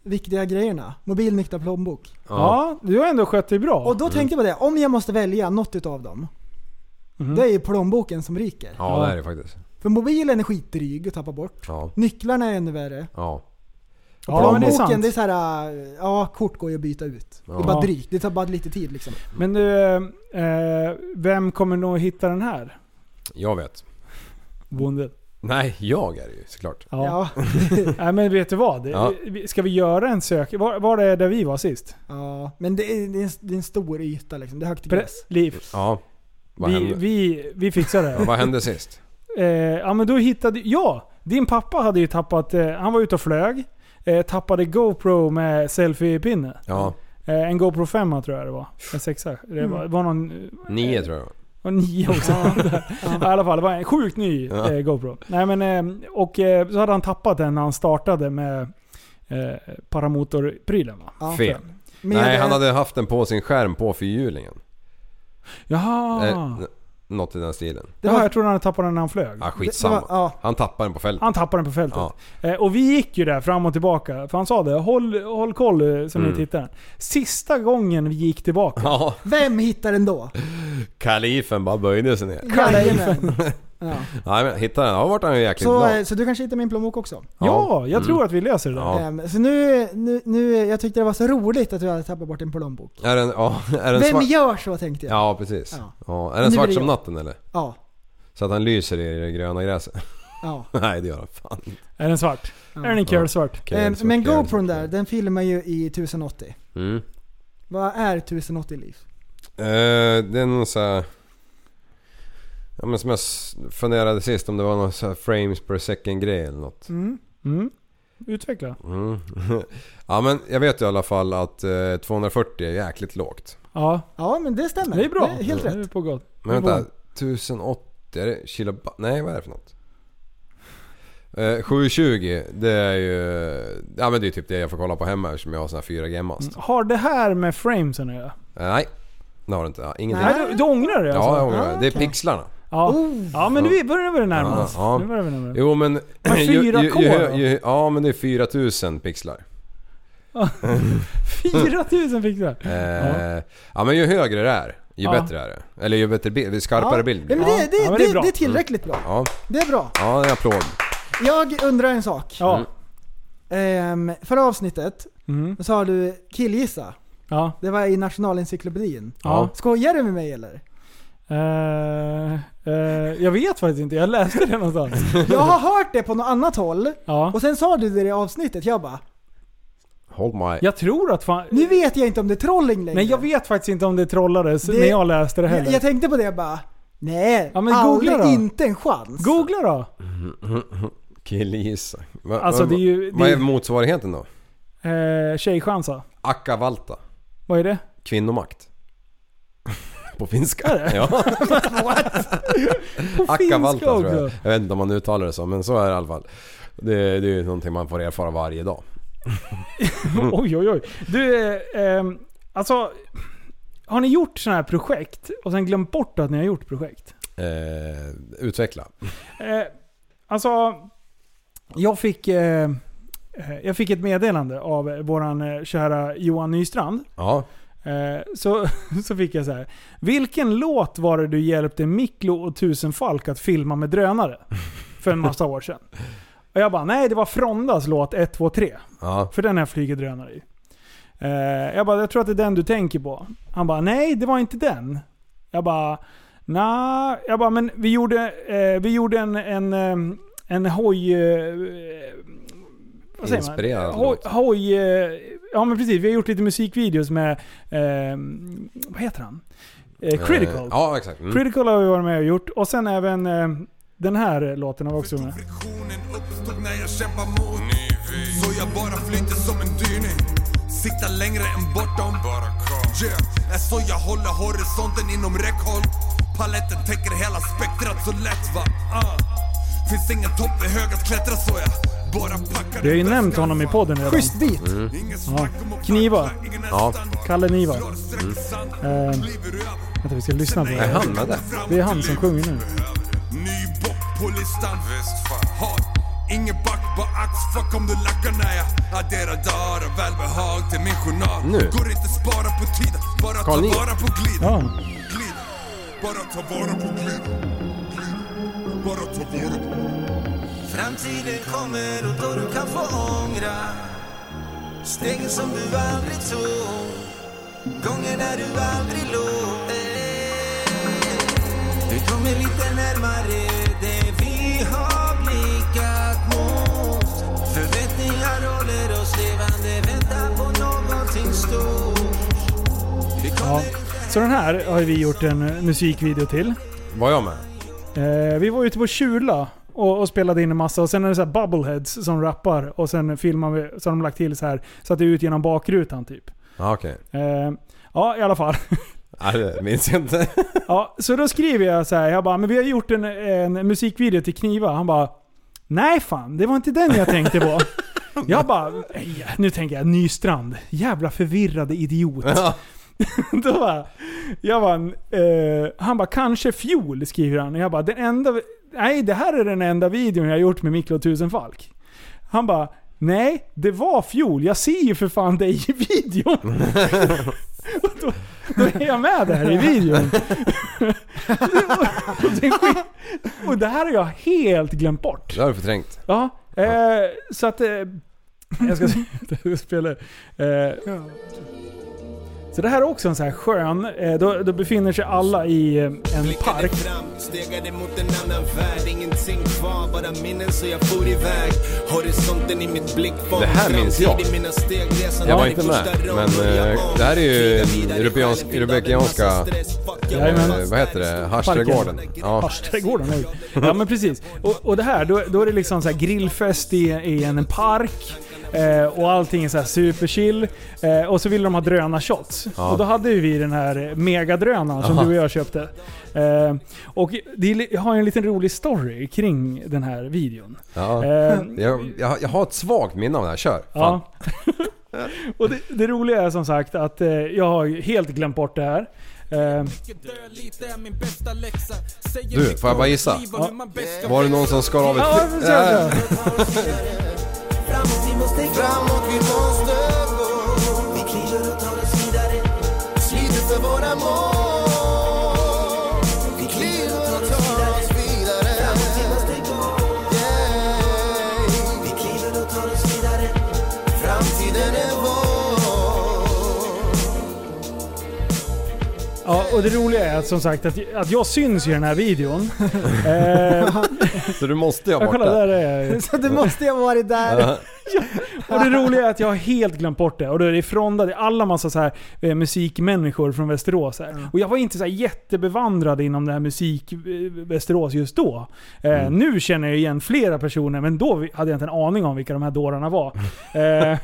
S6: viktiga grejerna. Mobil, nycklar, plånbok.
S7: Ja.
S5: Ja, du har ändå skött dig bra.
S6: Och då tänkte jag på det, om jag måste välja något utav dem.
S5: Mhm.
S6: Det är ju plånboken som ryker.
S7: Ja, det är det faktiskt.
S6: För mobilen är skitdryg att tappa bort.
S7: Ja.
S6: Nycklarna är ännu värre.
S7: Ja.
S5: Ja,
S6: plånboken,
S5: men det är sant.
S6: det är så här, äh, ja kort går ju att byta ut. Det
S7: Ja.
S6: är bara drygt, det tar bara lite tid liksom.
S5: Men du, eh, vem kommer nog hitta den här?
S7: Jag vet.
S5: Bonden.
S7: Nej, jag är det ju såklart.
S5: Ja.
S6: Ja. ja.
S5: Nej men vet du vad?
S7: Ja.
S5: Vi- Ska vi göra en sök... Var, var det där vi var sist?
S6: Men det är, det, är en, det är en stor yta liksom, det är högt i gräs.
S5: Pre- Liv.
S7: Ja. Vad
S5: Vi,
S7: hände?
S5: vi, vi fixar det.
S7: Ja, vad hände sist?
S5: Eh, ja men då hittade... Ja! Din pappa hade ju tappat... Eh, han var ute och flög. Eh, tappade GoPro med selfiepinne.
S7: Ja.
S5: Eh, en GoPro 5 tror jag det var. En sexa. Det var, var någon...
S7: Nio tror jag det var.
S5: Och nio också. I alla fall, det var en sjukt ny
S7: Ja.
S5: eh, GoPro. Nej, men, eh, och eh, så hade han tappat den när han startade med eh, paramotorprylen va?
S6: Ja.
S7: Fel.
S6: Med,
S7: Nej, han
S6: eh,
S7: hade haft den på sin skärm på fyrhjulingen.
S6: Ah.
S5: Jaha!
S7: Eh, n- något i den stilen.
S6: det
S5: Jaha,
S6: var-
S5: jag trodde han hade tappat den när han flög.
S7: Ja,
S6: det var,
S7: skitsamma.
S6: ja, Ah.
S7: Han tappade den på fältet.
S5: Han tappade den på fältet.
S7: Ja.
S5: Eh, och vi gick ju där fram och tillbaka. För han sa det, håll, håll koll eh, som
S7: Mm.
S5: ni tittar. Sista gången vi gick tillbaka.
S7: Ja.
S6: vem hittar den då?
S7: Kalifen bara böjde sig ner.
S6: Jajamän. Ja.
S7: Nej men hittade den. Då vart han ju jäkligt
S6: Så,
S7: glad.
S6: eh, så du kanske hittar min plånbok också?
S5: Ja, jag tror att vi löser det där.
S7: Mm. Ja.
S6: Ehm, Så nu, nu, nu, jag tyckte det var så roligt att du hade tappat bort din plånbok.
S7: Är den, ja, är den
S6: Vem
S7: svart?
S6: gör så tänkte jag?
S7: Ja precis.
S6: Ja.
S7: Ja. Är
S6: Nu
S7: den
S6: är
S7: svart
S6: det
S7: som
S6: jag.
S7: natten eller?
S6: Ja.
S7: Så att han lyser i det gröna gräset?
S6: ja.
S7: Nej det gör han fan inte.
S5: Är den svart? Är den kul svart?
S7: Okej,
S6: Ehm,
S7: det är
S6: Men
S7: svart, det är
S6: GoPron
S7: svart.
S6: där, den filmar ju i 1080.
S7: Mm.
S6: Vad är 1080 liv?
S7: Eh, det är någon så här... Ja men som jag s- funderade sist om det var någon så här frames per second grej eller något.
S5: Mm. Mm. Utveckla.
S7: Mm. ja men jag vet ju i alla fall att eh, 240 är jäkligt lågt.
S5: Ja,
S6: Ja men det stämmer.
S5: det är bra.
S6: Det är helt
S5: Det är
S6: rätt.
S5: På gott.
S7: Men vänta, 1080, är det kilobyte? Nej vad är det för något? Eh, 720, det är ju... Ja men det är typ det jag får kolla på hemma eftersom jag har sån här 4G-mast.
S5: Har det här med framesen att göra?
S7: Eh, nej, det har det inte. Ja, ingenting.
S5: Nej, du, du ångrar det
S7: Ja, jag
S5: alltså?
S7: ångrar det. Det är
S6: okej.
S7: pixlarna.
S5: Ja,
S6: Oh.
S5: ja men nu börjar vi närma
S7: Ja,
S5: oss.
S7: ja.
S5: Nu börjar vi närma oss.
S7: Jo men...
S5: Men 4K
S7: ju,
S5: då?
S7: ju, ju, Ja men det är 4000 pixlar.
S5: 4000 fick du!
S7: Eh, ja. men ju högre det är, ju
S5: Ja.
S7: bättre är det. Eller ju bättre bild, ju skarpare
S6: Ja.
S7: bild
S6: Ja,
S7: blir
S6: men
S7: det.
S6: det, det,
S5: Ja, men det
S6: det,
S5: är
S6: det,
S5: bra.
S6: är tillräckligt bra.
S7: Ja,
S6: Det är bra.
S7: ja det är applåd.
S6: Jag undrar en sak.
S5: Ja.
S6: Ehm, förra avsnittet
S5: Mm.
S6: så sa du killgissa.
S5: Ja.
S6: Det var i nationalencyklopedin.
S5: Ja.
S6: Skojar du med mig eller?
S5: Eh, eh, jag vet faktiskt inte, jag läste det någonstans.
S6: Jag har hört det på något annat håll
S5: Ja.
S6: och sen sa du det i avsnittet. Jag bara,
S7: Hold my...
S5: Jag tror att fan...
S6: nu vet jag inte om det är trolling längre.
S5: Nej jag vet faktiskt inte om det trollades
S6: Det-
S5: när jag läste det
S6: Jag,
S5: heller.
S6: jag tänkte på det jag bara, nej,
S5: Ja, men
S6: aldrig,
S5: googla då.
S6: inte en chans.
S5: Googla då!
S7: Killgissa. Va,
S5: Alltså,
S7: va,
S5: det är ju-
S7: Vad
S5: det
S7: är
S5: är-
S7: motsvarigheten då?
S5: Eh, tjejchansa.
S7: Akkavalta.
S5: Vad är det?
S7: Kvinnomakt. På finska. Ja.
S5: På
S7: Akkavalta
S5: finska
S7: tror
S5: också.
S7: jag. Jag vet inte om man uttalar det så, men så är det i alla fall. Det, det är ju någonting man får erfara varje dag.
S5: Oj oj oj. Du, eh, ehm, alltså... Har ni gjort sådana här projekt och sen glömt bort att ni har gjort projekt?
S7: Eh, utveckla.
S5: Eh, alltså, jag fick, eh, eh, jag fick ett meddelande av eh, våran eh, kära Johan Nystrand.
S7: Ja.
S5: Eh, så, så fick jag så här. Vilken låt var det du hjälpte Miklo och Tusenfalk att filma med drönare? För en massa år sedan. Och jag bara, nej det var Frondas låt 1, 2, 3.
S7: Ja.
S5: För den här flyger drönare i. Eh, jag bara, jag tror att det är den du tänker på. Han bara, nej det var inte den. Jag bara, nej. Jag bara, men vi gjorde, eh, vi gjorde en, en, eh, en hoj... Eh, vad säger man?
S7: Inspirerad
S5: Hoj,
S7: låt.
S5: hoj eh,
S6: ja men precis, vi har gjort lite musikvideos med, ehm, vad heter han? Eh, Critical.
S7: Eh, Ja, exakt. Mm.
S6: Critical har vi varit med och gjort. Och sen även eh, den här låten har vi också med.
S8: Friktionen uppstod när jag kämpar mot Så jag bara flyter som en dyning Siktar längre än bortom yeah. Är så jag håller horisonten inom räckhåll Paletten täcker hela spektrat så lätt va uh. Finns ingen topp i hög att klättra så jag bara packar
S6: Vi har ju
S8: i
S6: nämnt
S8: väskan,
S6: honom i
S8: så.
S6: podden redan.
S9: Schysst beat.
S5: Mm.
S8: Inget snack om att
S6: Knivar.
S8: tackla, ingen är
S7: Ja.
S8: standard.
S6: Kalle Niva.
S8: Drar streck i sanden,
S6: Ehm,
S8: kliver över.
S6: Vänta vi ska lyssna på
S7: Är
S6: det.
S7: han med där?
S6: Det är han som sjunger nu.
S8: Ny bock på listan. Har ingen back, bara ax. Fuck om du lackar när jag adderar dagar och välbehag till min journal.
S7: Nu.
S8: Går inte spara på tiden, bara
S7: Carl
S8: ta
S7: Nick.
S8: vara på gliden.
S6: Ja.
S8: Gliden. Bara ta vara på gliden. Gliden. Bara ta vara på
S10: Framtiden kommer och då du kan få ångra Stegen som du aldrig tog Gången när du aldrig låg Du tog mig lite närmare det vi har blickat mot Förväntningar håller oss levande, väntar på någonting stort Vi kommer
S6: Ja. Så den här har vi gjort en eh, musikvideo till.
S7: Var jag med?
S6: Eh, vi var ute på Kjula och, och spelade in en massa och sen är det så här bubbleheads som rappar och sen filmar vi, så har de lagt till så här så att det är ut genom bakrutan typ.
S7: Ja, okej.
S6: Eh, ja, i alla fall.
S7: Nej, det minns jag inte.
S6: Ja, så då skriver jag så här, jag bara, men vi har gjort en, en musikvideo till Kniva. Han bara, nej fan, det var inte den jag tänkte på. Jag bara, "Ej, nu tänker jag Nystrand. Jävla förvirrade idiot.
S7: Ja.
S6: Då bara, jag bara, eh, han bara, kanske fjol skriver han. Och jag bara, den enda, nej det här är den enda videon jag har gjort med Miklo Tusenfalk. Han bara, nej det var fjol. Jag ser ju för fan dig i videon. Och då, då är jag med där i videon. och, det sk- och det här har jag helt glömt bort.
S7: Det har du förträngt.
S6: Ja, eh, så att... Eh, jag ska jag ska spela... Eh, så det här är också en sån här skön... Eh, då, då befinner sig alla i eh, en park.
S10: fram, stegade mot en annan värld Ingenting kvar, bara minnen så jag for iväg Horisonten i mitt blickfång
S7: Det här minns jag.
S10: Framtid i mina steg, resan
S7: Jag var
S10: tar i
S7: inte
S10: första
S7: med,
S10: rond,
S7: men,
S10: börjar
S7: eh,
S10: om.
S7: det här är ju
S10: Vida vidare i
S7: europeisk-
S10: själen, fylld av en
S7: europeiska-
S10: massa stress. Fuck, jag
S6: Jajamän.
S10: var
S7: Eh, vad heter det? Harstegården. Ja.
S6: Hashträdgården. oj. Ja men precis. Och, och det här, då, då är det liksom så här grillfest i, i en park. Eh, och allting är så här superchill. Eh, och så ville de ha drönarshots. Och då hade ju vi den här megadrönaren som du och jag köpte. Eh, och det är, li- jag har ju en liten rolig story kring den här videon.
S7: Ja.
S6: Eh,
S7: Jag, jag, jag har ett svagt minne av det här. Kör. Fan.
S6: Ja. och det, det roliga är som sagt att eh, jag har ju helt glömt bort det här. Eh,
S7: Du, får jag bara gissa? Var det någon som skar av ett...
S6: ja, vi får se,
S7: Nej.
S6: vi får se.
S10: Framåt, vi måste framåt, vi måste gå Vi kliver och tar oss vidare Sliter för våra mål Vi kliver och tar oss vidare Framåt, vi måste gå Yeah. Vi kliver och tar oss vidare Framtiden är vår
S6: ja, och det roliga är att, som sagt att, att jag syns i den här videon. Eh,
S7: Så du måste ju ha
S6: jag
S7: bort
S6: kolla,
S7: det.
S6: där är jag ju.
S9: Så du måste ju ha varit där.
S6: Och det roliga är att jag har helt glömt bort det. Och då är det frondade det är alla massa så här, eh, musikmänniskor från Västerås. Här. Och jag var inte så här jättebevandrad inom det här musik eh, Västerås just då. Eh, Nu känner jag igen flera personer, men då vi- hade jag inte en aning om vilka de här dårarna var. Eh,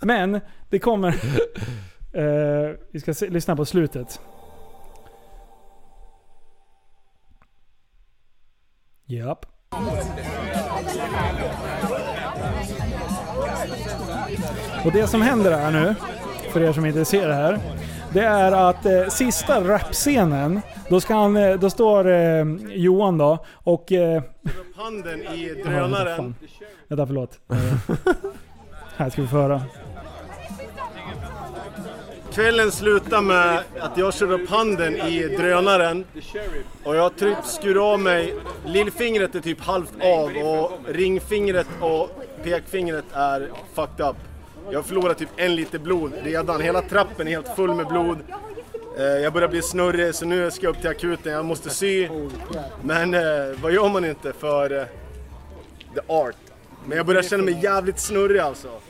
S6: men det kommer... Eh, vi ska se, lyssna på slutet. Japp. Och det som händer här nu, för er som inte ser det här, det är att eh, sista rapscenen, då, ska han, eh, då står eh, Johan då och... Eh,
S5: handen i
S6: ja, vad fan. Vänta, förlåt. Eh, här ska vi få höra.
S5: Kvällen slutar med att jag kör upp handen i drönaren och jag typ skur av mig, lillfingret är typ halvt av och ringfingret och pekfingret är fucked up. Jag förlorar typ en liter blod redan, hela trappen är helt full med blod. Eh, Jag börjar bli snurrig så nu ska jag upp till akuten, jag måste sy. Men eh, vad gör man inte för eh, the art?
S11: Men jag börjar känna mig jävligt snurrig alltså.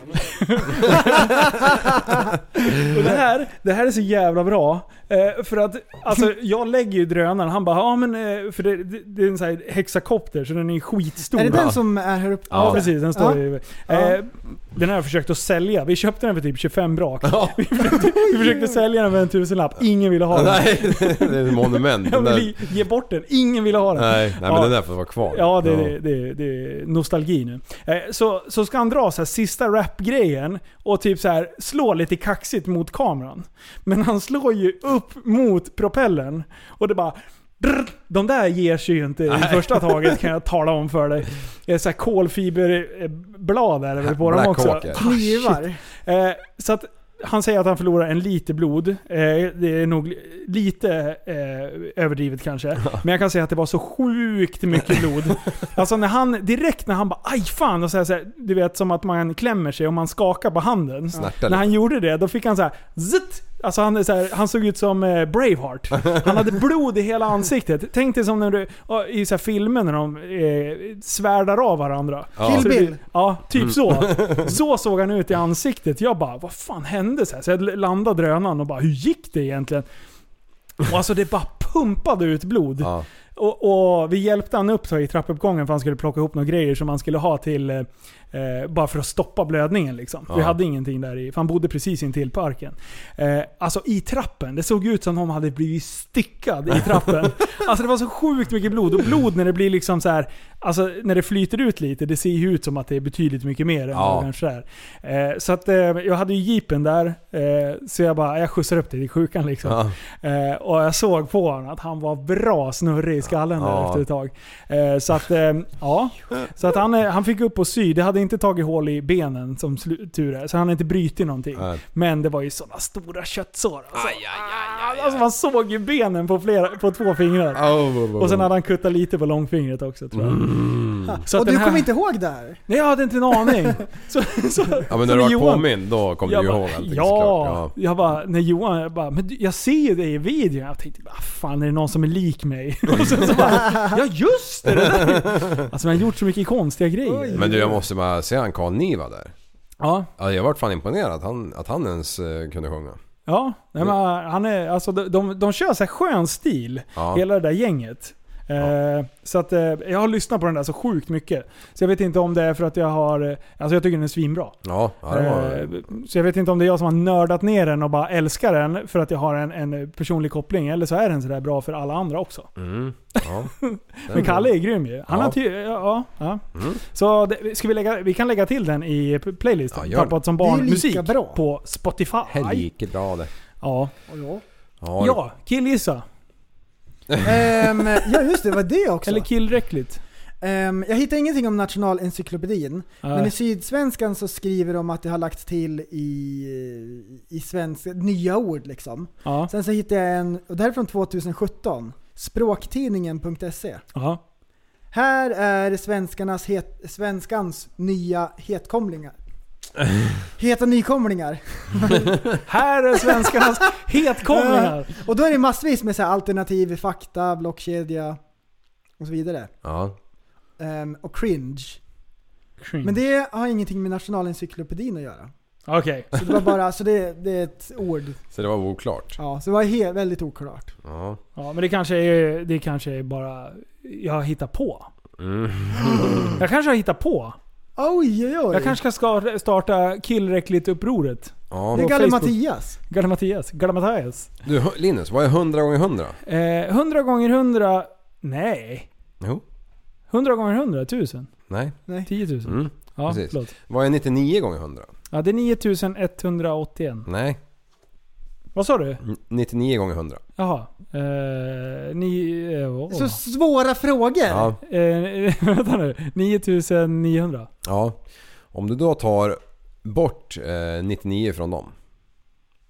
S5: Och det här, det här är så jävla bra. Eh, för att, alltså jag lägger ju drönaren, han bara ja men, eh, för det, det, det är en sån här hexakopter så den är skitstor.
S6: Är det
S7: Ja.
S6: den som är här uppe?
S5: Ja, precis, den står
S6: Ja.
S5: i... Eh, den har jag försökt att sälja. Vi köpte den för typ 25 brak.
S7: Ja.
S5: Vi försökte sälja den för en tusenlapp. Ingen ville ha den.
S7: Nej, det är ett monument.
S5: Jag
S7: Den där,
S5: ville ge bort den. Ingen ville ha den.
S7: nej, nej men
S5: Ja.
S7: den där får vara kvar.
S5: Ja, det, det, det, det är nostalgi nu. Eh, Så, så ska han dra så här sista rap-grejen och typ så här slå lite kaxigt mot kameran. Men han slår ju upp mot propellen och det bara... drr, De där ger sig ju inte i första taget kan jag tala om för dig. Det är så här kolfiberblad är det väl på dem
S7: Black
S5: också. Ah,
S7: Hawk, ja.
S5: Knivar. Eh, Så att han säger att han förlorar en liter blod. Eh, Det är nog lite eh, överdrivet kanske. Men jag kan säga att det var så sjukt mycket blod. Alltså när han, direkt när han bara aj fan och så här, så här, Alltså, du vet som att man klämmer sig och man skakar på handen.
S7: Snärtar
S5: När
S7: lite.
S5: han gjorde det, då fick han så här zitt! Alltså han, är så här, han såg ut som eh, Braveheart. Han hade blod i hela ansiktet. Tänk dig som när du, i så här filmer när de eh, svärdar av varandra.
S6: Kill
S5: Så det-
S6: Bill.
S5: Ja, typ så. Så såg han ut i ansiktet. Jag bara, vad fan hände? Så, här? så jag landade drönaren och bara, hur gick det egentligen? Och alltså det bara pumpade ut blod.
S7: Ja.
S5: Och, och vi hjälpte han upp så i trappuppgången för han skulle plocka ihop några grejer som han skulle ha till, eh, eh, bara för att stoppa blödningen liksom. Vi
S7: Ja.
S5: hade ingenting där i, för han bodde precis intill parken. Eh, alltså i trappen, det såg ut som om han hade blivit styckad i trappen. alltså det var så sjukt mycket blod. Och blod när det blir liksom så här, alltså när det flyter ut lite, det ser ju ut som att det är betydligt mycket mer än
S7: Ja.
S5: vad det kanske är. Eh, så att eh, jag hade ju jeepen där, eh, så jag bara, jag skjutsar upp dig till sjukan liksom.
S7: Ja.
S5: Eh, och jag såg på honom att han var bra snurrig i skallen där
S7: Ja.
S5: efter ett tag. Eh, så att, eh, ja. Så att han, eh, han fick upp och sy. Det hade inte tagit hål i benen som slu- tur är. Så han hade inte brutit någonting.
S7: Nej.
S5: Men det var ju sådana stora köttsår. Alltså. alltså man såg ju benen på, flera, på två fingrar. Och sen hade han kuttat lite på långfingret också tror jag. Så att
S6: Och
S5: den
S6: du
S5: här-
S6: kommer inte ihåg det här?
S5: Nej jag hade inte en aning. så, så,
S7: Ja
S5: så
S7: men när du
S5: när
S7: var
S5: Johan-
S7: påmind då kom du
S5: jag
S7: ju
S5: bara,
S7: ihåg allting
S5: ja.
S7: såklart.
S5: Jag bara, när Johan, jag bara, men du, jag ser ju dig i videon. Jag tänkte, vad fan är det någon som är lik mig? Och sen så bara, ja just det! det där. Alltså man har gjort så mycket konstiga grejer.
S7: Ja. Men du jag måste bara säga han Karl Niva där.
S5: Ja,
S7: Ja, jag vart fan imponerad att han, att han ens eh, kunde sjunga.
S5: ja. Nej, men, han är, alltså, de, de, de kör så här skön stil,
S7: Ja.
S5: hela det där gänget. Eh, Så att eh, jag har lyssnat på den där så sjukt mycket. Så jag vet inte om det är för att jag har... eh, Alltså jag tycker den är svinbra.
S7: Ja, ja det
S5: Eh,
S7: var...
S5: Så jag vet inte om det är jag som har nördat ner den och bara älskar den för att jag har en, en personlig koppling. Eller så är den sådär bra för alla andra också.
S7: Mm, ja.
S5: Men Kalle är grym ju. Han
S7: Ja. Mm.
S5: har ty- ja, ja. Så det, ska vi, lägga, vi kan lägga till den i p-
S7: Ja,
S5: playlisten.
S7: gör det.
S5: Tappat som
S6: Det är ju
S5: barn
S6: lika
S5: musik
S6: bra.
S5: på Spotify.
S7: Helvike bra det.
S5: Ja.
S7: Ja, det-
S5: ja, killgissa.
S6: Ehm, ja just det, var det också.
S5: Eller killräckligt.
S6: Ehm, jag hittar ingenting om Nationalencyklopedin. Men i
S5: Nej.
S6: Sydsvenskan så skriver de att det har lagts till i, i svenska, nya ord liksom.
S5: Ja.
S6: Sen så hittade jag en, och det här är från 2017, språktidningen.se.
S5: Ja.
S6: Här är svenskarnas het, svenskans nya hetkomlingar. Heta nykomlingar.
S5: Här är svenskarnas hetkomlingar.
S6: Och då är det massvis med så här alternativ fakta, blockkedja och så vidare.
S7: ja.
S6: Ehm, och cringe. Men det har ingenting med Nationalencyklopedin att göra.
S5: Okej.
S6: Så det var bara, så det, det är ett ord.
S7: Så det var oklart.
S6: Ja, så det var he, väldigt oklart.
S7: Ja.
S5: Ja, men det kanske, är, det kanske är bara jag har hittat på.
S7: Mm.
S5: Jag kanske har hittat på.
S6: Oj, oj, oj.
S5: Jag kanske ska ska starta killräckligt-upproret.
S7: ja.
S6: det är
S5: på
S6: Galle
S5: Facebook.
S6: Mattias.
S5: Galle Mattias. Galle Mattias.
S7: Du Linus, vad är 100 gånger 100?
S5: Eh, 100 gånger 100... Nej.
S7: Jo.
S5: 100 gånger 100? 1000?
S7: Nej.
S5: 10 000?
S7: Mm.
S5: ja,
S7: precis.
S5: förlåt.
S7: Vad är 99 gånger 100?
S5: Ja, det är 9181.
S7: Nej.
S5: Vad sa du?
S7: N- 99 gånger 100.
S5: Jaha. Eh, ni, eh, oh.
S6: Så svåra frågor.
S7: Ja.
S5: eh, vänta nu. 9900?
S7: ja. Om du då tar bort eh, 99 från dem.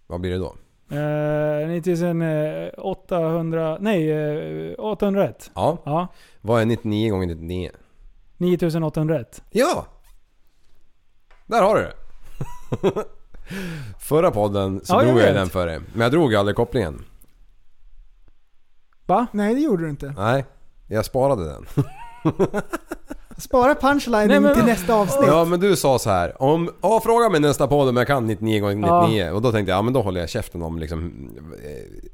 S7: Vad blir det då?
S5: Eh, 9800... Nej, eh, 801.
S7: Ja.
S5: Ja.
S7: Vad är 99 gånger 99?
S5: 9801.
S7: Ja! Där har du det! Förra podden så
S5: Ja, jag
S7: drog jag ju
S5: vet.
S7: den för dig. Men jag drog aldrig kopplingen.
S5: Va?
S6: Nej, det gjorde du inte.
S7: Nej, jag sparade den.
S6: Spara
S5: Nej, men-
S6: punchlinen till nästa avsnitt.
S7: Ja men du sa så här. om ja, fråga mig nästa podd om jag kan 99 gånger 99 och då tänkte jag ja men då håller jag käften om liksom,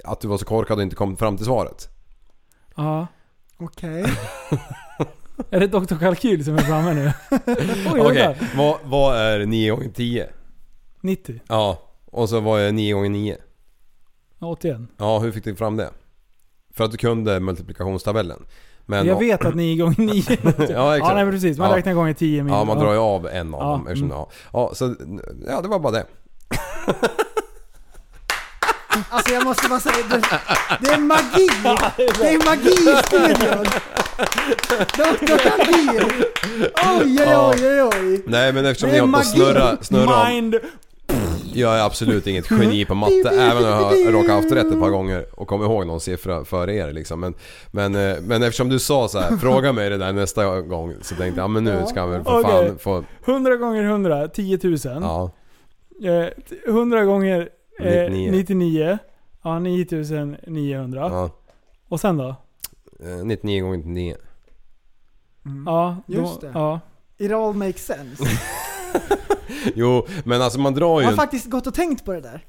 S7: eh, att du var så korkad och inte kom fram till svaret.
S5: Ja.
S6: Okej.
S5: Är det Dr. Kalkyl som är framme nu? Oj,
S7: Okej,
S5: jävlar.
S7: vad, vad är 9 gånger 10?
S5: 90.
S7: Ja, och så vad är 9 gånger 9?
S5: Ja, 81.
S7: Ja, hur fick du fram det? För att du kunde multiplikationstabellen. Men,
S5: Jag vet att 9 gånger 9
S7: Ja, exakt.
S5: Ja, nej, men precis. Man
S7: Ja.
S5: räknar gånger 10 mil.
S7: Ja, man drar ju av en av
S5: Ja,
S7: dem eftersom,
S5: mm.
S7: ja. ja, så ja, det var bara det.
S6: Alltså jag måste bara säga, det, det är magi! Det är magi i studion! Doktor Kalkyl! Oj, oj, oj, oj, oj!
S7: Nej, men eftersom
S6: Det
S7: ni
S6: är
S7: har på
S6: magi.
S7: snurra, snurra om.
S5: Mind!
S7: Jag är absolut inget geni på matte, även om jag har råkat haft rätt ett par gånger och kom ihåg någon siffra före er liksom. Men, men, eh, men eftersom du sa så här, fråga mig det där nästa gång. Så tänkte jag, ja men nu ska jag väl för
S5: Okej.
S7: fan få...
S5: 100 gånger 100, 10 000.
S7: Ja,
S5: Eh, 100 gånger eh,
S7: 99.
S5: 99. Ja, 9900.
S7: ja.
S5: Och sen då?
S7: Eh, 99 gånger 99.
S5: Ja, då,
S6: Mm. Just det.
S5: Ja.
S6: It all makes sense.
S7: Jo, men alltså man drar
S6: Jag
S7: ju...
S6: har
S7: en-
S6: faktiskt gått och tänkt på det där.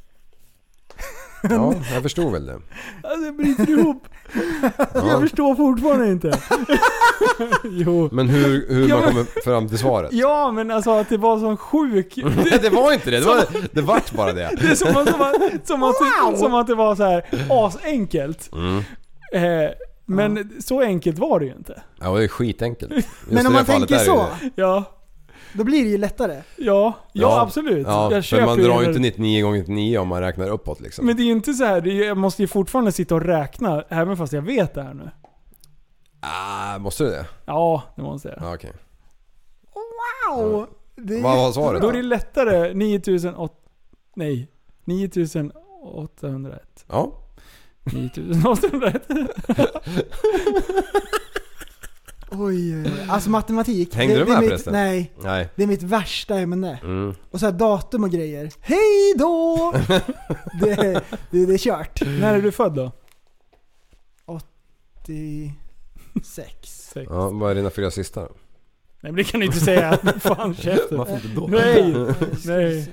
S7: Ja, jag förstod väl det.
S5: Alltså jag bryter ihop. Jag förstår fortfarande inte. jo.
S7: Men hur, hur
S5: Ja,
S7: man
S5: men-
S7: kommer fram till svaret?
S5: Ja, men alltså att det var sån sjuk...
S7: Nej, det var inte det. Det, var, det vart bara det.
S5: Det är som, att- som, att, som, att, som att det var så här asenkelt.
S7: Mm.
S5: Eh, men så enkelt var det ju inte.
S7: Ja, det är skitenkelt. Just i
S6: Men
S7: det
S6: om man
S7: fallet
S6: tänker
S7: är det
S6: så,
S7: ju det.
S5: Ja,
S6: då blir det ju lättare.
S5: ja, ja,
S7: Ja.
S5: absolut.
S7: Ja,
S5: jag köper
S7: men man
S5: ju
S7: drar ju
S5: det.
S7: inte 99 gånger 99 om man räknar uppåt liksom.
S5: Men det är ju inte så här, det är, ju- jag måste ju fortfarande sitta och räkna, även fast jag vet det här nu.
S7: Ah, måste du det?
S5: Ja, det måste jag.
S7: Ja, okej.
S6: Wow! Det
S7: Vad var
S5: Då är
S7: svaret
S5: det
S7: då?
S5: lättare 9800... Nej. 9801.
S7: Ja.
S5: 9801.
S6: Oj, oj, oj. Alltså matematik.
S7: Hängde
S6: det,
S7: du
S6: det är
S7: med
S6: mitt,
S7: förresten?
S6: Nej,
S7: Nej.
S6: det är mitt värsta ämne.
S7: Mm.
S6: Och så här datum och grejer. Hej då! det, det, det är kört.
S5: När är du född då?
S6: 6.
S5: Sex.
S7: Ja, vad är dina fyra sista då?
S5: Nej men det kan du inte säga. Fan käften.
S7: Varför inte då?
S5: Nej. Nej.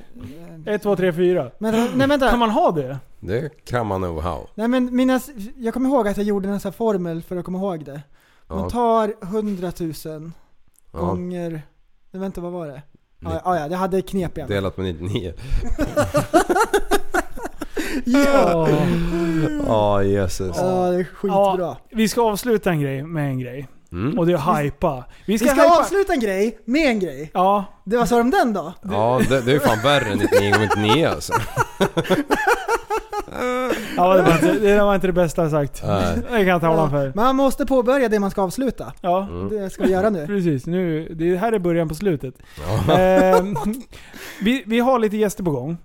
S5: 1, 2, 3, 4.
S6: Men, nej vänta.
S5: Kan man ha det?
S7: Det kan man nog ha.
S6: Nej men mina, jag kommer ihåg att jag gjorde en sån här formel för att komma ihåg det. Man
S7: Ja.
S6: tar 100 000
S7: Ja.
S6: gånger... Nej, vänta, vad var det? Ja, ja, ja, jag hade knepiga.
S7: Delat med 99.
S6: Ja!
S5: Ja.
S7: Ja, jösses.
S6: Ja, det är skitbra.
S5: Ja, vi ska avsluta en grej med en grej.
S7: Mm.
S5: Och det är hypa.
S6: Vi ska
S5: hypa-
S6: avsluta en grej med en grej.
S5: Ja,
S6: Det, vad sa de om den då?
S7: Ja, det, det är ju fan värre än 99 gånger 99 alltså.
S5: ja det, var inte, det var inte det bästa jag sagt.
S7: Nej.
S5: Det kan jag tala
S6: Ja,
S5: om för.
S6: man måste påbörja det man ska avsluta.
S5: Ja.
S6: Det ska vi göra nu.
S5: Precis, nu, det här är början på slutet. Ehm, vi, vi har lite gäster på gång. Eh,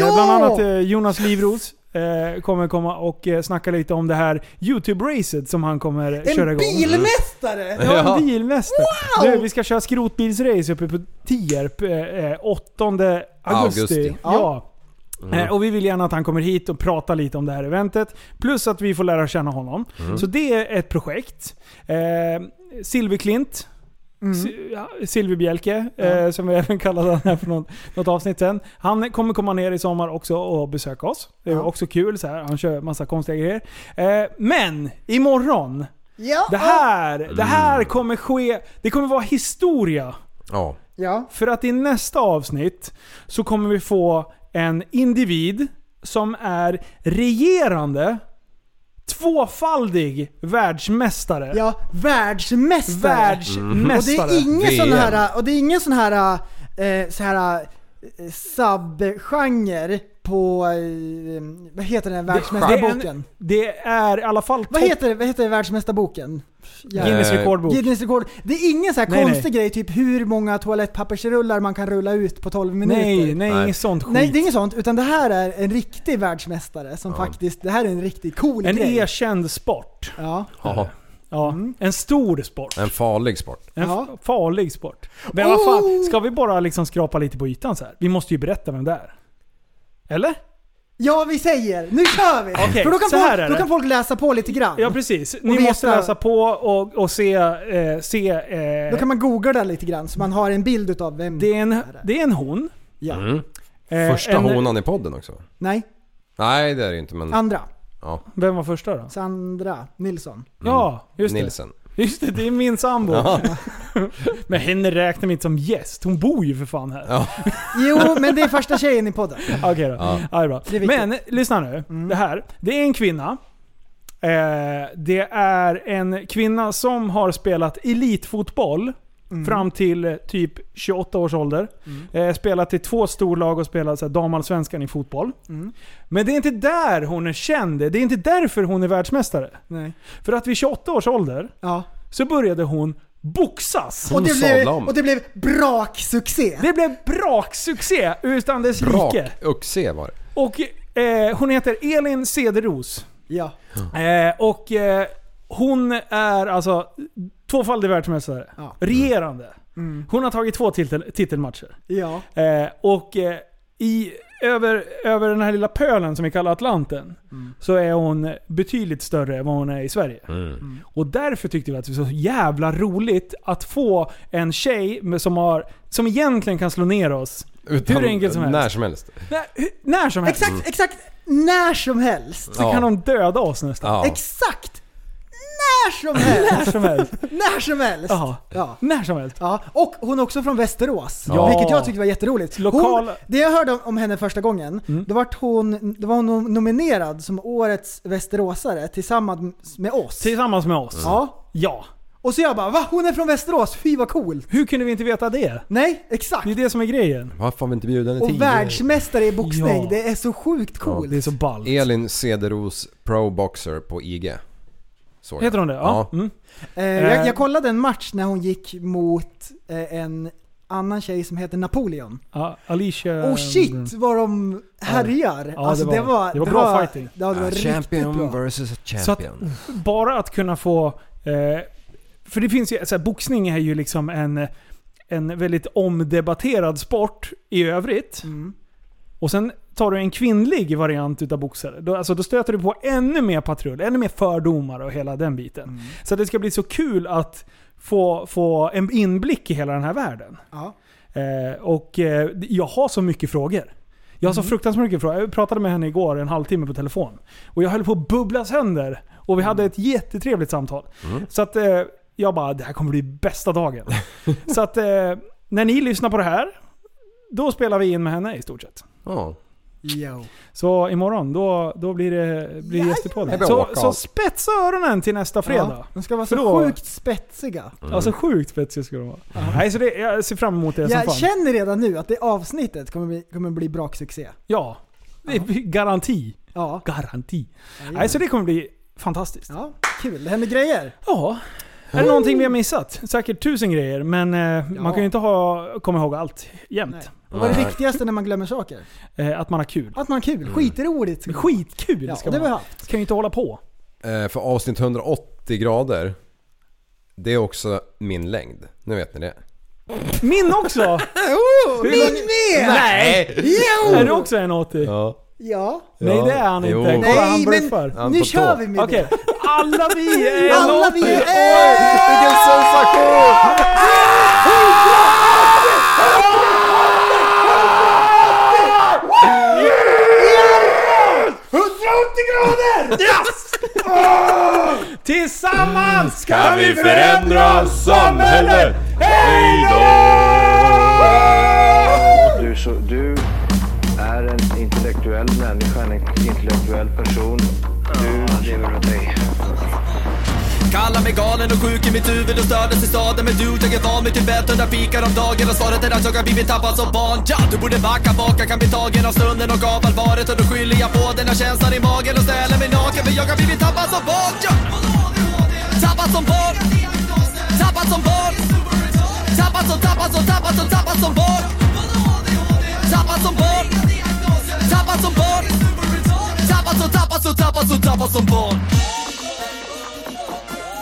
S6: Ja!
S5: Bland annat eh, Jonas Livros eh, kommer komma och eh, snacka lite om det här YouTube-racet som han kommer köra
S6: En
S5: igång.
S6: bilmästare!
S5: Ja,
S7: Ja.
S5: en bilmästare.
S6: Wow!
S5: Du, vi ska köra skrotbilsrace uppe på Tierp eh, eh, 8 augusti.
S7: Augusti.
S5: Ja. Eh, Och vi vill gärna att han kommer hit och pratar lite om det här eventet. Plus att vi får lära känna honom. Så det är ett projekt. Eh, Silverklint. Si- ja, Silverbjälke, eh, som vi även kallade han här för något, något avsnitt sen. Han kommer komma ner i sommar också och besöka oss. Det är
S6: Ja.
S5: också kul, så här, han kör massa konstiga grejer. Eh, men imorgon,
S6: Ja!
S5: det här, det här kommer ske, det kommer vara historia.
S7: Ja.
S6: Ja.
S5: För att i nästa avsnitt så kommer vi få en individ som är regerande tvåfaldig världsmästare.
S6: Ja, världsmästare! Och det
S5: Världsmästare.
S6: är ingen
S7: VM.
S6: sån här, och det är ingen sån här, eh, så här eh, subgenre på, eh, vad heter den här
S5: Det är, en,
S6: världsmästarboken?
S5: det är i alla fall
S6: Vad
S5: topp-
S6: heter, vad heter världsmästarboken? Jävlar.
S5: Guinness
S7: Eh,
S5: rekordbok.
S6: Guinness rekord. Det är ingen så här
S5: Nej,
S6: konstig grej, typ hur många toalettpappersrullar man kan rulla ut på 12 minuter.
S5: nej, nej,
S7: Nej.
S5: inget sånt skit.
S6: Nej, det är inget sånt, utan det här är en riktig världsmästare som faktiskt, det här är en riktigt cool
S5: en
S6: grej. Mm.
S5: erkänd sport.
S6: ja.
S7: Ja.
S5: Ja, en stor sport.
S7: En farlig sport.
S5: En
S6: Ja. Oh!
S5: f- farlig sport. Men vad fan, ska vi bara liksom skrapa lite på ytan så här? Vi måste ju berätta vem det är. Eller?
S6: Ja, vi säger nu kör vi!
S5: Okej,
S6: För då kan,
S5: så här
S6: folk,
S5: är
S6: då
S5: det.
S6: kan folk läsa på lite grann.
S5: Ja precis. Ni
S6: veta-
S5: måste läsa på och, och se... Eh, se eh,
S6: Då kan man googla där lite grann så man har en bild utav vem
S5: det, är en, det är en hon.
S6: Ja.
S5: Eh,
S7: Första
S5: en,
S7: honan i podden också.
S6: Nej,
S7: Nej det är det ju inte men...
S6: andra.
S7: Ja,
S5: Vem var första
S7: Mm.
S5: då?
S6: Sandra Nilsson.
S5: Ja, just det.
S7: Nilsen.
S5: Just det, det är min sambo. Men henne räknar vi inte som gäst. Hon bor ju för fan här.
S7: Ja.
S6: Jo, men det är första tjejen i podden.
S5: Okej då. Ja. det är bra.
S6: Det är viktigt. Mm.
S5: Men lyssna nu. Det här. Det är en kvinna. Eh, det är en kvinna som har spelat elitfotboll
S6: Mm.
S5: fram till eh, typ 28 års ålder. Eh, spelat i två storlag och spelat så här damallsvenskan i fotboll.
S6: Mm.
S5: Men det är inte där hon är känd. Det är inte därför hon är världsmästare.
S6: Nej.
S5: För att vid 28 års ålder
S6: Ja.
S5: så började hon boxas.
S6: Och det, blev,
S7: sadlar om.
S6: och det blev braksuccé.
S5: Det blev braksuccé utan dess like.
S7: Brak-uxé var det.
S5: Och eh, hon heter Elin Cederos.
S6: Ja.
S5: Eh, och eh, hon är alltså tvåfaldig världsmästare.
S6: Ja. Mm.
S5: Regerande. Hon har tagit två titel, titelmatcher.
S6: Ja.
S5: Eh, och eh, i, över, över den här lilla pölen som vi kallar Atlanten
S6: Mm.
S5: så är hon betydligt större än vad hon är i Sverige.
S6: Mm.
S5: Och därför tyckte vi att det var så jävla roligt att få en tjej med, som, har, som egentligen kan slå ner oss.
S7: Utan,
S5: Hur enkelt som helst.
S7: När som helst.
S5: När, hur- när som helst.
S6: Exakt, exakt när som helst.
S5: Så kan de döda oss nästan.
S7: Ja.
S6: Exakt när som helst.
S5: När som helst.
S6: när som helst.
S5: Ja.
S6: Ja.
S5: När som helst.
S6: Ja, och hon är också från Västerås,
S5: Ja.
S6: vilket jag tyckte var jätteroligt.
S5: Lokal- Mm.
S6: Hon, det jag hörde om, om henne första gången, då, vart hon, då var hon nominerad som årets västeråsare tillsammans med oss.
S5: Tillsammans med oss.
S6: Ja.
S5: Ja.
S6: Och så jag bara va? Hon är från Västerås, fy vad coolt!
S5: Hur kunde vi inte veta det?
S6: Nej, exakt!
S5: Det är det som är grejen.
S7: Varför har vi inte bjudit henne
S6: Och
S7: tidigare?
S6: världsmästare i boxning,
S5: Ja.
S6: det är så sjukt coolt!
S5: Det är så ballt.
S7: Elin Cederos Pro Boxer på IG. Såg jag.
S5: Heter hon det? Ja. Mm.
S6: Eh, jag, jag kollade en match när hon gick mot eh, en annan tjej som heter Napoleon.
S5: ja. Alicia...
S6: Oh shit vad de härjar!
S5: Ehm. Ja,
S6: alltså,
S5: det
S6: det,
S5: var-
S6: var,
S5: det var bra fighting.
S6: Ja, det var
S7: Ah,
S6: riktigt bra.
S7: champion vs
S5: Så att,
S7: champion.
S5: bara att kunna få... Eh, för det finns ju... Så här, boxning är ju liksom en, en väldigt omdebatterad sport i övrigt.
S6: Mm.
S5: Och sen tar du en kvinnlig variant utav boxare. Då, alltså, då stöter du på ännu mer patrull, ännu mer fördomar och hela den biten. Så det ska bli så kul att få, få en inblick i hela den här världen.
S6: Ja.
S5: Eh, och eh, jag har så mycket frågor. Jag har så fruktansvärt mycket frågor. Jag pratade med henne igår en halvtimme på telefon. Och jag höll på att bubbla sönder. Och vi hade ett jättetrevligt samtal. Så att eh, jag bara, det här kommer bli bästa dagen. så att eh, när ni lyssnar på det här, då spelar vi in med henne i stort sett.
S7: Ja.
S6: Yo.
S5: Så imorgon, då, då blir det blir gäst i podden.
S7: Jajamän.
S5: Så,
S7: Walkout.
S5: så spetsa öronen till nästa fredag.
S6: Ja, de ska vara
S5: För
S6: så
S5: då-
S6: sjukt spetsiga.
S5: Alltså sjukt spetsiga ska de vara. Nej, så det, jag ser fram emot det som fan.
S6: Jag känner redan nu att det avsnittet kommer bli, kommer bli braksuccé.
S5: Ja. Det är garanti.
S6: Ja.
S5: Garanti. Nej, så det kommer bli fantastiskt.
S6: ja, kul. Det händer grejer.
S5: Ja. Är det någonting vi har missat? Säkert tusen grejer, men eh, man kan ju inte ha, komma ihåg allt jämt.
S6: Nej. Och vad är det
S7: Nej.
S6: viktigaste när man glömmer saker?
S5: Eh, att man har kul.
S6: Att man har
S5: Mm.
S6: kul. Skitroligt. ska man ha.
S5: Skitkul
S6: Ja,
S5: ska
S6: det
S5: man ha.
S6: behövs.
S5: Kan ju inte hålla på.
S7: Eh, För avsnitt 180 grader, det är också min längd. Nu vet ni det.
S5: Min också!
S6: Oh, Min med!
S5: Nej!
S6: Jo!
S5: Är du också en 80?
S7: Ja.
S6: Ja.
S5: Nej det är han
S7: Jo.
S5: inte. Kolla han
S6: Nej men
S5: bluffar.
S7: Han
S6: nu
S7: på
S6: kör
S7: tå.
S6: vi med
S5: Okej,
S6: det.
S5: alla vi är en 80!
S6: Alla vi är...
S7: Vilken sensation!
S5: Tillsammans!
S7: Ska vi förändra samhället? Hej
S3: Du, så, du är en intellektuell människa, en intellektuell person. Du lever av dig.
S10: Kallar mig galen och sjuk i mitt huvud och stördes i staden Men du, jag är van vid typ 100 fikar om dagen Och svaret är att jag har blivit tappad som barn ja, Du borde backa bak, jag kan bli tagen av stunden och av allvaret Och då skyller jag på den här känslan i magen och ställer mig naken För jag har blivit tappad som barn ja. Tappad som barn Tappad som barn Tappad som, tappad som, tappad som, tappad som barn Tappad som barn Tappad som barn Tappad som, tappad som, tappad som, tappad som barn